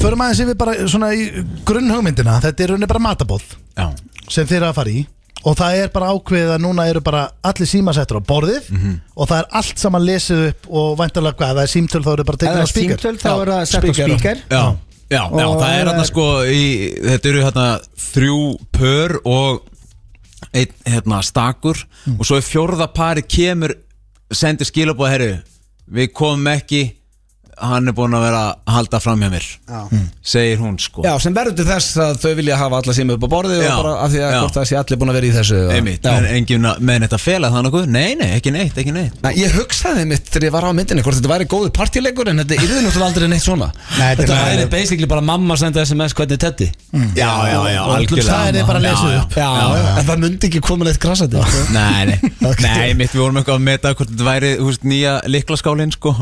C: Förum aðeins yfir bara svona í grunnhugmyndina Þetta er rauninni bara matabóð
A: já
C: sem þeir eru að fara í Og það er bara ákveðið að núna eru bara allir símasettur á borðið
A: Mhm.
C: Og það er allt saman lesið upp og væntalega hvað, ef það er símtöl þá eru bara
B: Ef
C: tekið
B: það
C: á
B: er
C: spíkar
B: símtöl þá er það sett á
L: speaker.
B: spíker
A: Já, já, já,
B: Og eh,
A: það
B: það
A: er hérna
B: er-
A: sko í, Þetta eru hérna þrjú pör og einn hérna stakur og svo í fjórða pari kemur sendir skilabóð herru við komum ekki hann er búinn að vera að halda fram hjá mér segir hún sko
L: Já, sem verður til þess að þau vilja hafa alla síma upp á borðið
A: Já.
L: og bara af því að
A: Já.
L: hvort það sé allir búin að vera í þessu og-
A: einmitt,
L: Já.
A: en enginn að- með neitt að fela það nokkuð nei, nei, ekki neitt, ekki neitt
L: Nei, ég hugsaði mitt þegar ég var á myndinni hvort þetta væri góðu partíleikur en þetta yrði náttúrulega aldrei neitt svona
B: Nei, þetta
L: Þetta
B: er-
L: væri basically bara mamma að senda sms hvernig tetti
A: já,
L: Og
A: já, já,
L: öllum
A: algjörlega
C: staðið er bara að lesa
A: Já, já.
C: upp.
L: Já, en það myndi ekki koma neitt sko. grassandi
A: Nei, nei, nei, mitt við vorum eitthvað að meta hvort þetta væri, þú veist, nýja liklaskálin, sko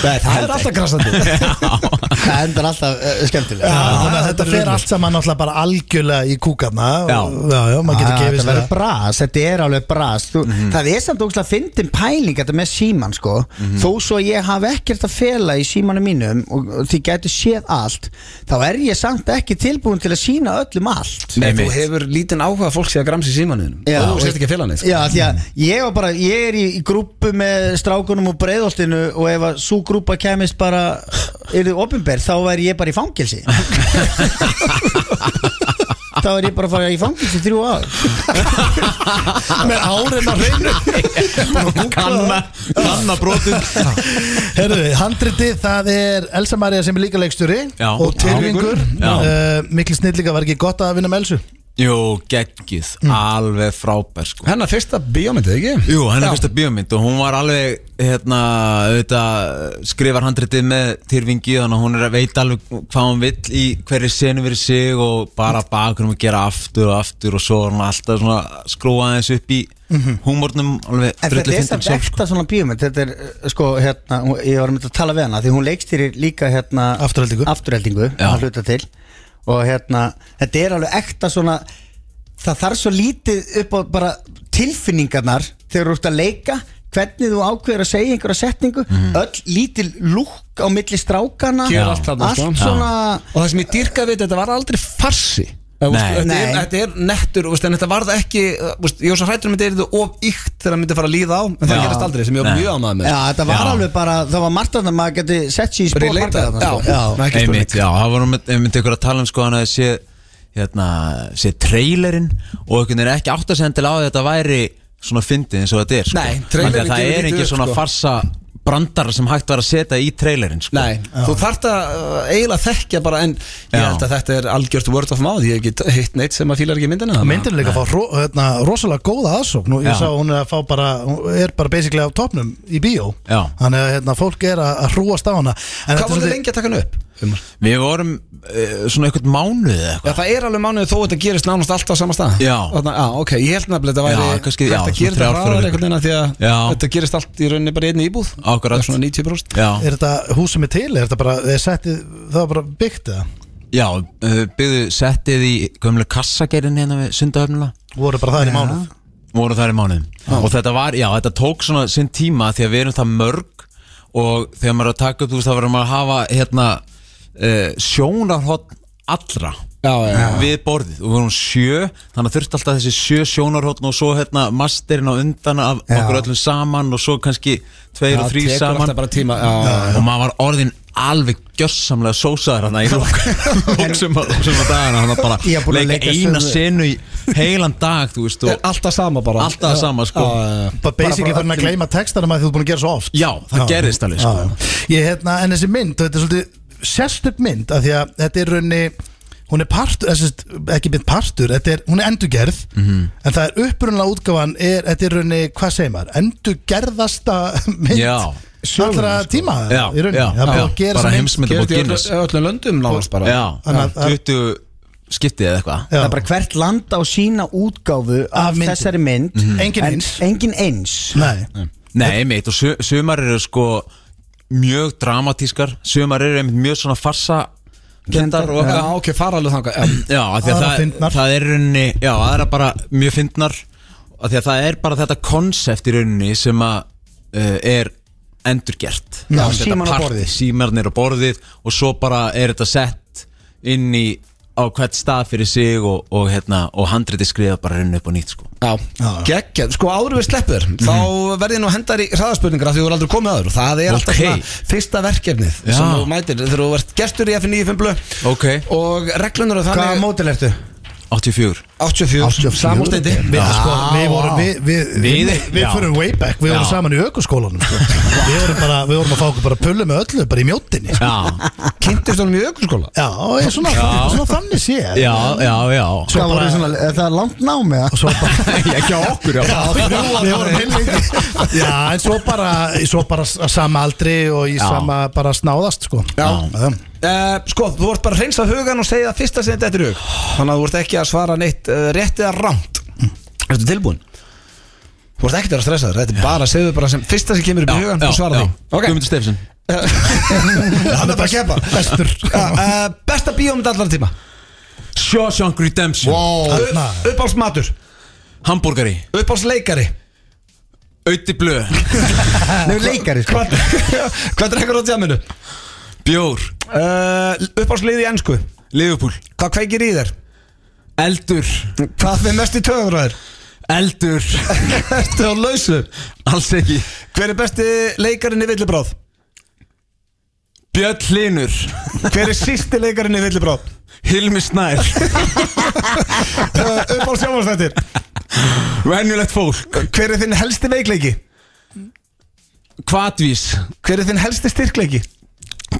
L: Nei, það er alltaf grassandi
B: Það endar alltaf uh, skemmtilega
C: Já, þannig að þetta fer allt saman náttúrulega bara algjörlega í kúkarna og-
A: Já.
C: já, já, maður getur
B: Ah,
C: gefið
B: þetta
C: sér Mhm.
B: verður bras, þetta er alveg bras Þú, Það er samt ógæslega fyndin pæling þetta með síman sko
C: Mhm.
B: Þó svo ég hafi ekkert að fela í símanum mínum og, og þið gætu séð allt þá er ég samt ekki tilbúin til að sína öllum allt
L: Nei, þú
A: Einmitt.
L: hefur lítinn áhuga fólk sé að gramsa í símanuðinum
B: Já.
L: og þú sért ekki að fela neitt sko.
B: Já, því að ég var bara, ég er í, í grúpu með strákunum og breiðoltinu og ef að svo grúpa kemist bara yrði opinber, þá væri ég bara í fangilsi Þá er ég bara að fara í fangilsi í þrjú ár
C: með árin á hreinu
A: Kanna, kanna brotið
C: Herðu, handritið, það er Elsa Maria sem er líka leikstjóri
A: Já.
C: og Tyrfingur
A: Já.
C: uh, Mikli snillíka var ekki gott að vinna með Elsu
A: Jú, geggjuð, alveg frábær, sko
L: Hennar fyrsta bíómyndið, ekki?
A: Mm. Jú, henni
L: Já.
A: fyrsta bíómynd og hún var alveg, hérna, auðvitað, skrifar handritið með Tyrfingi þannig að hún er að veita alveg hvað hún vill í hverju senu verið sig og bara bakurum að gera aftur og aftur og svo er hún alltaf svona að skrúa aðeins upp í húmórnum alveg
B: En þetta
A: drullu
B: er
A: fyndin
B: samt
A: sjálf, sko.
B: ekta svona bíómynd Þetta er, uh, sko, hérna, hún- ég var að mynda að tala við hana Því hún leikstýrir líka, hérna
C: Aftureldingu.
B: Afturheldingu,
A: Já.
B: að hluta til Og hérna, þetta er alveg ekta svona Það þarf svo lítið upp á bara tilfinningarnar Þegar þú ert að leika Hvernig þú ákveður að segja einhverja setningu
A: Mhm.
B: Öll lítil lúk á milli strákana
L: Hér er allt þarna, sko.
B: Allt svona
L: Og það sem ég dýrka við þetta var aldrei farsi Eða,
A: Nei.
L: veist, þetta, er,
B: Nei.
L: þetta er nettur veist, en þetta var það ekki veist, ég var svo hrættur um þetta er þetta of ykt þegar það myndi fara að líða á en það
A: Já.
L: gerast aldrei sem ég var
A: Nei.
L: mjög ánægð með
B: Já, þetta var
A: Já.
B: alveg bara, það var margt að maður geti sett sér í spór
L: Relate-
B: margra þarna,
L: já.
B: sko.
L: Já. Nei, ekki
A: einmitt, já, það var einmitt, einmitt ykkur að tala um sko hann að sé hérna, sé trailerinn og einhvern veginn ekki átt að senda til á því að þetta væri svona fyndið eins og þetta er sko.
L: Nei,
A: Þannig
L: trailerinn
A: að
L: gefur
A: það
L: lítið
A: er engin
L: upp,
A: svona
L: sko.
A: farsa brandar sem hægt var að setja í trailerinn sko.
L: Nei, þú þarft að uh, eiginlega þekkja bara en ég
A: Já.
L: held að þetta er algjört word of mouth ég hef ekki hitt neitt sem að fílar ekki myndina þannig að-
C: Myndin er líka að fá ro, hérna, rosalega góða aðsókn og ég
A: Já.
C: sá hún er að fá bara hún er bara basically á topnum í bíó
A: Já.
C: þannig að hérna, fólk er að, að hrúast á hana En
L: Hvað
C: þetta er
L: voru þið
C: svolítið-
L: lengi að taka hann upp?
A: við vorum uh, svona einhvern mánuð eða eitthvað
L: Já, það er alveg mánuðið þó að þetta gerist nánast alltaf sama stað
A: Já.
L: Þarna, já ok, ég held nefnilega þetta væri
A: Já, kannski- já,
L: hægt að
A: svona
L: gera þetta
A: þrjár, fjórar
L: hraðar
A: vikur.
L: einhvern veginn af því að
A: Já.
L: þetta gerist allt í rauninni bara í einni íbúð
A: Akkurat.
L: Það er Svona 90%
A: já,
C: Er þetta hús sem er til? Er þetta bara, er settið, það er bara byggt eða?
A: já uh, byggðu settið í gömlega kassagerinn hérna við sundahöfnula
C: Voru bara það í mánuð?
A: voru þar í mánuðum og þetta var, já, þetta tók svona sinn tíma því að við erum það mörg og þegar maður er að taka upp, þú veist, þá verður maður að hafa hérna uh, sjónarhótt allra
L: Já, já, já.
J: við borðið og við vorum sjö þannig að þurfti alltaf þessi sjö sjónarhóttn og svo hérna masterinn á undan af okkur öllum saman og svo kannski tveir og þrý
L: tekur
J: saman
L: alltaf bara tíma já, já.
J: og maður var orðin alveg gjörsamlega sósaður hann í lók lók sem að sem að dagana hann að
B: Ég er búin
J: bara
B: að
J: leika
B: leika
J: eina
B: sömu-
J: senu í heilan dag þú veist
L: Er
J: og
L: Alltaf sama bara
J: Alltaf það sama, sko.
L: já,
C: Bara basically farin að gleyma textanum að þú ert búin að gera svo oft
J: já það gerðist alveg sko
C: Ég, hérna, En þessi mynd, þetta er svolítið sérstök mynd af því að þetta er raunni hún er partur, þessist, ekki mynd partur þetta er, hún er endurgerð
J: Mhm.
C: en það er upprunlega útgáfan er, þetta er raunni hvað segir maður, endurgerðasta mynd
J: Já.
C: allra tíma
J: Já,
C: í raunni,
J: já,
C: það er
J: já,
C: búið að gera
J: bara
C: þessa mynd-
J: heimsmynda búið
L: Gerði
J: Guinness
L: í öllu- öllum löndum nánast bara
J: Já,
C: Þannig að-
J: 20 skiptið eða eitthvað
C: Já.
B: Það er bara hvert land á sína útgáfu
C: Af
B: af
C: myndinni.
B: þessari mynd
A: Mhm.
C: Engin
B: en
C: eins.
B: Engin eins
C: Nei,
J: Nei, meitt, og su- sumar eru sko mjög dramatískar sumar eru einmitt mjög svona farsa kendar og
L: Já,
J: eitthvað
L: ok, fara alveg þangað já.
J: Já, af því að
C: Aðra fyndnar.
J: það, það er í rauninni Já, það er bara mjög fyndnar af því að það er bara þetta konsept í rauninni sem að uh, er endurgert
B: Já,
J: Þetta
B: símar á
J: partí,
B: borðið.
J: Símarnir á borðið og svo bara er þetta sett inn í á hvert stað fyrir sig og, og, hérna, og handriti skrifa bara í rauninni upp á nýtt sko
L: Já, geggjað, sko áður við sleppur þá verði nú hendar í hraðaspurningar af því þú er aldrei komið aður og það er alltaf
J: Ok.
L: svona fyrsta verkefnið
J: Já.
L: sem þú mætir þegar þú ert gestur í F95 blö
J: Ok.
L: og reglunar og
G: Hvaða
L: þannig
G: mótil ertu?
J: 84
L: 84, samústeindi
C: við, sko, við vorum við, við, við,
J: Við-
C: við
J: já.
C: fyrir way back, við vorum
J: Já.
C: saman í ökuskólanum sko. við, vorum bara, við vorum að fá okkur bara pullu með öllu, bara í mjóttinni sko.
J: Já,
L: kynntist honum í ökurskóla
C: Já, ég, svona, svona þannig sé
J: já, já, já
C: Svo
G: Hvað
C: bara-
G: voru svona, er það langt nám eða?
C: og svo bara
J: ekki á okkur já.
C: Við vorum heillengi Já, en svo bara, svo bara á sama aldri og í
J: Já.
C: sama bara snáðast sko
J: Já.
L: uh, Sko, þú vart bara að reynsa hugan og segja það fyrsta sem þetta er í hug þannig að þú vart ekki að svara neitt uh, rétt eða rámt Ertu tilbúin? Þú vart ekkert að vera stressaður, þetta er bara að segja bara sem fyrsta sem kemur upp í hugan og svara því Ok.
J: Guðmundur Stefsson
L: hann er bara að keppa bestur Eh, besta bíómynd allar tíma
J: Shawshank Redemption
C: Wow. Þarna.
L: uppáls matur,
J: Hamburgari
L: uppáls leikari
J: Ötti blö
G: Nei, leikari sko
L: hvað hvað drekkur á tjáminu
J: Bjór
L: uh, uppáls liði í ennsku
J: Liverpool
L: hvað kveikir í þér
J: Eldur
L: hvað við mest í töður á þér
J: Eldur
L: ertu á lausu
J: Alls ekki
L: hver er besti leikarinn í villibráð
J: Björn Hlinur
L: hver er sísti leikarinn í villibráð
J: Hilmi Snær
L: uh, uppáls sjávarstættir
J: Venjulegt fólk
L: hver er þinn helsti veikleiki
J: Kvatvís
L: hver er þinn helsti styrkleiki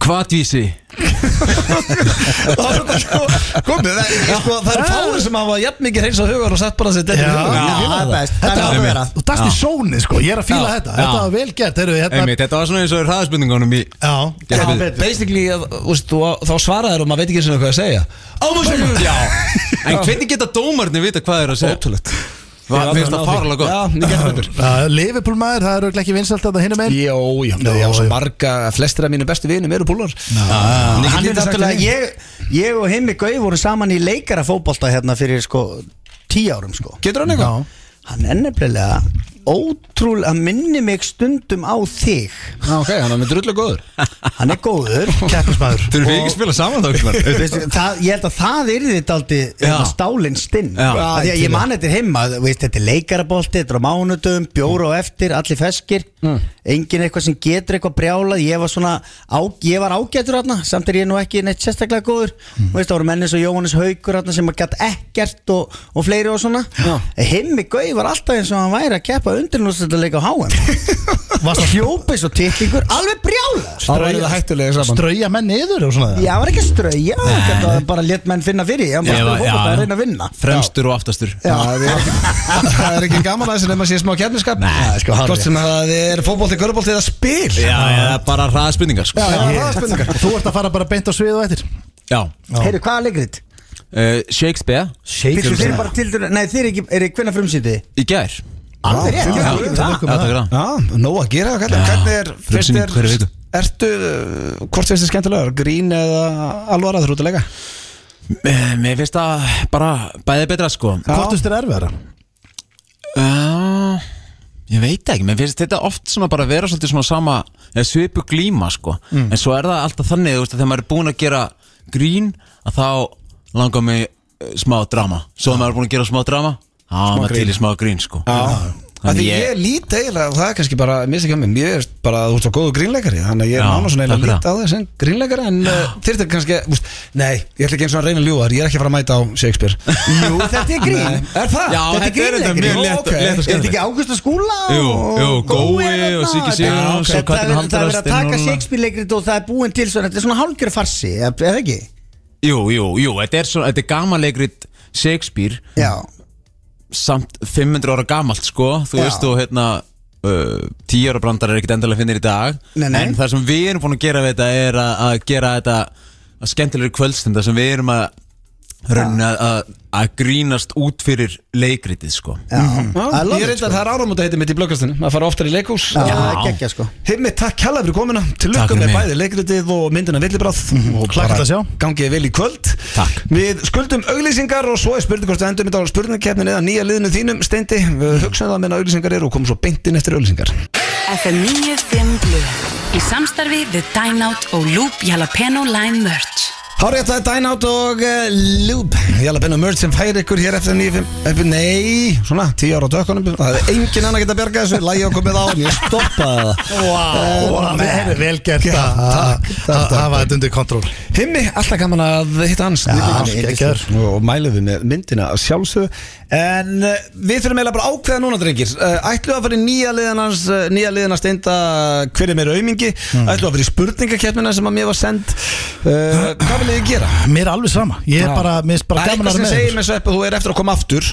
J: Kvatvísi
L: það er þetta komið það, sko, það er fáir sem hafa jafn mikið reyns á hugar og sett bara sér þetta er í
C: Já.
L: hugan
C: Já.
G: Já, það er best Það er
J: Þetta-
G: að vera
C: Þú dast í sóni sko, ég er að fíla
J: Já.
C: þetta Þetta
J: Já.
C: var vel gert, erum við hérna
J: Einmitt, þetta var svona eins og hraðspurningunum í
C: Já,
J: Já,
L: basically að, úst, þú, þá svaraður og maður veit ekki sem hvað að segja ámásökum
J: Já En hvernig geta dómarnir vita hvað þeir að segja? Ótrúlegt Það finnst það fárlega gott
L: já, ég getur betur
C: Uh, Liverpool maður, það er auðvitað ekki vinsalt að það hinum einn
L: Jó, já, já,
C: Jó,
L: svo
C: já.
L: marga, flestir af mínu bestu vinum eru búlar
B: Hann er
L: lítið sagt
B: náttúrulega
L: henni.
B: ég, ég og Himmi Gau voru saman í leikara fótbolta hérna fyrir sko tíu árum sko
L: Getur hann eitthvað?
B: Hann er nefnilega ótrúlega hann minni mig stundum á þig
L: Já, ok, hann er með drullu góður
B: Hann er góður
C: Keppismæður
J: Þurfum við ekki að spila saman þá ykkur
B: Veistu, það, ég held að það er þetta aldrei
J: Já.
B: stálinn stinn
J: Já.
B: Af því að ég man þetta er heima þú veist, þetta er leikarabolti, þetta er á mánudum bjóra á eftir, allir feskir
J: Mm.
B: engin eitthvað sem getur eitthvað brjálað ég var svona, á, ég var ágætur þarna samt er ég nú ekki neitt sérstaklega góður mm. veist, það voru menni svo Jóhannes Haugur þarna sem að gætt ekkert og, og fleiri og svona En himmi Gau var alltaf eins og hann væri að keppa undirnústættileika á HM hljópið svo titlingur, alveg brjálað
L: Það er það hættulega saman
C: Strauja menn niður og svona
B: Ég var ekki að strauja, ég var bara létt menn finna fyrir Ég var bara
J: Ég var-
B: að fókbalta
J: já,
B: að
J: já.
B: reyna að vinna
J: Fremstur og aftastur
L: Það er ekki- það er ekki gaman að þessu nefn að sé smá kefniskap
J: Nei, sko, hárrétt.
L: Hvort sem það er fótbolti, körubolti eða spil
J: Já, eða bara hraðspurningar sko.
L: Já,
C: Ég-
L: það er spurningar.
C: Þú ert að fara bara beint á svið og eftir
J: Já,
B: Heyrðu, hvaða leikrit?
J: uh, Shakespeare
B: Þeir eru bara til nei þeir eru ekki, eru hvenna frumsýndi?
J: Í gær
B: Alveg rétt,
J: Já,
B: já,
J: já,
B: ég veit
J: takk
B: það.
J: fyrir það
L: Já, nóg að gera það kallar.
J: Já.
L: Hvernig er, finnst
J: Frumsýning hverju
L: þér
J: viku.
L: Ertu, uh, hvort finnst þér skemmtilegar, grín eða alvara þrjúta leika?
J: Eh, Mér finnst það bara bæði betra sko
C: Hvortust er erfiðara?
J: uh, Ég veit ekki, mér finnst þetta oft svona bara vera svolítið svona sama eða svipu glíma sko En svo er það alltaf þannig, þú veist, að þegar maður er búin að gera grín að þá langar mig eh, smá drama Svo maður er búin að gera smá drama Já, maður til í smá grín sko
L: Já Því
J: Þannig
L: ég,
J: ég,
L: ég lít eiginlega, og það er kannski bara, mér sé ekki á mig, mér er bara að þú ert svo góðu grínleikari, þannig að ég er
J: Já,
L: nána svona eiginlega
J: takk
L: lít á það sem grínleikari, en uh, þyrfti kannski, úst, nei, ég ætla ekki eins og að reyna að ljúga þér, ég er ekki að fara að mæta á Shakespeare.
B: Jú, þetta er grín
L: Nei, er það?
J: Já,
L: þetta er
J: þetta er
L: grínleikari.
J: þetta mjög
L: Jú,
J: létt-
L: ok.
J: létt og
G: Er þetta
J: skemmtilegt.
G: ekki Ágústa Skúla
J: Jú,
G: og-
J: jú, Gói
G: er
J: og
G: þarna?
J: Siggi
G: Já,
J: Sigurjóns og
G: ok.
J: Katrín
G: Það er- Það er verið að
J: Halldóra,
G: taka
J: Steinunn Óla.
G: Shakespeare-leikrit og það er búin til svona Þetta er svona hálgjör farsi, eða eða ekki?
J: jú, jú, jú Þetta er, svona, þetta er gamanleikrit Shakespeare
G: Já,
J: samt 500 ára gamalt sko þú
G: Já.
J: veist og hérna uh, 10 ára brandar er ekkit endalega finnir í dag
G: Nei, nei.
J: en það sem við erum búin að gera við þetta er að, að gera þetta að skemmtilegri kvöldstunda sem við erum að raunna að, að grínast út fyrir leikritið sko
G: já I
L: Já,
G: love
L: Ég
G: it,
L: reynda að það er áramóta heiti mitt í blöggastinu, að fara oftar í leikús.
G: Já, það er geggja sko
L: Himmi, takk kjalla fyrir komuna Til
J: Takk
L: lukka
J: fyrir
L: með
J: mig.
L: bæði leikritið og myndina Villibráð Og
C: hlakka til að sjá.
L: gangið vel í kvöld
J: Takk.
L: Við skuldum auglýsingar og svo er spurning hvort við endum þetta á spurningkeppnin eða nýja liðinu þínum Steindi, við hugsaðum það meðan auglýsingar eru og komum svo beintinn eftir auglýsingar
K: FM 95 Blu Í samstarfi við Dineout og Loop Jalapeno Lime Merch
L: Hárið það er Dynout og uh, Loop Jæla Benno Merch sem færi ykkur hér eftir 9.5 Nei, svona, 10 ára á dökkunum Það hefði engin annar geta bjargað þessu Lægi á komið á en ég stoppaði það
C: Vá, man, vel gert að
L: takk,
C: að- að hafa þetta undir kontról
L: Himmi, alltaf gaman að hitta hans
C: hann er
L: Snillingur. Og mælum við með myndina að sjálfsögðu En uh, við þurfum eiginlega bara að ákveða núna drengir uh, Ætlu að fara í nýja liðan hans uh, Nýja liðan að steinda hver er meira aumingi
C: Hmm.
L: Ætlu að fara í spurningakeppnina sem að mér var send uh, Hvað vil ég gera?
C: Mér er alveg sama, ég er bara, mér er bara
L: Það er
C: gaman
L: eitthvað sem
C: að vera
L: segir
C: með Hmm.
L: mér svepp að þú er eftir að koma aftur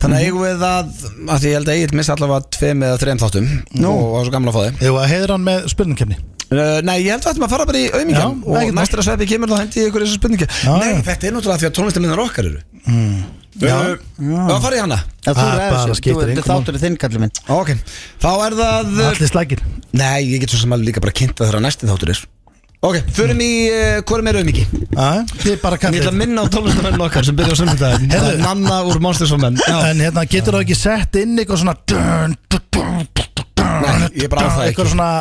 L: Þannig að eigum við að, að Því ég held að Egil missi allavega tveim eða þreim þáttum Og var svo gamla að fá þig
C: Jú, að heiður hann með spurningkefni
L: Uh, nei, ég held að þetta maður fara bara í auðmingjan
C: Já,
L: og
C: ekkert mál.
L: næstir að sveppi kemur þá hendi ég ykkur þessu spurningi Nei,
C: já.
L: þetta er náttúrulega því að tónlistarminnar okkar eru mm. Já, þá farið ég hana
G: Já, þú
C: Ah,
G: ræður
C: bara
G: sér.
C: skiptir
G: Þú-
C: engu
G: Þetta þáttur er þinn, kallið minn
L: Ok, þá er það
C: Allir slækir
L: Nei, ég get svo sem að líka bara kynnta þegar næsti þáttur er Ok, förum í, uh, hvað er meira auðmingi?
C: Já, Þið er bara
L: Ég ætla
C: kallið
L: að minna á tónlistarminnar okkar sem byrja á sömndaginn
C: Heyrðu.
L: Nanna úr Monsters of Men Já.
C: En hérna, getur það ekki sett inn eitthvað svona dun, dun, dun, dun, dun, dun,
L: Nei, ég bara á það
C: Eitthvað
L: ekki.
C: svona,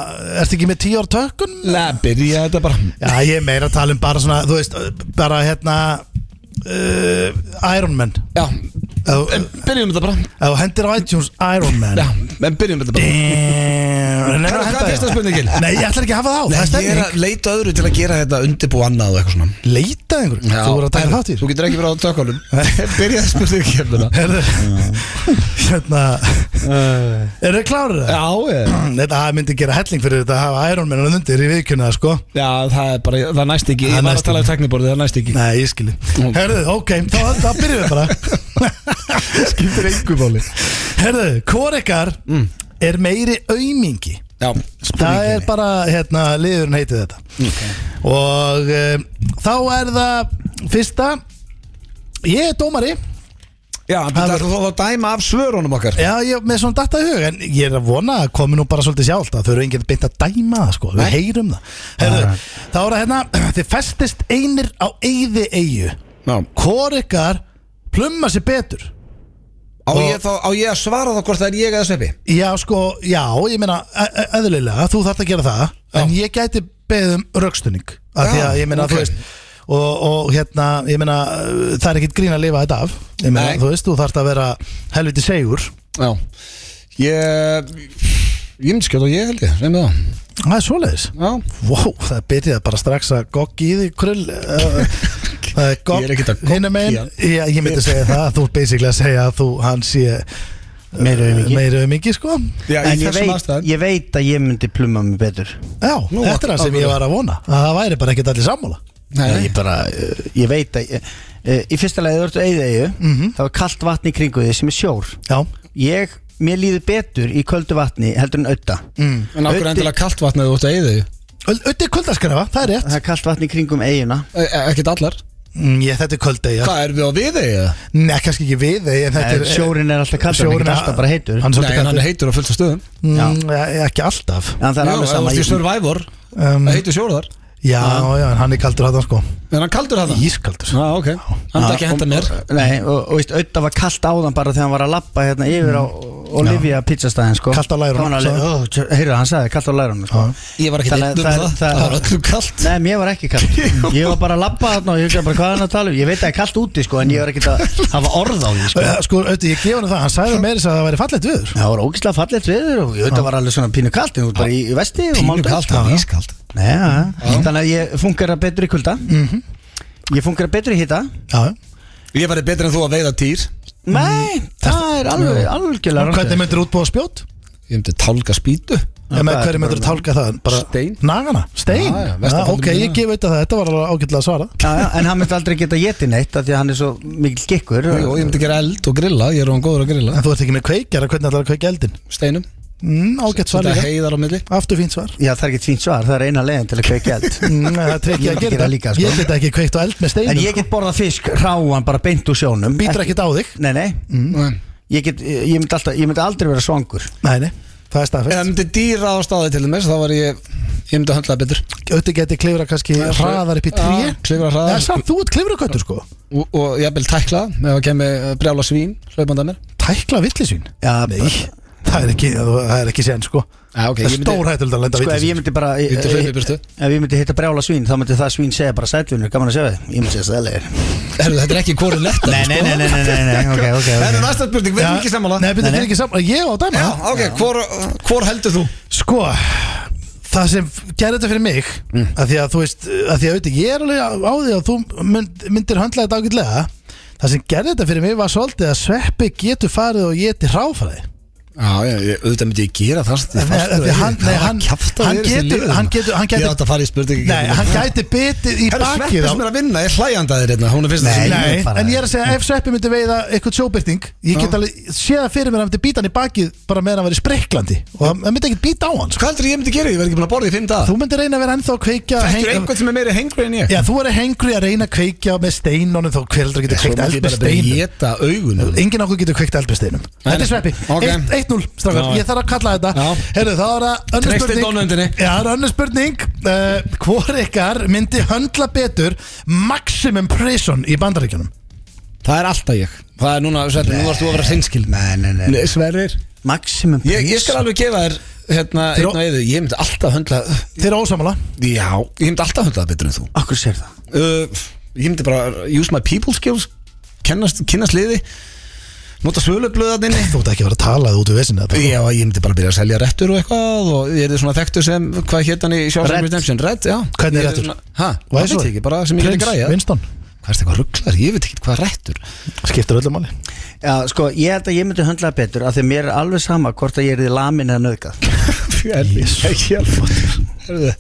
C: ertu ekki með tíu ára tökun?
L: Nei, byrja þetta bara
C: Já, ég er meira að tala um bara svona, þú veist, bara hérna uh, Iron Man
L: Já,
C: Ef
L: en byrjum þetta bara
C: ef þú hendir á iTunes Iron Man
L: Já, en byrjum þetta bara
C: Damn
L: Hvað hvað er fyrsta spurningin?
C: Nei, ég ætla ekki að hafa það á, það
L: Ég
C: er
L: er
C: stemning
L: að leita öðru til að gera þetta undirbú annað og eitthvað svona
C: Leitað einhverjum,
L: Já,
C: þú voru að taka
L: en
C: þátt í
L: Þú
C: þessu.
L: getur ekki verið á tökkunum Byrjaði að spurðu ekki hérna
C: Herðu, Hérna Eru þið klárið það?
L: Já, ég.
C: Þetta myndi gera helling fyrir þetta að hafa Iron Man undir í vikunna, sko
L: já, það er bara, það næst ekki Ég
C: Það
L: var
C: næst
L: að tala um
C: ekki.
L: tekniborðið, það næst ekki
C: Nei, ég skilji Herðu, ok, þá, þá byrjum við bara Skiptir engu máli Herðu, hvor ykkar er meiri aumingi?
L: Já,
C: Það er bara, hérna, liðurinn heitið þetta Og um, þá er það fyrsta Ég er dómari
L: já en það er þú að dæma af svörunum okkar
C: Já, ég með svona datta í hug En ég er að vona að komi nú bara svolítið sjálft að Þau eru enginn beint að dæma það, sko Við heyrum það Herðu, þá er það hérna Þið festist einir á eyði eyju
L: Já.
C: Hvor ykkar plumma sér betur
L: Á ég, þá, á ég að svara þá hvort það er ég eða sveppi
C: Já, sko, já, ég meina e- e- eðlilega, þú þarft að gera það en ég gæti beðið um rökstunning af því að
L: Já,
C: ég meina,
L: ok.
C: þú veist og, og hérna, ég meina uh, það er ekkit grín að lifa þetta af ég meina,
L: Nei.
C: þú veist, þú þarft að vera helviti segur
L: Já Ég, ég myndi skjóta á ég held ég, reyna það
C: það er svoleiðis
L: Já,
C: wow, það byrjaði bara strax að goggi í því krull uh, það er gogg
L: Ég er ekkit að gogga
C: hinum megin.
L: í hann.
C: Já, ég myndi segja það, þú er basically að segja að þú, hann sé meira
L: um
C: auðmingi, meira auðmingi sko
L: já
G: En
L: ég
G: ég
L: er sem
G: veit,
L: aðstæðan
G: ég veit að ég myndi pluma mig betur
C: já, þetta er það sem ég var að vona að það væri bara ekkit allir sammála
G: Nei. Ég bara, uh, ég veit að ég, uh, Í fyrsta lagi þú ert auðið eigu Það var kallt vatn í kringu því sem er sjór
C: já,
G: Ég, mér líður betur í köldu vatni heldur en auða mm.
L: En okkur endilega kalt vatn eða þú ert að eyði
C: Ötti kvöldaskrafa, það er rétt
G: Það er kallt vatn í kringum eiguna
L: E, Ekkert allar
C: mm, Ég þetta er kvöldegi
L: Hvað er við á við eða?
C: Nei, kannski ekki við þegi en þetta
G: Nei,
C: er
G: Sjórinn er alltaf kallt, hann er
C: Sjórinn
G: ekki alltaf bara heitur
C: Hann er
L: Nei,
C: svolítið
L: en hann
C: kaldur.
L: er heitur á fullta stöðum
C: Mm, ja, Ekki alltaf
G: En það er
L: Jú,
G: alveg
L: ef þú
G: sama
L: ert í
G: ég-
L: Survivor,
C: um,
L: það heitur sjóru þar
C: Já, já, en hann er kaldur hann sko
L: Er hann kaldur hann?
C: Ískaldur
L: Já, ok Hann er ekki að henda
B: Ah,
L: mér
B: Nei, og, og veist, auðvitað var kallt áðan bara þegar hann var að lappa hérna yfir á Olivia pizzastæðin sko.
C: Kalt á lærunum, sagði hann.
B: Heyrðu, hann sagði kallt á lærunum sko.
L: Ég var ekki
B: Þannig að
L: neitt um
B: það-
L: það
B: það-
L: Það var öllum kalt
B: Nei, mér var ekki kallt Ég var bara að lappa þarna og ég hugsaði bara hvað er hann að tala um Ég veit að það er kallt úti sko, en ég var ekki að hafa orð á því sko.
C: Sko, auðvitað, ég gef hann það, hann sagði meira þess að það væri fallegt viður
B: Það var ógislega fallegt veður og þetta var alveg svona pínu kallt en þú ert bara í í vesti og
L: Pínu
B: mánudag.
L: kalt,
B: Já,
L: það
B: já.
L: var ískalt
B: Nei, já, já. Þannig að ég funkar betur í kulda
C: Mhm.
B: Ég funkar betur í hita
C: Já,
L: Ég væri betur en þú að veiða týr
B: Nei, það er alveg algjörlega
C: og Mhm.
B: rangt.
C: hvernig myndir útbúa spjót?
L: Ég myndi tálga spýtu
C: Ja, með hverju myndir tálka það? Bara
L: Stein.
C: Nagana, stein?
L: Já, já,
C: Já,
L: vestafalli
C: ok,
L: mína.
C: ég gef auðvitað það, þetta var alveg ágætlega að svara
B: Já, já, en hann myndi aldrei geta getið neitt af því að hann er svo mikil gikkur
L: Og ég myndi gera eld og grilla Ég er hann góður að grilla
C: En þú ert ekki með kveikjara, hvernig ætlar að kveikja eldin?
L: Steinum
C: Mm, ágætt svar
L: Þetta
C: líka,
L: heiðar á milli
C: aftur fínt svar
B: Já, það er ekki fínt svar, það er eina leiðin til að kveikja eld
C: Mm, Það er
B: Ég
C: trekkið að
B: myndi
C: gera
B: gera
C: það
B: líka, sko.
C: Ég geta ekki kveikt á eld með
B: En
C: steinum
B: ég get borða fisk ráan bara beint úr sjónum
C: Býtur ekkert á þig
B: Nei, nei
L: Mm.
B: Ég, get, ég, myndi alltaf, ég myndi aldrei vera svangur
C: Nei, nei,
L: Ef
C: það er
L: það
C: staðfest
L: myndi dýra á staði til þess Þá var ég Ég myndi að höndla það betur
C: Auðvitað geti klifra kannski hraðar upp í tré
L: Já, klifra hraðar.
C: Það er samt, þú ert klifra köttur sko
L: Og, og ég vil tækla það, Ef það kemur brjála svín Hlaupandi að mér
C: Tækla villisvín
B: Já,
C: Nei, það er ekki, það er ekki sén sko
L: Já, ok,
C: Það er
L: ég myndi-
C: stórhættulegt að lenda
B: Sko, ef ég
C: villisvín
B: myndi bara ég,
L: Myndi hlaupa í burtu.
B: Ef ég myndi hitta brjála svín, þá myndi það svín segja bara sætlunir, gaman að segja þið Ég myndi segja sælir
L: Herru, Þetta er sko- ekki hvori letta
B: Nei, nei, nei, nei, nei, nei, nei, ok, ok,
L: Það er
B: ok
L: næsta spurning, við erum ekki sammála
C: Nei, byrja, þið er ekki sammála Ég á dæma
L: Já, ok, hvor, hvor heldur þú?
C: Sko Það sem gerði þetta fyrir mig mm. að Því að þú veist að Því að auðvitað ég er alveg á- á því að þú mynd, myndir höndla þetta ágætlega Það sem gerði þetta fyrir mig var svolítið að sveppi getur farið og geti hráfæði
L: Já, ég, ég, auðvitað myndi ég gera það
C: Nei, af því að hann- nei, hann- hann getur- hann getur- hann getur-
L: Ég átt að fara í spurningu
C: Nei, hann gæti bitið í
L: Herru,
C: bakið
L: sveppis
C: á-
L: mér að vinna, ég hlæjandi að þér hérna Hún er fyrst
B: Nei,
L: að
C: Nei,
B: Ég bara-
C: en ég er að segja ef sveppi myndi veiða eitthvað sjóbyrting Ég get alveg séð það fyrir mér að hann myndi býta hann í bakið bara meðan hann væri spreklandi og hann hann myndi ekkert býta á hann sko.
L: Hvað heldur ég myndi gera? Ég verð ekki búin að borða í fimm dag
C: Þú myndi reyna að vera ennþá að kveikja
L: Þetta er
C: heng-
L: einhvern sem er meiri hengri en ég
C: Já, þú er hengri að reyna að kveikja með steinunum þó hver heldur getur kveikt eld með steinum
L: geta augunum
C: Engin okkur getur kveikt eld með steinum Þetta er sveppi
L: Ok.
C: Eitt- 1-0, strákar,
L: Já.
C: ég þarf að kalla þetta
L: Já.
C: Herru, þá er það önnur
L: Treystið
C: spurning
L: dómnefndinni.
C: Já, það er önnur spurning uh, Hvor ykkar myndi höndla betur Maximum Prison í bandaríkjunum
L: Það er alltaf ég Það er núna, Sverrir, nú varst þú að vera hreinskil
B: Nei, nei, nei,
L: Nei, Sverrir
B: maximum
L: Ég, ég skal alveg gefa þér hérna, einn og eðu Ég myndi alltaf höndla
C: Þeir eru ósamála
L: Já, ég myndi alltaf höndla það betur en þú
B: Akkur sér það
L: uh, Ég myndi bara use my people skills Kennast, kennast liði Nota svölublöðaninni
C: Þú ert ekki að vera að tala þú út í vesinu þetta
L: Já, ég myndi bara byrja að selja réttur og eitthvað og ég er svona þekktur sem, hvað hétt hann í Sjársson
B: Redd.
L: Redemption, Redd, já
C: Hvernig
L: Ég
C: réttur?
L: svona- Ha,
C: Why
L: það
C: so?
L: veit ég ekki, bara sem ég geti
C: Prince
L: græja
C: Winston
L: Hvað er þetta eitthvað rugglar, ég veit ekki hvað réttur
C: Skiptir öllu máli
B: Já, sko, ég held að ég myndi höndla það betur af því að mér er alveg sama hvort að ég er í lamin eða nöðgat
L: Hérðu,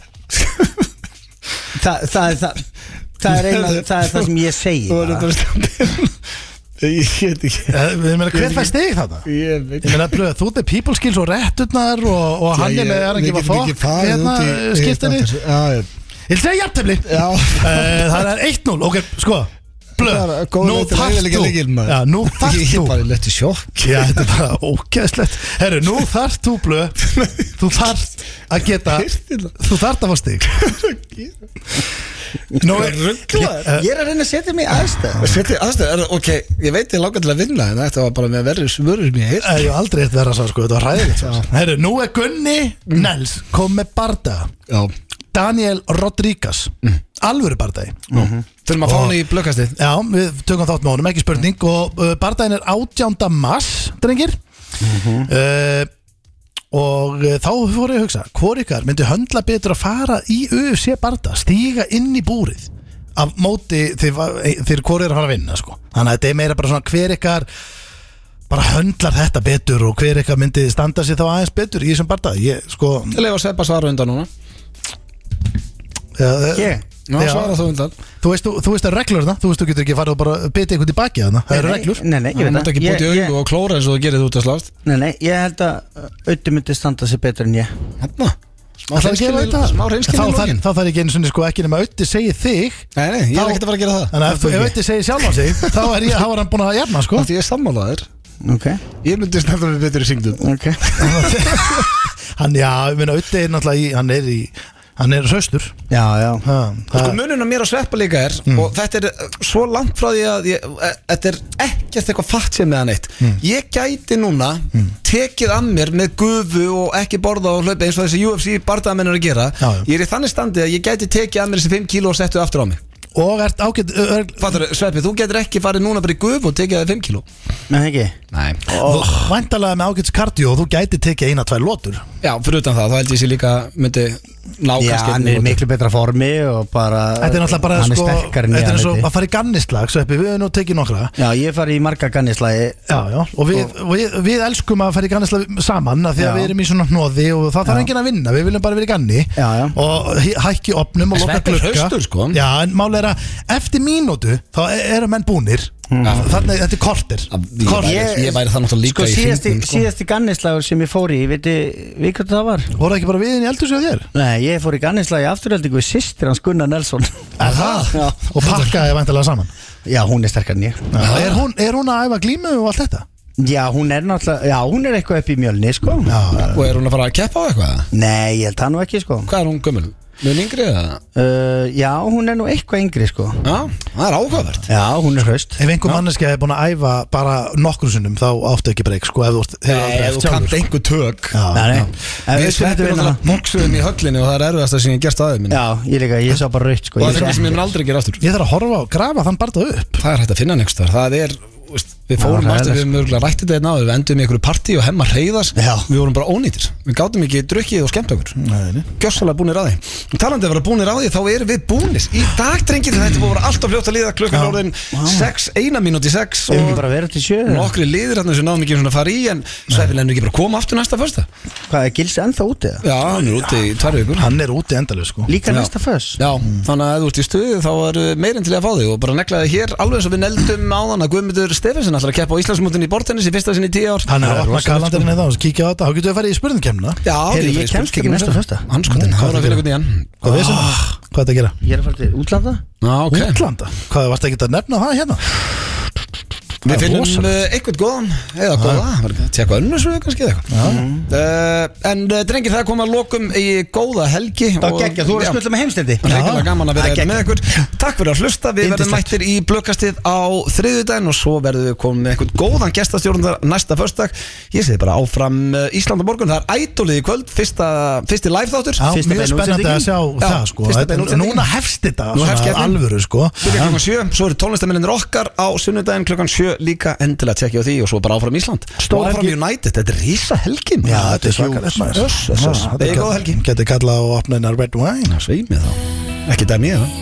B: Þa, það, er það, það, er eina, það er það sem ég segi
L: þú erum
B: bara.
L: bara standið Ég get ekki,
C: Eh, Ég meina, hver fær stig þarna?
L: ég veit
C: Ég meina, blöð, þú ert með people skills og rétturnar og, og hann er með er að gefa fokk hérna skiptinni Ég
L: Já,
C: vil segja jafntefni
L: Já.
C: Eh, Það er 1-0, ok, sko
L: Það
C: Blöð,
L: er góð
C: nú
L: leið til að
C: þarft
L: eyðileggja
C: þú
L: leikinn, maður.
C: Já, nú
L: ég
C: þarft
L: ég
C: þú
L: bara lett í sjokk
C: Já, þetta er bara ógeðslegt Herru, nú þarft þú blöð Þú þarft að geta Þú þarft að fá stig Nú er
B: Ég er að reyna að setja mig í aðstæð
L: Sveti, aðstæður, ok, ég veit ég langar til að vinna en þetta var bara með verri svörur mér heilt
C: Eh, Ég hef aldrei eitt verra sá, sko, þetta var ræðilegt svar. Herru, nú er Gunni Nels kom með bardaga
L: Já,
C: Daniel Rodríguez Alvöru bardagi
L: þurfum að fá hann í blökkastið
C: Já, við tökum þátt með honum, ekki spurning Og uh, bardagin er 18. mars, drengir uh, Og uh, þá fór ég að hugsa Hvor ykkar myndi höndla betur að fara í UFC barda Stíga inn í búrið Af móti þeir, þeir hvor er að fara að vinna sko. Þannig að þetta er meira bara svona hver ykkar bara höndlar þetta betur og hver ykkar myndi standa sér þá aðeins betur í þessum barda ég, sko,
L: Ég lefa að sepa svara undan núna
C: uh,
B: Ég?
L: Já, svara þú undan
C: Þú veist, þú, þú veist að reglur þarna, þú veist þú getur ekki farið og bara betið eitthvað í baki þarna, það eru reglur
B: Nei, nei, ég
L: Þú
B: veit
L: mátt
B: það
L: ekki búti í
B: Ég-
L: augu og klóra eins og þú gerir þú út að slást
B: ég- Nei, nei, ég held að auðvitað myndi standa sig betur en ég
L: Hanna Smá
C: Það er ekki að veita
L: Smá reynskilni í lókin
C: Þá þarf ekki einu sinni sko ekki nema auði segi þig
L: Nei, nei, ég
C: Þá-
L: er ekkert að fara að gera það
C: Þannig að ef þú- ef auði segi sjálf á sig þá er ég, þá er hann búin að jafna sko
L: Þannig að ég er sammálaður
B: Ok,
L: Ég myndi snabba mig betur í syngdum
B: ok
C: Hann, já, ég meina auði er náttúrulega í, hann er í Hann er hraustur
B: Já, já
C: Ha,
L: Sko
C: það-
L: munun á mér og sveppa líka er og þetta er eh, svo langt frá því að ég, eh, þetta er ekkert eitthvað fatt sem meðan eitt ég gæti núna tekið að mér með gufu og ekki borða og hlaupa eins og þessi UFC barðamennur að gera
C: Já, já.
L: ég er í þannig standi að ég gæti tekið að mér þessi 5 kíló og settu aftur á mig
C: Og ert ágætt
L: Fattur, Sveppi, þú getur ekki farið núna bara í gufu og tekið það 5 kíló
B: Nei, ekki
L: Nei.
C: Væntalega með ágætts kardió Þú gæti tekið eina, tvær lótur
L: Já, fyrir utan það, þá held ég sér líka myndi ná
B: Já,
L: kannski
B: hann
L: einni
B: er í
L: lotu.
B: miklu betra formi og bara
C: Þetta er náttúrulega bara
B: Hann
C: sko,
B: er sterkar en ég
C: Þetta er eins og
B: hann
C: að fara í gannislag Sveppi, við höfum nú tekið nokkra
B: Já, ég fari í marga gannislagi
C: Já, já, og við, og við, við elskum að fara í gannislag saman af því að
B: Já.
C: við erum í svona hnoði og það þarf
B: Já.
C: enginn að vinna, við viljum bara vera í ganni
B: Já, já.
C: og hi- hækki opnum og
L: En
C: loka
L: Sveppi er
C: glugga
L: hraustur, sko.
C: Já, en máli er að eftir mínútu þá e- eru menn búnir þannig þetta er kortir
L: Ég væri- Ég væri það náttúrulega líka
B: sko,
L: í
B: síðasti,
L: hringnum, sko.
B: síðasti gannislagur sem ég fór í Viti, við hvað það var?
C: Voru ekki bara við inn í eldur sér þér?
B: Nei, ég fór í gannislagi afturöldingu við sýstir hans Gunnar Nelson
C: Er það? Og pakkaði væntalega saman
B: Já, hún er sterkar en ég
C: er hún, er hún að æfa glímu og allt þetta?
B: Já, hún er náttúrulega, já, hún er eitthvað upp í mjölni, sko
L: Og er hún að fara að keppa á eitthvað?
B: Nei, ég held það nú ekki, sko
L: Hvað er hún gömul? Mun yngri eða?
B: uh, Já, hún er nú eitthvað yngri, sko
L: Já, það er áhugavert
B: Já, hún er hraust
C: Ef einhver manneskja er búin að æfa bara nokkrum sinnum þá áttu ekki breyk sko ef þú, ert- hefur aldrei
L: Ef
C: æft
L: þú
C: sjálfur,
L: kannt
C: sko.
L: einhver tök
C: Já.
B: Nei, nei. En
L: Við
B: veistu þetta
L: sveppum
B: vinna
L: alltaf bóksuðum í höllinni og það er erfiðast að sem ég gerst aðeins minn
B: Já, ég líka, ég sá bara raut, sko
L: Og það er
B: ég sá
L: eitthvað sem ég
B: ekki.
L: mun aldrei gera aftur
C: Ég þarf að horfa og grafa þann barða upp
L: Það er hægt að finna nefnst þar Það er, veist, við
B: Já,
L: fórum
B: það er
L: aftur, við höfum örgulega rættið þetta einn áður Við endum í einhverju partí og hemmar reyðas
B: Já.
L: Við vorum bara ónýtir Við gátum ekki drukkið og skemmt okkur
C: Nei,
L: Gjössalega búnir að því Talandi um að vera búnir að því þá erum við búnir Í dag drengir þetta er búið að vera alltaf fljótt að liða Klukkan
C: Já.
L: orðin 6, 1 minúti 6
B: Við erum
L: Og
B: bara að vera hérna. til sjö eða?
L: nokkri liðir hann sem náðum ekki svona að fara í En sveppin ennur ekki bara að koma aftur næsta fyrsta
B: Hvað, er gils ennþá úti? eða?
L: Já, hann er úti í tvær vikur
C: Hann er úti endalegu sko
B: Líka
L: Já.
B: næsta föss
L: Já, þannig að ef þú ert í stuði þá er meirinn til að fá þig og bara neglaði hér alveg eins og við neldum áðan að Guðmundur Stefansson ætlar að keppa á Íslandsmótinu í bortennis í fyrsta sinni í tíu ár
C: Hann er að opna
L: rosalegt,
C: kalandarinn eða og kíkja á þetta Þá getur við að fara í spurningkemna
L: Já,
B: Heyrðu, sko. ég kemst ekki næsta föstudag.
L: Hanskotin,
C: Nú,
L: hvað er að
C: hvað
L: fyrir
C: er að
L: hvernig hann?
C: Hvað veist það? Hvað er þetta að gera?
B: Ég er að fara til útlanda
L: Já, Ah. ok
C: Útlanda? Hvað varst ekki að nefna það hérna? Það
L: Við
C: er
L: finnum
C: rosalegt.
L: eh, eitthvað góðan eða góða, verður að tjekka önnur svo kannski eða eitthvað Eh, En eh, drengir það kom að lokum í góða helgi
B: Þá
L: og-
B: geggja, þú er
L: Já.
B: að skuldla með heimstendi
L: Ríkilega gaman að vera
B: Það er
L: hérna með ykkur Takk fyrir að hlusta, við verðum
B: Yndislegt.
L: mættir í blökkastið á þriðjudaginn og svo verðum við komið með einhvern góðan gestastjórnundar næsta förstak Ég segi bara áfram eh, Ísland og morgun, það er ædolið í kvöld fyrsta, fyrsti live þáttur
C: Já,
B: Fyrsta
C: mjög
B: beina
C: spennandi að
B: útsendingin.
C: sjá
L: Já,
C: það sko
L: fyrsta
C: Þetta-
L: beina útsendingin.
C: Núna hefst þetta
L: Nú hefst
C: svona
L: keppnin.
C: alvöru sko
L: Byrja klukkan sjö, svo eru tónlistamennir okkar á sunnudaginn klukkan sjö líka endilega tekja á því og svo bara áfram Ísland Stór
C: Stór
L: áfram
C: helgi.
L: United, þetta er rísa helgin
C: Já, þetta er svakalegt maður
L: Öss, öss, öss.
C: Já,
L: Þetta er góð helgi
C: Geti kallað á opna hennar red wine
L: Sveimið þá, ekki dæmið það